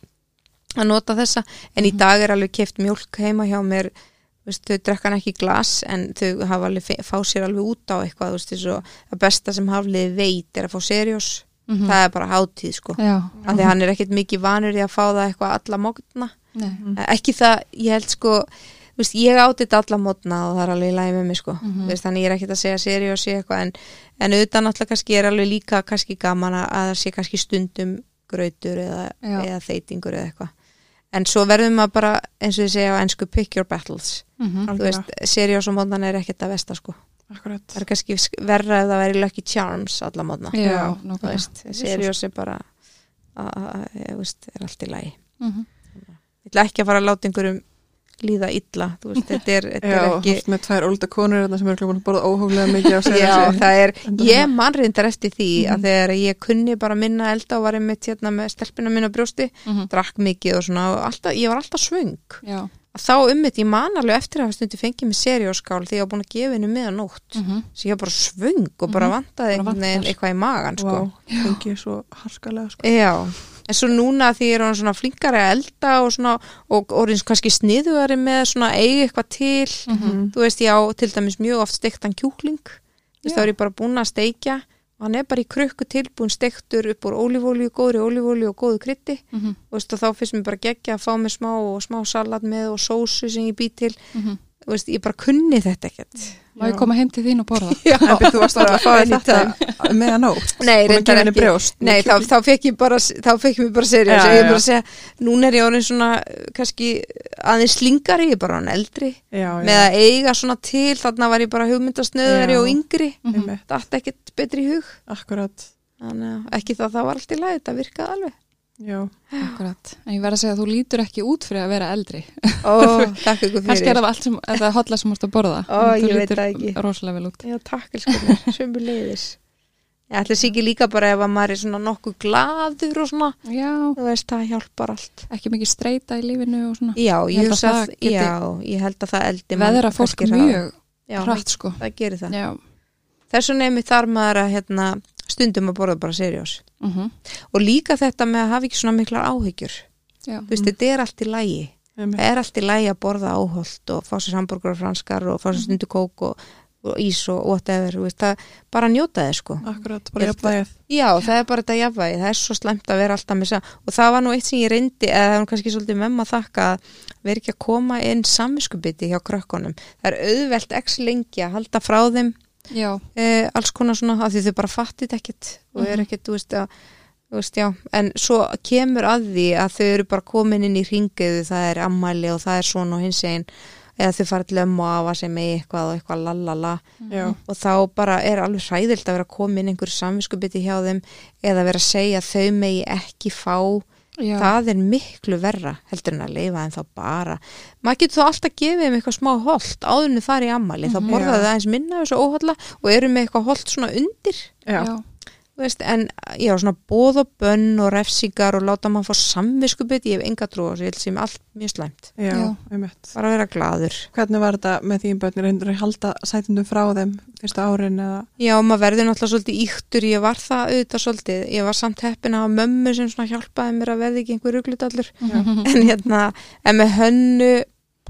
Speaker 2: að nota þessa, en
Speaker 1: Mhm.
Speaker 2: í dag er alveg keft mjólk heima hjá mér þú veist, þau drekkan ekki í glas en þau hafa alveg, fe- fá sér alveg út á eitthvað þú veist, eins og það besta sem hafliði veit er að fá seriós,
Speaker 1: Mhm.
Speaker 2: það er bara hátíð sko,
Speaker 1: Já,
Speaker 2: af því hann er ekkert mikið vanur í að fá það eitthvað alla mótna
Speaker 1: nei
Speaker 2: ekki það, ég held sko þú veist, ég átti þetta alla mótna og það er alveg í lægi með mig sko,
Speaker 1: Mhm.
Speaker 2: mm veist, þannig ég er ekkert að segja seri og segja eitthvað en, en auðvitað náttúrulega kannski er alveg líka kannski gaman að að það sé kannski stundum grautur eða,
Speaker 1: Já.
Speaker 2: eða þeitingur eða eitthvað en svo verðum maður bara, eins og ég segja á ennsku pick your battles,
Speaker 1: Mhm.
Speaker 2: þú veist, seri og mótnan er ekkert að vesta sko,
Speaker 3: Akkurat
Speaker 2: það er kannski sk- verra ef það væri Lucky Charms alla mótna
Speaker 1: Já,
Speaker 2: þú
Speaker 1: nákvæmlega
Speaker 2: veist, seri og bara að, að, að, þú veist, er allt í lægi
Speaker 1: Mhm.
Speaker 2: ég ætla ekki að fara að láta einhverjum líða illa, þú veist, þetta er, þetta
Speaker 3: Já,
Speaker 2: er ekki
Speaker 3: þú ert með tvær ólda konur þarna sem eru klubun að borða óhóflega mikið á sér
Speaker 2: Já, það er,
Speaker 3: Enda
Speaker 2: ég
Speaker 3: svona.
Speaker 2: mann reyndar eftir því að þegar ég kunni bara minna elda og var einmitt hérna með stelpina minna brjósti,
Speaker 1: Mhm.
Speaker 2: drakk mikið og svona og alltaf, ég var alltaf svöng
Speaker 1: Já,
Speaker 2: að þá ummitt, ég man alveg eftir að hafa stundi fengið mig serióskál því ég var búin að gefa henni miðan nótt
Speaker 1: mhm.
Speaker 2: svo ég var bara svöng og bara
Speaker 1: Bara
Speaker 2: vantaði einhvern veginn
Speaker 1: vantar.
Speaker 2: eitthvað í magan sko.
Speaker 3: Vá, fengi ég svo harkalega sko
Speaker 2: Já, en svo núna því ég er hann svona flinkari að elda og svona og orðins kannski sniðugari með svona eigi eitthvað til, þú veist ég á til dæmis mjög oft steiktan kjúkling þú veist
Speaker 3: Já.
Speaker 2: þá er ég bara búin að steikja og hann er bara í krukku tilbúin steiktur upp úr ólífólíu, góðri ólífólíu og góðu krytti
Speaker 1: Mhm.
Speaker 2: og, veist, og þá finnst mér bara geggja að fá mér smá og smá salat með og sósu sem ég bý til
Speaker 1: Mhm.
Speaker 2: þú veist, ég bara kunni þetta ekkert
Speaker 1: Má ég koma heim til þín og borða?
Speaker 2: Já,
Speaker 3: En byrju, þú varst alveg að fá þér þetta með að nót
Speaker 2: Nei,
Speaker 3: Búin að
Speaker 2: reyndar
Speaker 3: gefa henni
Speaker 2: ekki.
Speaker 3: brjóst
Speaker 2: Nei, þá, þá fekk ég bara, þá fekk mér bara seriós. ég
Speaker 3: Já, já,
Speaker 2: er bara
Speaker 3: já.
Speaker 2: að segja, núna er ég orðin svona, uh, kannski aðeins slingari, ég er bara hann eldri.
Speaker 3: já, já,
Speaker 2: Með að eiga svona til, þarna var ég bara hugmyndasnöðari
Speaker 3: Já.
Speaker 2: og yngri.
Speaker 3: einmitt,
Speaker 2: Það átti ekkert betri í hug.
Speaker 3: akkurat
Speaker 2: Þannig að ekki það, það var allt í lagi, þetta virkaði alveg.
Speaker 3: Já,
Speaker 1: Akkurat. En ég verð að segja að þú lítur ekki út fyrir að vera eldri.
Speaker 2: Ó, takk ykkur
Speaker 1: Kannski er
Speaker 2: fyrir.
Speaker 1: það allt sem, eða hotla sem þú ert að borða.
Speaker 2: Ó,
Speaker 1: En
Speaker 2: ég
Speaker 1: þú
Speaker 2: veit
Speaker 1: lítur
Speaker 2: það ekki.
Speaker 1: Rosalega vel út.
Speaker 2: Já, takk ykkur fyrir, sömu leiðis. Ég ætla sér ekki líka bara ef að maður er svona nokkuð gladur og svona,
Speaker 1: Já,
Speaker 2: þú veist, það hjálpar allt.
Speaker 1: ekki mikið streyta í lífinu og svona.
Speaker 2: Já,
Speaker 1: Ég
Speaker 2: ég,
Speaker 1: held að
Speaker 2: hugsa
Speaker 1: það
Speaker 2: að-
Speaker 1: geti-
Speaker 2: já, ég held að það eldi mann
Speaker 1: Veðra fólk
Speaker 2: kannski hraðar.
Speaker 1: mjög
Speaker 2: Já,
Speaker 1: hratt sko.
Speaker 2: það gerir það.
Speaker 1: Já.
Speaker 2: Þessu nefnir þar maður að hérna, stundum að borða bara seriós.
Speaker 1: Mhm.
Speaker 2: Og líka þetta með að hafa ekki svona miklar áhyggjur.
Speaker 1: Já.
Speaker 2: Þú veist, þetta er allt í lægi.
Speaker 3: einmitt,
Speaker 2: Það er allt í lægi að borða áholt og fá sér hambúrgur og franskar og fá sér stundu kók og, og ís og whatever. þú Veist, það, bara njóta þið sko.
Speaker 3: akkurat, bara
Speaker 2: Ég-
Speaker 3: jafnvægið
Speaker 2: Já, það er bara þetta jafnvægi. Það er svo slæmt að vera alltaf með það. Og það var nú eitt sem ég reyndi, eða það var nú kannski svolítið memma að þakka að vera ekki að koma inn samvinskubiti hjá krökkunum. Það er auðvelt x lengi að halda frá þeim
Speaker 1: Já.
Speaker 2: eh, alls konar svona af því þau bara fattit ekkit og er ekkit, þú veist, að, þú veist, já en svo kemur að því að þau eru bara komin inn í ringiðu, það er ammæli og það er svona og hins einn eða þau fara til ömmu og afa sem eigi eitthvað og eitthvað lalala
Speaker 3: Já,
Speaker 2: og þá bara er alveg hræðilt að vera komin einhver samvinskubiti hjá þeim eða vera að segja að þau megi ekki fá
Speaker 1: Já.
Speaker 2: það er miklu verra heldur en að leifa en þá bara maður getur þá alltaf gefið þeim eitthvað smá holt áðurinn þar í ammali, þá
Speaker 1: Mhm.
Speaker 2: borðaðu
Speaker 3: Já.
Speaker 2: það eins minna þessu óholla og eru með eitthvað holt svona undir
Speaker 3: já,
Speaker 1: Já.
Speaker 2: Þú veist, en já, svona bóð og bönn og refsingar og láta mann fá samviskubit, ég hef enga trú á þessu, ég held sem allt mjög slæmt.
Speaker 3: já,
Speaker 1: Já.
Speaker 3: einmitt.
Speaker 2: Bara að vera gladur.
Speaker 3: Hvernig var þetta með þín börnir reyndur að halda sætundum frá þeim fyrsta árin eða?
Speaker 2: Já, og maður verður náttúrulega svolítið íktur, ég var það auðvitað svolítið, ég var samt heppin að hafa mömmu sem svona hjálpaði mér að verði ekki einhver ruglutallur,
Speaker 1: Mhm.
Speaker 2: en hérna, en með hönnu,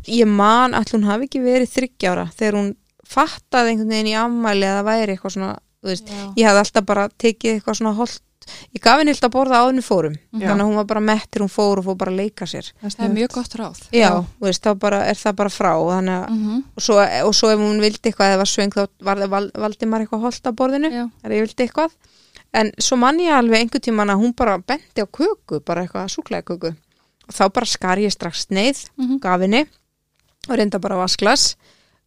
Speaker 2: ég man að hún hafi ekki verið þryggjára þegar hún fattaði einhvern veginn í afmæli að það væri eitthvað svona, þú veist,
Speaker 1: Já.
Speaker 2: ég hafði alltaf bara tekið eitthvað svona holt, ég gaf henni alltaf að borða áðinu fórum,
Speaker 3: Já.
Speaker 2: þannig að hún var bara mettir, hún fór og fór bara að leika sér.
Speaker 1: Það er mjög gott ráð.
Speaker 2: Já, þú veist, þá bara, er það bara frá þannig að,
Speaker 1: Mhm.
Speaker 2: og, svo, og svo ef hún vildi eitthvað eða var svöng þá var, val, valdi maður eitthvað holt á borðinu
Speaker 1: Já.
Speaker 2: þegar ég vildi eitthvað en svo mann ég alveg einhvern tíman að hún bara benti á köku, bara eitthvað súklaði köku og þá bara skar ég strax sneið
Speaker 1: Mhm.
Speaker 2: gaf henni og reynda bara vasklas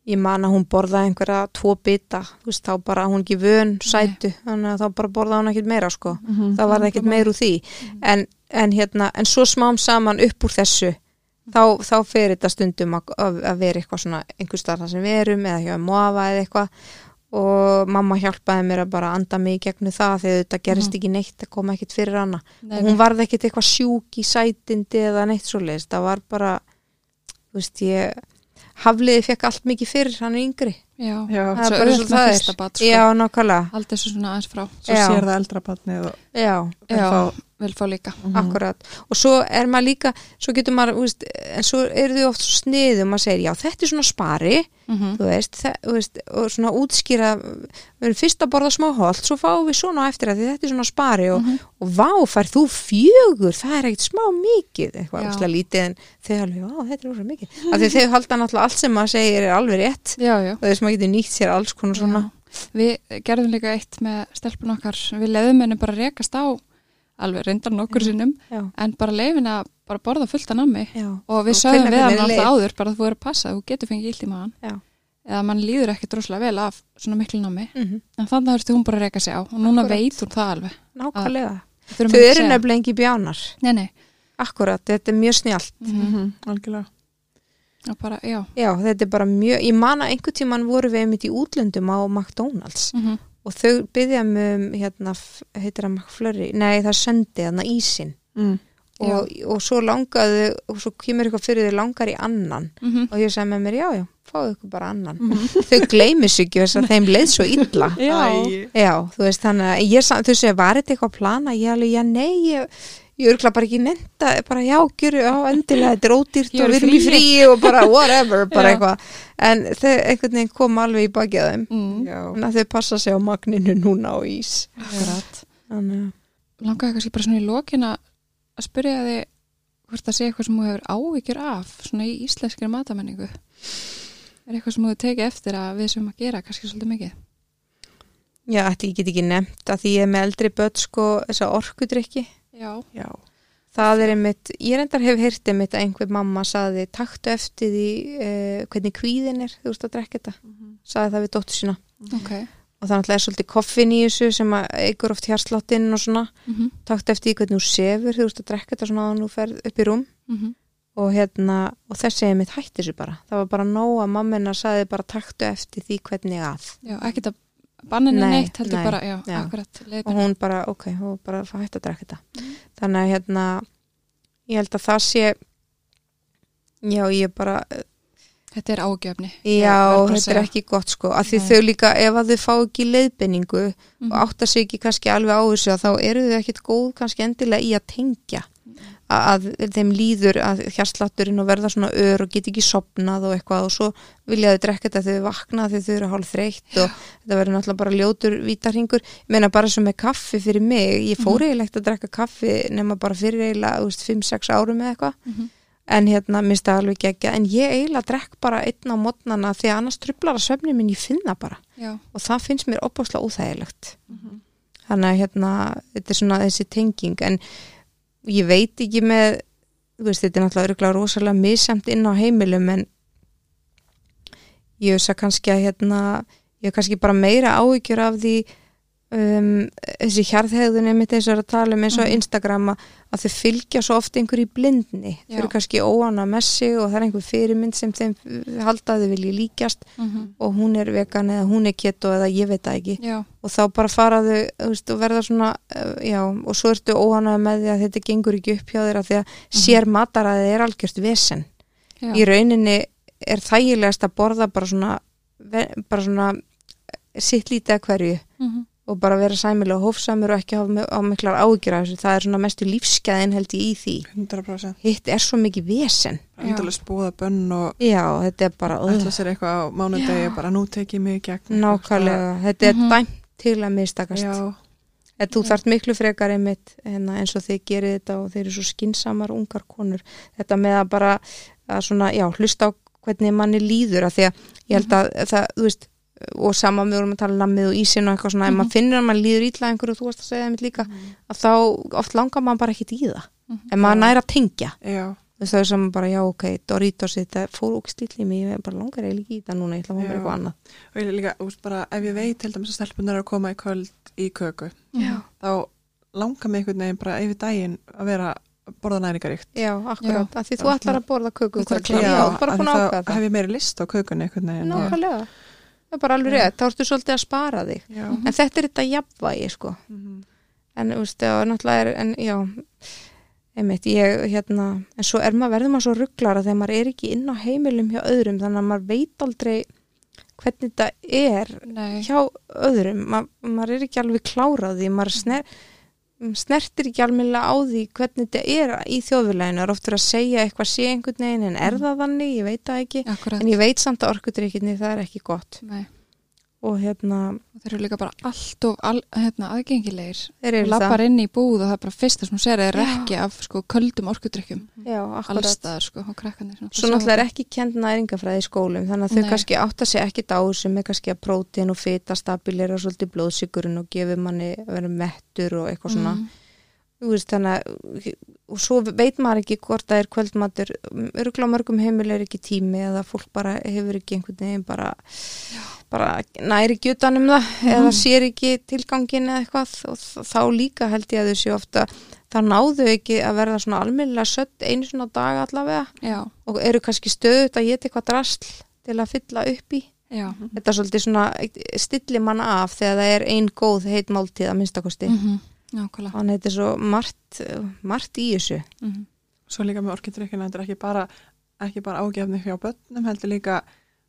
Speaker 2: ég man að hún borðaði einhverja tvo bita þú veist, þá bara hún ekki vön sætu þannig að þá bara borðaði hún ekkert meira sko
Speaker 3: Mhm.
Speaker 2: það var ekkert meir úr því
Speaker 1: Mhm.
Speaker 2: en, en, hérna, en svo smám saman upp úr þessu þá, þá fer þetta stundum að, að að vera eitthvað svona einhvers þar þar sem við erum eða hjá mófa eða eitthvað og mamma hjálpaði mér að bara anda mig í gegnum það þegar þetta gerist ekki neitt það kom ekkert fyrir hana
Speaker 1: Mhm. Nei,
Speaker 2: og hún varð ekkert eitthvað sjúk í sætindi eða neitt svoleiðis, það var bara þú veist ég hafliði fekk allt mikið fyrir hann er yngri
Speaker 1: Já.
Speaker 3: Já,
Speaker 1: Það er
Speaker 2: svo
Speaker 1: bara
Speaker 2: auðvelt
Speaker 1: svo
Speaker 2: með
Speaker 1: það
Speaker 2: fyrsta
Speaker 1: er. Bat, sko.
Speaker 2: já, nákvæmlega,
Speaker 1: Allt þessu svona aðeins frá.
Speaker 3: svo
Speaker 2: já.
Speaker 3: sér það eldra barnið og
Speaker 2: já,
Speaker 3: en
Speaker 1: Já.
Speaker 3: þá-
Speaker 1: Vil fá líka.
Speaker 2: Mm. akkurat og svo er maður líka, svo getur maður þú veist, en svo eru þau oft svo sniðu maður segir, já, þetta er svona spari
Speaker 1: Mhm.
Speaker 2: þú veist, það, þú veist, og svona útskýra við erum fyrst að borða smá holt svo fáum við svona á eftir að því þetta er svona spari og,
Speaker 1: Mhm.
Speaker 2: og vá, fær þú fjögur það er ekkert smá mikið eitthvað
Speaker 1: Já.
Speaker 2: óslega lítið en þau alveg, vá, þetta er óslega mikið af því þau halda náttúrulega allt sem maður segir er alveg rétt
Speaker 1: Já, já.
Speaker 2: og þess maður getur nýtt sér alls konar
Speaker 1: Já.
Speaker 2: svona
Speaker 1: Við gerðum líka eitt með stelpun okkar. Við leiðum henni bara að rekast á alveg reyndar nokkur sinnum
Speaker 2: já,
Speaker 1: en bara leiðum henni að bara borða fullt að nammi
Speaker 2: já,
Speaker 1: og við
Speaker 2: Og
Speaker 1: sögum
Speaker 2: finna
Speaker 1: við
Speaker 2: hvernig
Speaker 1: hann
Speaker 2: leið.
Speaker 1: alltaf áður bara að þú er að passa, þú getur fengið illt í maðan
Speaker 2: já.
Speaker 1: eða mann líður ekki droslega vel af svona miklu námi
Speaker 2: Mm
Speaker 1: en þannig þurfti hún bara að reyka sig á og núna
Speaker 2: Akkúrat.
Speaker 1: veit hún það alveg
Speaker 2: nákvæmlega
Speaker 1: Ah, Þurfum
Speaker 2: þau
Speaker 1: ekki að
Speaker 2: eru
Speaker 1: segja.
Speaker 2: nefnilega engi bjánar
Speaker 1: Nei, nei,
Speaker 2: akkurat, þetta er mjög snjált
Speaker 3: Mhm, algjörlega.
Speaker 1: og bara, já
Speaker 2: Já, þetta er bara mjög, ég man að einhvern tíman voru við einmitt í útlöndum á McDonalds
Speaker 1: mm -hmm.
Speaker 2: og þau byggja um, hérna, f- heitir það McFlurry, nei það sendi þarna ísinn
Speaker 3: Mm.
Speaker 2: og, og svo langaðu, og svo kemur eitthvað fyrir þau langar í annan
Speaker 1: Mhm.
Speaker 2: og ég sagði með mér, já, já, fáðu ykkur bara annan þau gleymis ekki þess að þeim leið svo illa
Speaker 1: Já,
Speaker 2: já, þú veist, þannig að ég, sa- þau segja, var þetta eitthvað að plana, ég alveg, já, nei ég, ég örgla bara ekki nefnda, bara já, gjöru, já, endilega, þetta er ódýrt
Speaker 1: Ég er
Speaker 2: og
Speaker 1: í
Speaker 2: við erum í
Speaker 1: fríi.
Speaker 2: fríi og bara whatever, bara
Speaker 1: Já.
Speaker 2: eitthvað en þau einhvern veginn kom alveg í bakið á þeim
Speaker 1: mm,
Speaker 3: Já.
Speaker 2: þannig að þau passa sig á magninu núna á ís
Speaker 1: akkurat
Speaker 2: þannig að
Speaker 1: Langaði kannski bara svona í lokin að að spyrja þig hvort það sé eitthvað sem þú hefur áhyggjur af svona í íslenskri matamenningu er eitthvað sem þú hefur tekið eftir að við sem að gera kannski svolítið mikið
Speaker 2: Já, ætli ég get ekki nefnt að því ég er með eldri börn sko þessa orkudrykki.
Speaker 1: Já,
Speaker 3: Já.
Speaker 2: Það er einmitt, ég reyndar hef heyrt einmitt að einhver mamma saði taktu eftir því eh, hvernig kvíðin er þú ert að drekka þetta, saði það við dóttu sína
Speaker 1: ok
Speaker 2: og það náttúrulega er svolítið koffin í þessu sem að eigur oft hjartslottinn og svona
Speaker 1: mm -hmm.
Speaker 2: taktu eftir því hvernig þú sefur, þú ert að drekka þetta svona að þú ferð upp í rúm
Speaker 1: Mhm.
Speaker 2: og hérna, og þessi einmitt hætti þessu bara það var bara nóg að mammina saði bara taktu eftir því hvernig að
Speaker 1: Já, ekkert að banninu
Speaker 2: Mhm. Nei,
Speaker 1: neitt heldur
Speaker 2: nei,
Speaker 1: bara, já,
Speaker 2: já.
Speaker 1: akkurat
Speaker 2: og hún bara, ok, hún bara hætti að drekka þetta þannig að hérna ég held að það sé já, ég bara já,
Speaker 1: Þetta er ágjöfni verð bara að
Speaker 2: þetta er
Speaker 1: segja.
Speaker 2: ekki gott sko, af því
Speaker 1: Nei.
Speaker 2: þau líka ef að þau fá ekki leiðbenningu
Speaker 1: Mhm.
Speaker 2: og átta sig ekki kannski alveg á þessu að þá eru þau ekkit góð kannski endilega í að tengja að, að þeim líður að hjartslatturinn og verða svona ör og get ekki sopnað og eitthvað og svo vilja þau drekka þetta þegar þau vakna þegar þau eru hálf þreytt og þetta verður náttúrulega bara ljótur vítarhingur, ég meina bara sem með kaffi fyrir mig, ég
Speaker 1: Mhm.
Speaker 2: fór eiginlegt að drekka kaffi nema bara fyrir eiginlega þú veist, 5-6 árum eða eitthvað
Speaker 1: Mhm.
Speaker 2: en hérna minnst það alveg gegja, en ég eiginlega drekk bara einn á mótnana því að annars trublar að svefni minn, ég finn það bara
Speaker 1: Já,
Speaker 2: og það finnst mér opaslega óþægilegt
Speaker 1: Mhm.
Speaker 2: þannig að hérna þetta er svona þessi tenging en ég veit ekki með þú veist, þetta er náttúrulega örugglega rosalega misamt inn á heimilum en ég veist að kannski að hérna ég hef kannski bara meira áhyggjur af því um, þessi hjarðhegðun einmitt eins og er að tala um eins og
Speaker 1: Mhm.
Speaker 2: Instagram að, að þau fylgja svo oft einhverju í blindni þau
Speaker 1: Já.
Speaker 2: eru kannski óana með sig og það er einhver fyrirmynd sem þeim uh, halda að þau vilji líkjast
Speaker 1: mhm.
Speaker 2: og hún er vegan eða hún er keto eða ég veit það ekki
Speaker 1: Já,
Speaker 2: og þá bara faraðu þú veist, og verða svona, uh, já, og svo ertu óanað með því að þetta gengur ekki upp hjá þér af því að sér mataræðið er algjört vesen.
Speaker 1: já.
Speaker 2: Í rauninni er þægilegast að borða bara svona, ve- bara svona eh, sitt lítið að hverju
Speaker 1: Mhm.
Speaker 2: og bara vera sæmilega hófsamur og ekki hafa mi- á miklar ágjur af þessu. Það er svona mestu lífsgæðin held ég í því.
Speaker 3: 100%
Speaker 2: Hitt er svo mikið vesen.
Speaker 1: Já.
Speaker 3: endalust búða bönn og
Speaker 2: Já, þetta er bara,
Speaker 3: ætla sér eitthvað á mánudegi
Speaker 1: Já.
Speaker 3: bara nú tek ég mig í gegn
Speaker 2: nákvæmlega, þetta er
Speaker 1: Mhm.
Speaker 2: dæmt til að mistakast.
Speaker 3: Já,
Speaker 2: En þú þarft miklu frekar einmitt hérna, eins og þið gerir þetta og þeir eru svo skinsamar ungar konur. Þetta með að bara að svona, já, hlusta á hvernig manni líður að því að ég held að það, þú veist, og sama við vorum að tala um lammið og ísinn og eitthvað svona, ef maður finnir að mann líður ítla einhverju, þú varst að segja það mitt líka, að þá oft langar mann bara ekkit í það.
Speaker 1: Mhm.
Speaker 2: En maður næra að tengja.
Speaker 3: já,
Speaker 2: Þú veist, það er sem bara, já, ok, Doritos, þetta fór og stilli mig, ég bara langar eiginlega ekki í það núna, ég ætla að fá mér
Speaker 3: Já.
Speaker 2: eitthvað annað.
Speaker 3: og ég líka, þú veist bara ef ég veit held að stelpunar eru að koma í kvöld í köku,
Speaker 1: Já.
Speaker 3: þá langar mig einhvern veginn bara yfir daginn að vera að borða næringaríkt
Speaker 2: Já, akkurat, af því þú
Speaker 3: Það er
Speaker 2: ætlar
Speaker 3: svona-
Speaker 2: að borða köku um
Speaker 1: Þú ætlar að
Speaker 2: kvöldið.
Speaker 1: klára
Speaker 2: Já,
Speaker 1: það.
Speaker 2: þú ert bara
Speaker 3: af því
Speaker 2: búin að ákveða
Speaker 3: þá
Speaker 2: það.
Speaker 3: hef ég meiri list á kökunni einhvern veginn og-
Speaker 2: Nákvæmlega, Hérna. það er bara alveg rétt, þá ertu svolítið að spara þig.
Speaker 3: Já,
Speaker 2: En þetta er þetta jafnvægi, sko.
Speaker 3: Mhm.
Speaker 2: En, þú veist, og náttúrulega er, en, já, einmitt, ég, hérna, en svo er maður, verður maður svo rugglara þegar maður er ekki inn á heimilum hjá öðrum, þannig að maður veit aldrei hvernig þetta er
Speaker 1: Nei.
Speaker 2: hjá öðrum. Ma, maður er ekki alveg klárað því, maður sner, snertir ekki alveg á því hvernig þetta er í þjóðfélaginu. Það er oftur að segja eitthvað sé einhvern veginn, en er það þannig, ég veit það ekki.
Speaker 1: Akkurat.
Speaker 2: En ég veit samt að orkudrykkinni það er ekki gott.
Speaker 1: Nei.
Speaker 2: og hérna,
Speaker 1: Og þeir eru líka bara allt of al, hérna, aðgengilegir.
Speaker 2: þeir
Speaker 1: Þú
Speaker 2: eru það
Speaker 1: lappar inn í búð og það er bara fyrsta sem þú sér er
Speaker 2: Já.
Speaker 1: ekki af sko, köldum orkudrykkjum.
Speaker 2: já,
Speaker 1: Alls
Speaker 2: akkurat
Speaker 1: staðar sko, og krakkanir. svona.
Speaker 2: svo
Speaker 1: Sjá
Speaker 2: náttúrulega
Speaker 1: þetta.
Speaker 2: er ekki kend næringafræði í skólum þannig að þau
Speaker 1: Nei.
Speaker 2: kannski átta sig ekki á sem er kannski að prótin og fita stabilera svolítið blóðsigurinn og gefur manni að vera mettur og eitthvað svona
Speaker 1: Mhm.
Speaker 2: þú veist þannig að og svo veit maður ekki hvort það er kvöldmatur örgla mörgum heimil er ekki tími eða fólk bara hefur ekki einhvern veginn bara, bara næri ekki utan um það eða sér ekki tilgangin eða eitthvað og þ- þá líka held ég að þau séu ofta þá náðu ekki að verða svona almennilega sött einu svona dag allavega
Speaker 1: Já,
Speaker 2: og eru kannski stöðut að geta eitthvað drasl til að fylla upp í
Speaker 1: já.
Speaker 2: þetta er svolítið svona stilli mann af þegar það er ein góð heit máltíð að minnstakosti
Speaker 1: Mhm. Nákvæmlega.
Speaker 2: Þannig að þetta er svo margt, margt í þessu.
Speaker 1: Mhm.
Speaker 3: Svo líka með orkindrykkina, þetta er ekki bara, ekki bara ágefni hjá börnum, heldur líka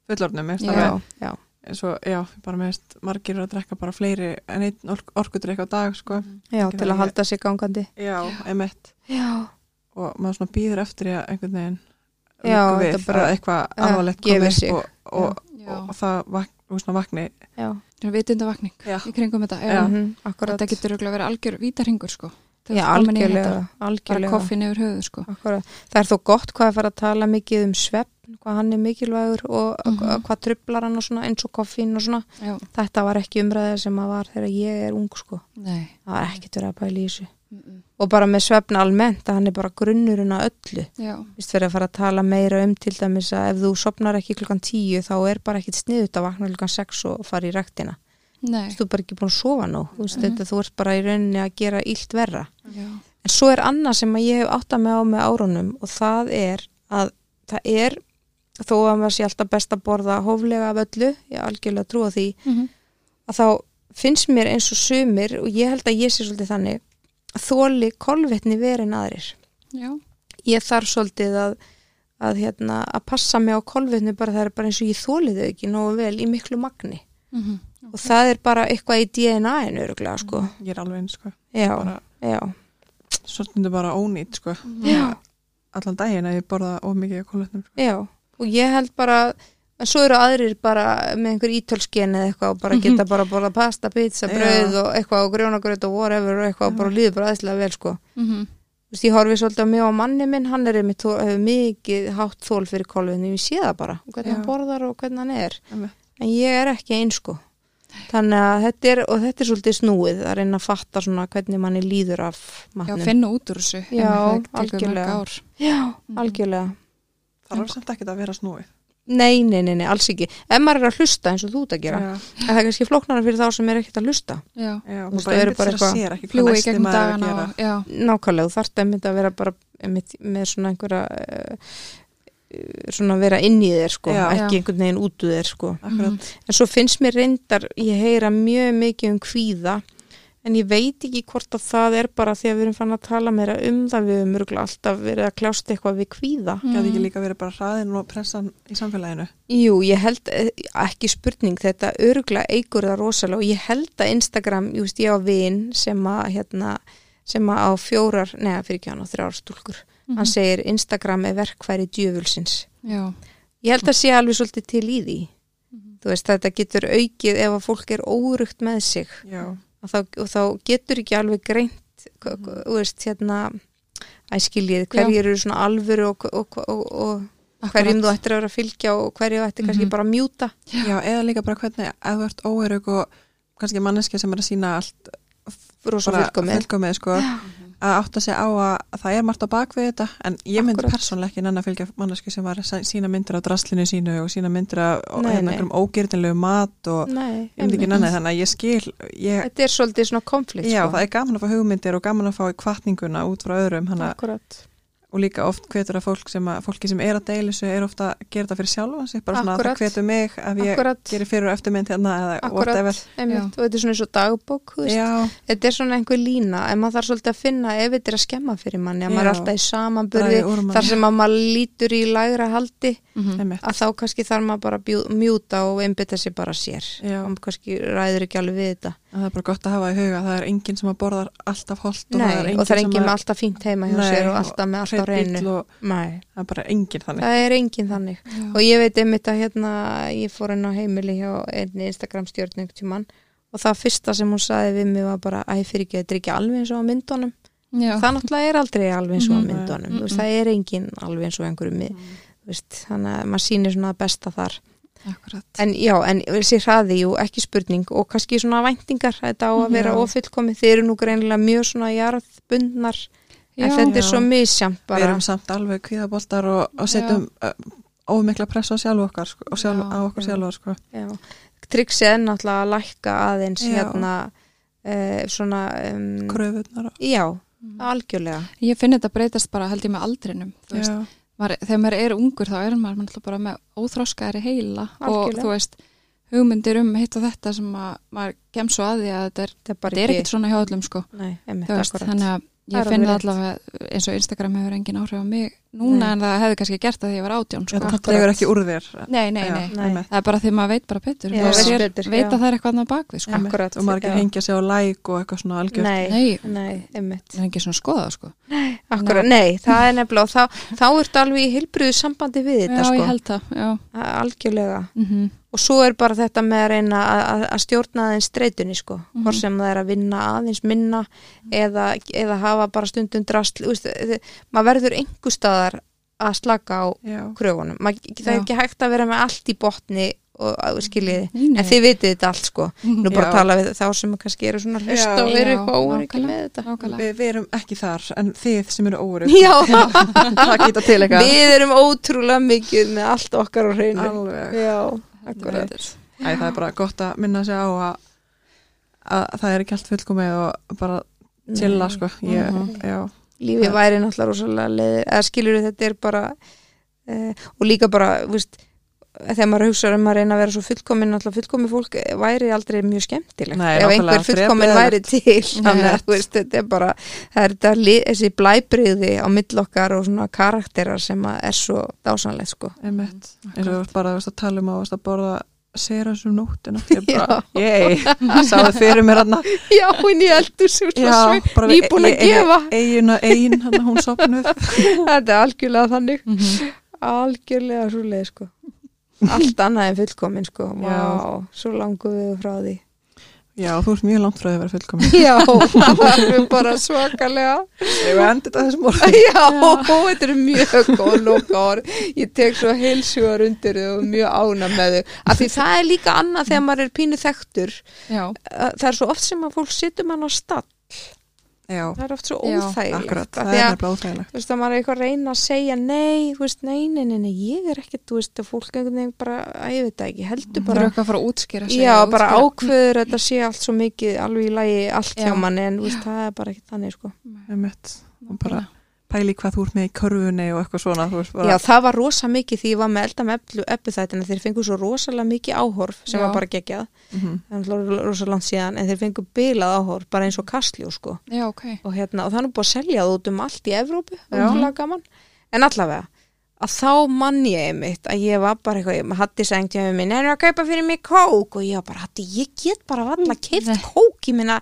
Speaker 3: fullornum, mér finnst
Speaker 1: Já.
Speaker 3: það
Speaker 2: já.
Speaker 3: En svo, já, bara mér finnst margir eru að drekka bara fleiri en einn ork orkudrykk á dag, sko.
Speaker 2: já
Speaker 3: Ekki
Speaker 2: til að
Speaker 3: verið-
Speaker 2: halda sig gangandi.
Speaker 3: Já, emitt.
Speaker 2: Já,
Speaker 3: Og maður svona býður eftir í að einhvern veginn
Speaker 2: Já,
Speaker 3: liggur
Speaker 2: þetta
Speaker 3: við
Speaker 2: bara-
Speaker 3: að
Speaker 2: Já,
Speaker 3: eitthvað alvarlegt
Speaker 2: gefur
Speaker 3: komi
Speaker 2: sig.
Speaker 3: upp og, og,
Speaker 1: Já.
Speaker 3: og, og það vak, og svona vakni.
Speaker 2: já,
Speaker 1: Svona vitundavakning
Speaker 3: Já.
Speaker 1: í kringum þetta. Já.
Speaker 3: Já.
Speaker 2: mhm, akkurat.
Speaker 1: Þetta getur örugglega að vera algjör vítarhingur sko. Þegar
Speaker 2: já,
Speaker 1: þú ert komin í þetta.
Speaker 2: algjörlega,
Speaker 1: bara
Speaker 2: algjörlega.
Speaker 1: koffin yfir höfuð sko.
Speaker 2: Akkurat. Það er þó gott hvað að fara að tala mikið um svepp, hvað hann er mikilvægur og
Speaker 1: Mhm.
Speaker 2: hvað trublar hann og svona eins og koffín og svona.
Speaker 1: Já,
Speaker 2: Þetta var ekki umræðið sem að var þegar ég er ung sko.
Speaker 1: nei
Speaker 2: Það var ekkert verið að pæla í þessu.
Speaker 1: mm -mm.
Speaker 2: Og bara með svefn almennt að hann er bara grunnurinn að öllu.
Speaker 1: Já,
Speaker 2: Vist verið að fara að tala meira um til dæmis að ef þú sopnar ekki klukkan 10 þá er bara ekkit sniðut að vakna klukkan 6 og fara í rektina.
Speaker 1: nei
Speaker 2: þú ert bara ekki búin að sofa nóg þú, veist,
Speaker 1: Mhm.
Speaker 2: þetta, þú ert bara í rauninni að gera illt verra
Speaker 1: Já,
Speaker 2: en svo er annað sem að ég hef áttað mig á með árunum og það er að það er þó að maður sé alltaf best að borða hóflega af öllu, ég algjörlega trúa því
Speaker 1: Mhm.
Speaker 2: að þá finnst mér eins og sumir og ég held að ég sé svolítið þannig að þóli kolvetni verin aðrir
Speaker 1: já,
Speaker 2: ég þarf svolítið að að, hérna, að passa mig á kolvetni bara það er bara eins og ég þóli þau ekki nógu vel í miklu magni
Speaker 1: mm -hmm.
Speaker 2: og það er bara eitthvað í DNA-inu öruglega sko
Speaker 3: Ég er alveg eins, sko.
Speaker 2: Já,
Speaker 3: Bara
Speaker 2: já,
Speaker 3: svolítið bara ónýtt, sko.
Speaker 2: já,
Speaker 3: Allan daginn að ég borða of mikið kólutnum, sko.
Speaker 2: já. Og ég held bara, en svo eru aðrir bara með einhver ítölsken eða eitthvað og bara geta bara að borða pasta, pizza,
Speaker 3: Mhm. Já.
Speaker 2: brauð og eitthvað og grjónagröð og whatever og eitthvað og bara líður bara aðeinslega vel sko.
Speaker 1: Mm -hmm.
Speaker 2: Þú veist, ég horfi svolítið á mig og manni minn, hann er einmitt þó- hefur mikið hátt þól fyrir kolvinu, ég sé það bara, og hvernig
Speaker 3: Já.
Speaker 2: hann borðar og hvernig hann er.
Speaker 3: Einmitt.
Speaker 2: En ég er ekki eins sko. Þannig að þetta er, og þetta er svolítið snúið að reyna að fatta svona hvernig manni líður af
Speaker 1: já
Speaker 2: matnum.
Speaker 1: finna út úr þessu
Speaker 2: Já,
Speaker 1: einmitt, það tekur mörg
Speaker 2: Mm. algjörlega.
Speaker 1: ár.
Speaker 2: Já, algjörlega.
Speaker 3: Það er samt ekki að vera snúið.
Speaker 2: Nei, nei, nei, nei, alls ekki. Ef maður er að hlusta eins og þú ert að gera, en það er kannski flóknara fyrir þá sem er ekkert að hlusta.
Speaker 1: já,
Speaker 2: veist,
Speaker 3: já, maður
Speaker 2: það
Speaker 3: bara
Speaker 2: eru
Speaker 3: einbætt
Speaker 2: bara
Speaker 3: sér að
Speaker 2: eitthvað-
Speaker 3: sér ekki hvað
Speaker 1: fljúi
Speaker 3: næsti
Speaker 1: gegnum
Speaker 3: maður er að
Speaker 1: dagana
Speaker 3: gera.
Speaker 1: og, já,
Speaker 2: Nákvæmlega, þú þarft einmitt að vera bara einmitt, með svona einhverja uh, svona vera inn í þér sko,
Speaker 3: Já.
Speaker 2: ekki
Speaker 1: Já.
Speaker 2: einhvern veginn út úr þér sko.
Speaker 1: Mhm.
Speaker 3: Akkurat,
Speaker 2: En svo finnst mér reyndar, ég heyra mjög mikið um kvíða, en ég veit ekki hvort að það er bara því að við erum fann að tala meira um það, við höfum mörgulega alltaf verið að kljást eitthvað við kvíða.
Speaker 3: gæti ekki líka verið bara hraðin og pressan í samfélaginu.
Speaker 2: Jú, ég held eh, ekki spurning þetta öruglega eigur það rosalega og ég held að Instagram, ég veist ég á vin sem að hérna sem að á fjórar, neða fyrir ekki hann á þrjár stúlkur hann segir Instagram er verkfæri djöfulsins.
Speaker 1: já,
Speaker 2: Ég held að sé alveg svolítið til í því
Speaker 1: Mhm.
Speaker 2: þú veist þetta getur aukið ef að fólk er órugt með sig
Speaker 3: Já,
Speaker 2: og þá, og þá getur ekki alveg greint hva- hva- þú veist hérna æskiljið, hverjir eru svona alvöru og, og, og, og hverjum þú
Speaker 1: akkurat.
Speaker 2: ættir að vera að fylgja og hverju þú ættir kannski
Speaker 1: Mhm.
Speaker 2: bara að mjúta
Speaker 3: já, eða líka bara hvernig að þú ert óerug og kannski manneski sem er að sína allt
Speaker 2: rosa fullkomið
Speaker 3: fylgumið, sko, að átta sig á að að það er margt á bakvið þetta, en ég myndi
Speaker 2: Akkurat.
Speaker 3: persónlega ekki nanna fylgja manneski sem var að sæ- sína myndir á draslinu sínu og sína myndir af
Speaker 2: Nei, nei.
Speaker 3: einhverjum ógirnilegu mat og
Speaker 2: Nei,
Speaker 3: ég myndi
Speaker 2: einmitt.
Speaker 3: ekki nanna þannig að ég skil, ég,
Speaker 2: þetta er svolítið svona konflikt
Speaker 3: já,
Speaker 2: sko.
Speaker 3: það er gaman að fá hugmyndir og gaman að fá kvartninguna út frá öðrum, hann
Speaker 2: akkurat
Speaker 3: og líka oft hvetur að fólk sem að, fólki sem er að deila þessu er ofta að gera það fyrir sjálfan sig, bara svona
Speaker 2: Akkúrat.
Speaker 3: að það hvetur mig að ég
Speaker 2: akkurat,
Speaker 3: gerir fyrir og eftirmynd hérna eða whatever.
Speaker 2: akkurat einmitt. og þetta er svona eins og dagbók þú veist.
Speaker 3: Já,
Speaker 2: þetta er svona einhver lína en maður þarf svolítið að finna ef þetta er að skemma fyrir manni að maður er
Speaker 3: Já.
Speaker 2: alltaf í samanburði
Speaker 3: draga úr manni.
Speaker 2: þar sem að maður lítur í lægra haldi
Speaker 1: Mhm.
Speaker 3: Einmitt.
Speaker 2: að þá kannski þarf maður bara að bjú- mjúta og einbytta sér bara sér
Speaker 3: Já.
Speaker 2: og kannski ræður ekki alveg við þetta
Speaker 3: Að Það er bara gott að hafa í huga að það er enginn sem að borðar alltaf holt og það er
Speaker 2: Nei,
Speaker 3: enginn
Speaker 2: og það er enginn
Speaker 3: sem
Speaker 2: með alltaf fínt heima hjá
Speaker 3: Nei,
Speaker 2: sér og
Speaker 3: og
Speaker 2: alltaf með alltaf
Speaker 3: hreinn bíll
Speaker 2: reynu
Speaker 3: og
Speaker 2: Nei,
Speaker 3: það er bara enginn þannig.
Speaker 2: það er enginn þannig
Speaker 1: Já.
Speaker 2: og ég veit einmitt að hérna ég fór inn á heimili hjá einni Instagram stjórn einhvern tímann og það fyrsta sem hún saði við mig var bara æ fyrir ekki, þetta er ekki alveg eins og á myndunum
Speaker 1: já,
Speaker 2: það náttúrulega er aldrei alveg eins og á
Speaker 3: Mhm.
Speaker 2: myndunum þú veist,
Speaker 1: Mhm.
Speaker 2: það er engin alveg eins og einhverju
Speaker 3: Mm.
Speaker 2: mið þú veist, þannig að maður sýnir svona það besta þar
Speaker 1: akkurat
Speaker 2: en já, en þessi hraði, jú, ekki spurning og kannski svona væntingar þetta á að vera
Speaker 3: Já.
Speaker 2: ofullkomið, þið eru nú greinilega mjög svona jarðbundnar en
Speaker 1: Já.
Speaker 2: þetta er
Speaker 3: Já.
Speaker 2: svo misjamt
Speaker 3: Við
Speaker 2: bara
Speaker 3: erum samt alveg kvíðaboltar og, og setjum uh, ómikla press á sjálf okkar sko, og
Speaker 1: Já,
Speaker 3: sjálf, á okkur
Speaker 1: já.
Speaker 3: sjálfur sko.
Speaker 2: Já, tryggsið er náttúrulega að lækka aðeins
Speaker 3: Já.
Speaker 2: hérna uh, svona um,
Speaker 3: Kröfunar.
Speaker 2: já,
Speaker 1: Mm.
Speaker 2: algjörlega
Speaker 1: ég finn þetta breytast bara held ég með aldrinum þú veist,
Speaker 2: sko,
Speaker 3: Já,
Speaker 1: maður, þegar maður er ungur þá er maður náttúrulega bara með óþroskaðari heila
Speaker 2: Algjörlega.
Speaker 1: og þú veist hugmyndir um hitt og þetta sem að, maður kemst svo að því að þetta er,
Speaker 2: þetta er
Speaker 1: þetta
Speaker 2: bara
Speaker 1: er
Speaker 2: ekki
Speaker 1: ekkert svona hjá öllum sko
Speaker 2: nei, einmitt,
Speaker 1: Þú veist,
Speaker 2: akkurat.
Speaker 1: þannig að
Speaker 2: Það er
Speaker 1: ég finn það
Speaker 2: alveg rétt.
Speaker 1: allavega eins og Instagram hefur engin áhrif á mig núna
Speaker 2: Nei.
Speaker 1: en það hefði kannski gert það þegar ég var átján sko.
Speaker 3: þetta tegur ekki úr þér.
Speaker 1: nei, nei, nei,
Speaker 3: Já,
Speaker 2: Nei.
Speaker 3: einmitt.
Speaker 1: það er bara því maður veit bara betur
Speaker 2: Já,
Speaker 1: maður
Speaker 3: veist
Speaker 1: sér,
Speaker 2: betur,
Speaker 1: veit
Speaker 2: já.
Speaker 1: að það er eitthvað annað bakvið sko.
Speaker 3: Einmitt.
Speaker 2: Akkurat,
Speaker 3: Og maður ekki
Speaker 2: já.
Speaker 3: hengja sig á læk og eitthvað svona algjör.
Speaker 2: nei, nei,
Speaker 1: nei,
Speaker 2: einmitt
Speaker 1: það er engin svona að skoða það, sko.
Speaker 2: akkurat, nei, það er nefnilega og þá, þá ertu alveg í hilbriðu sambandi
Speaker 1: já,
Speaker 2: við þetta sko,
Speaker 1: ég held það já.
Speaker 2: A- algjörlega
Speaker 1: Mm
Speaker 2: og svo er bara þetta með að reyna að- að að stjórna aðeins streytunni sko
Speaker 1: Mhm.
Speaker 2: hvort sem það er að vinna aðeins minna eða, eða hafa bara stundum drast úst, maður verður einhver staðar að slaka á
Speaker 3: Já.
Speaker 2: kröfunum Mað, það er
Speaker 1: Já.
Speaker 2: ekki hægt að vera með allt í botni og að- skiljiði,
Speaker 1: Nei, nei.
Speaker 2: en þið vitið þetta allt sko nú bara
Speaker 3: Já.
Speaker 2: að tala við þá sem kannski eru svona hlust
Speaker 3: Já.
Speaker 2: og eru
Speaker 1: Já,
Speaker 2: eitthvað óverið
Speaker 1: nákvæmlega.
Speaker 2: með þetta
Speaker 1: nákvæmlega
Speaker 3: Við, við erum ekki þar, en þið sem eru óurug,
Speaker 2: já,
Speaker 3: það geta til eitthvað.
Speaker 2: við erum ótrúlega mikið með allt okkar á hreinu
Speaker 3: Alveg.
Speaker 2: já,
Speaker 1: Heldur
Speaker 2: akkurat
Speaker 1: betur.
Speaker 3: Æ, það er bara gott að minna sig á að, að það er ekki allt fullkomið og bara chilla sko. Ég,
Speaker 1: Mhm.
Speaker 3: já,
Speaker 2: lífið
Speaker 3: Það-
Speaker 2: væri náttúrulega rosalega leiðir eða skilur þetta er bara uh, og líka bara, viðst þegar maður hugsaður um að reyna að vera svo fullkomin náttúrulega fullkomin fólk eh, væri aldrei mjög skemmtilegt
Speaker 3: Nei,
Speaker 2: ef
Speaker 3: nákvæmlega,
Speaker 2: einhver fullkomin
Speaker 3: þrepið er-
Speaker 2: væri til þannig að þú veist, þetta er bara það er þetta, li- þessi blæbriði á millokkar og svona karakterar sem að er svo dásanlegt sko
Speaker 3: einmitt. Eins og þú varst bara þú varst að tala um að þú varst að borða serans um nóttina. Ég bara, ég, sáðu fyrir mér hann
Speaker 2: já, hún í eldur sem svona sveg nýbúin
Speaker 3: e-
Speaker 2: að gefa
Speaker 3: Eigin að eigin, hann hún sopnuð.
Speaker 2: þetta er algjörlega þannig
Speaker 3: Mhm.
Speaker 2: algjörlega svo leið sko allt annað en fullkomin sko
Speaker 3: Já.
Speaker 2: Vá, svo langu við frá því
Speaker 3: Já, þú ert mjög langt frá því að vera fullkomið.
Speaker 2: já, það er bara svakalega
Speaker 3: Ég var endið að þessum orðum.
Speaker 2: já, þetta er mjög góð loka orð, ég tek svo heilsugar undir þau og mjög ána með þau af því það er líka annað þegar maður er pínu þekktur
Speaker 1: já,
Speaker 2: það er svo oft sem að fólk setur mann á stall
Speaker 3: já,
Speaker 2: það er oft svo
Speaker 1: Já,
Speaker 2: óþægilegt
Speaker 3: akkurat,
Speaker 2: af
Speaker 3: það
Speaker 2: því
Speaker 3: er
Speaker 2: að-
Speaker 3: nefnilega óþægilegt
Speaker 2: þú veist, það maður er eitthvað að reyna að segja nei, þú veist, nei, nei, nei, nei ég er ekkert, þú veist, að fólk einhvern veginn bara að ég veit það ekki, heldur
Speaker 1: Þurfa
Speaker 2: bara
Speaker 1: eitthvað að fara að útskýra sig
Speaker 2: já,
Speaker 1: og
Speaker 2: bara
Speaker 1: útskýra-
Speaker 2: ákveður að þetta sé allt svo mikið, alveg í lagi allt
Speaker 1: Já.
Speaker 2: hjá manni, en þú veist, það er bara ekkert þannig, sko
Speaker 3: einmitt, og
Speaker 1: Mm.
Speaker 3: bara pæli hvað þú ert með í körfunni og eitthvað svona þú veist bara,
Speaker 2: já, það var rosa mikið því ég var með elda með eppu þættina, þeir fengu svo rosalega mikið áhorf sem
Speaker 1: Já.
Speaker 2: var bara geggjað,
Speaker 3: mhm,
Speaker 2: það var rosa langt síðan en þeir fengu bilað áhorf, bara eins og kastljó, sko
Speaker 1: Já, ok.
Speaker 2: og, hérna, og það er nú búið að selja það út um allt í Evrópu
Speaker 3: Já.
Speaker 2: ótrúlega gaman. en allavega að þá mann ég einmitt að ég var bara eitthvað, maður hattis engt hjá minn er að kaupa fyrir mig kók og ég var bara hattis, ég get bara valla keift
Speaker 1: Nei.
Speaker 2: kók ég minna,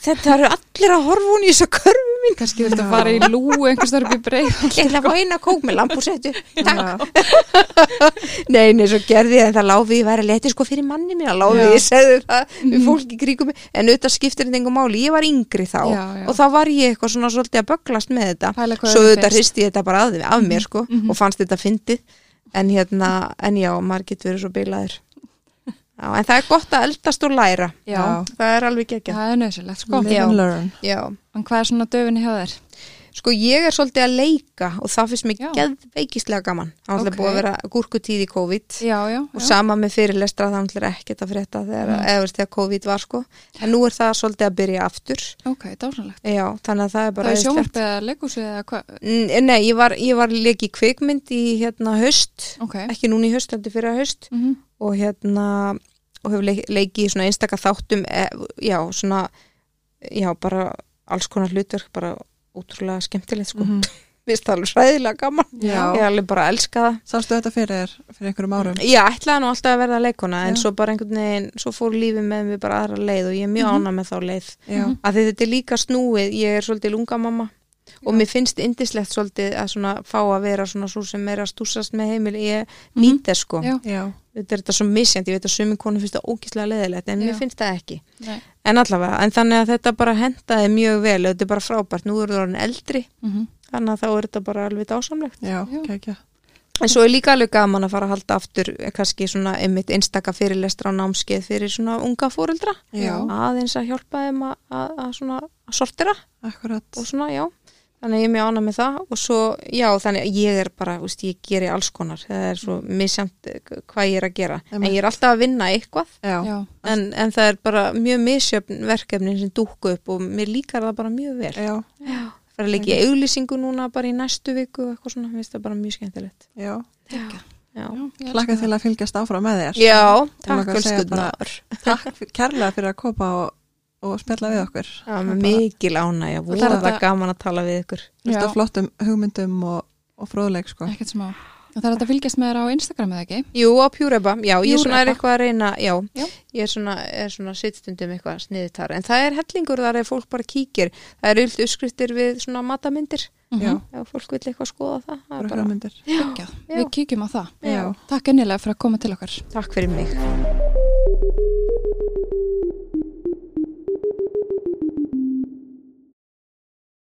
Speaker 2: þetta eru allir að horfa hún í þessu körfu mín
Speaker 1: Kannski viltu fara í lú einhvers þar upp í breið.
Speaker 2: ég ætla að fá eina kók með lampúsettu Takk. nei, nei, svo gerði ég en það láfi ég væri að leti sko fyrir manni mín að láfi
Speaker 1: Já. Mm.
Speaker 2: ég segði það við fólki kringum mig en auðvitað skiptir þetta engum máli, ég var yngri þá
Speaker 1: Já, já.
Speaker 2: og þá var ég eitthvað svona svolítið að bögglast með þetta
Speaker 1: Pæla hvað
Speaker 2: svo
Speaker 1: öðrum finnst.
Speaker 2: auðvitað
Speaker 1: Mhm,
Speaker 2: hristi ég þetta bara af, af mér sko og fannst þetta fyndið en hérna, en já, maður getur verið svo bilaður já, en það er gott að eldast og læra
Speaker 1: Já,
Speaker 2: það er alveg ekki
Speaker 1: það er nöðsilegt, sko.
Speaker 3: live and learn
Speaker 2: já.
Speaker 1: En hvað er svona döfinni hjá þér?
Speaker 2: sko ég er svolítið að leika og það finnst mér
Speaker 1: Já.
Speaker 2: geðveikislega gaman það er
Speaker 1: Ok.
Speaker 2: okay. búið að vera gúrkutíð í COVID
Speaker 1: Já, já.
Speaker 2: og
Speaker 1: já.
Speaker 2: sama með fyrirlestra það ætlar ekkert að frétta
Speaker 1: Mm.
Speaker 2: þegar, mm. eða, þú veist, þegar COVID var sko en nú er það svolítið að byrja aftur
Speaker 1: Ok, dásanlegt.
Speaker 2: já, þannig að það er bara
Speaker 1: Það er
Speaker 2: æðislegt.
Speaker 1: sjónvarpið eða leikúsið eða hvað?
Speaker 2: N- Nei, ég var, ég var leik í kvikmynd í hérna höst
Speaker 1: Ok.
Speaker 2: ekki núna í haust, heldur fyrir að haust
Speaker 1: Mm -hmm.
Speaker 2: og hérna og hefur leik, leikið í svona einstaka þáttum e, já, svona já, bara alls konar hlutverk bara útrúlega skemmtilegt sko
Speaker 3: Mhm.
Speaker 2: við stálum sræðilega gaman
Speaker 3: Já.
Speaker 2: ég er alveg bara að elska það
Speaker 3: sástu þetta fyrir, þér fyrir einhverjum árum
Speaker 2: ég ætlaði nú alltaf að verða leikona en
Speaker 3: Já.
Speaker 2: svo bara einhvern veginn, svo fór lífið með mér bara aðra leið og ég er mjög
Speaker 1: Mhm.
Speaker 2: ánað með þá leið
Speaker 3: já,
Speaker 2: að því þetta er líka snúið, ég er svolítið lunga mamma og mér finnst indislegt svolítið að svona fá að vera svona svo sem er að stúsast með heimil, ég nýt þess sko
Speaker 1: Mhm. Já.
Speaker 3: já,
Speaker 2: þetta er þetta svo misjandi, ég veit að sumin konu finnst það ógislega leðilegt, en mér
Speaker 1: Já.
Speaker 2: finnst það ekki
Speaker 1: Nei.
Speaker 2: en allavega, en þannig að þetta bara hendaði mjög vel, og þetta er bara frábært nú eru það orðin eldri,
Speaker 1: Mm
Speaker 2: þannig að þá er þetta bara alveg dásamlegt,
Speaker 3: já,
Speaker 1: Já.
Speaker 3: kækja
Speaker 2: en svo er líka alveg gaman að fara að halda aftur, eh, kannski svona einmitt einstaka fyrirlestra á námskeið fyrir svona unga fóreldra,
Speaker 1: Já.
Speaker 2: aðeins að hjálpa þeim að, að, að svona að sortera
Speaker 3: akkurat
Speaker 2: og svona, já þannig að ég er mjög ána með það og svo, já, þannig að ég er bara, þú veist, ég geri alls konar það er svo misjant eh, hvað ég er að gera en
Speaker 3: Einmitt.
Speaker 2: ég er alltaf að vinna eitthvað
Speaker 3: já,
Speaker 1: Já.
Speaker 2: en, en það er bara mjög misjöfn verkefnin sem dúkku upp og mér líkar það bara mjög vel
Speaker 3: já,
Speaker 2: það er að leikja í auglýsingu núna bara í næstu viku og eitthvað svona, mér finnst það bara mjög skemmtilegt
Speaker 3: já
Speaker 2: já,
Speaker 1: Já, ég elska
Speaker 3: hlakka
Speaker 1: það.
Speaker 3: til að fylgjast áfram með þér
Speaker 2: já
Speaker 3: langar
Speaker 2: takk
Speaker 3: að segja
Speaker 2: Ölskudnar
Speaker 3: takk kærlega fyrir að kopa og, og spjalla við okkur
Speaker 2: það er mikil ána, já, voru
Speaker 1: Það er
Speaker 2: það
Speaker 1: þetta-
Speaker 2: gaman að tala við ykkur
Speaker 3: Þetta
Speaker 1: Já.
Speaker 3: flottum hugmyndum og, og fróðleik sko.
Speaker 1: Ekkert smá. Og það er þetta að fylgjast með þér á Instagram eða ekki?
Speaker 2: Jú, á Pjúreba, já, ég svona er
Speaker 1: Pureba.
Speaker 2: eitthvað að reyna, já,
Speaker 1: Já.
Speaker 2: ég er svona, er svona sittstundum eitthvað sniðitar, en það er hellingur þar ef fólk bara kíkir, það er yllt uppskriftir við svona matamyndir,
Speaker 3: Já,
Speaker 1: Mhm.
Speaker 2: ef fólk vil eitthvað skoða það, það
Speaker 3: bara
Speaker 2: er bara,
Speaker 3: hugmyndir
Speaker 1: Geggjað. Við kíkjum á það.
Speaker 3: Já.
Speaker 1: Takk ennilega fyrir að koma til okkar.
Speaker 2: takk fyrir mig.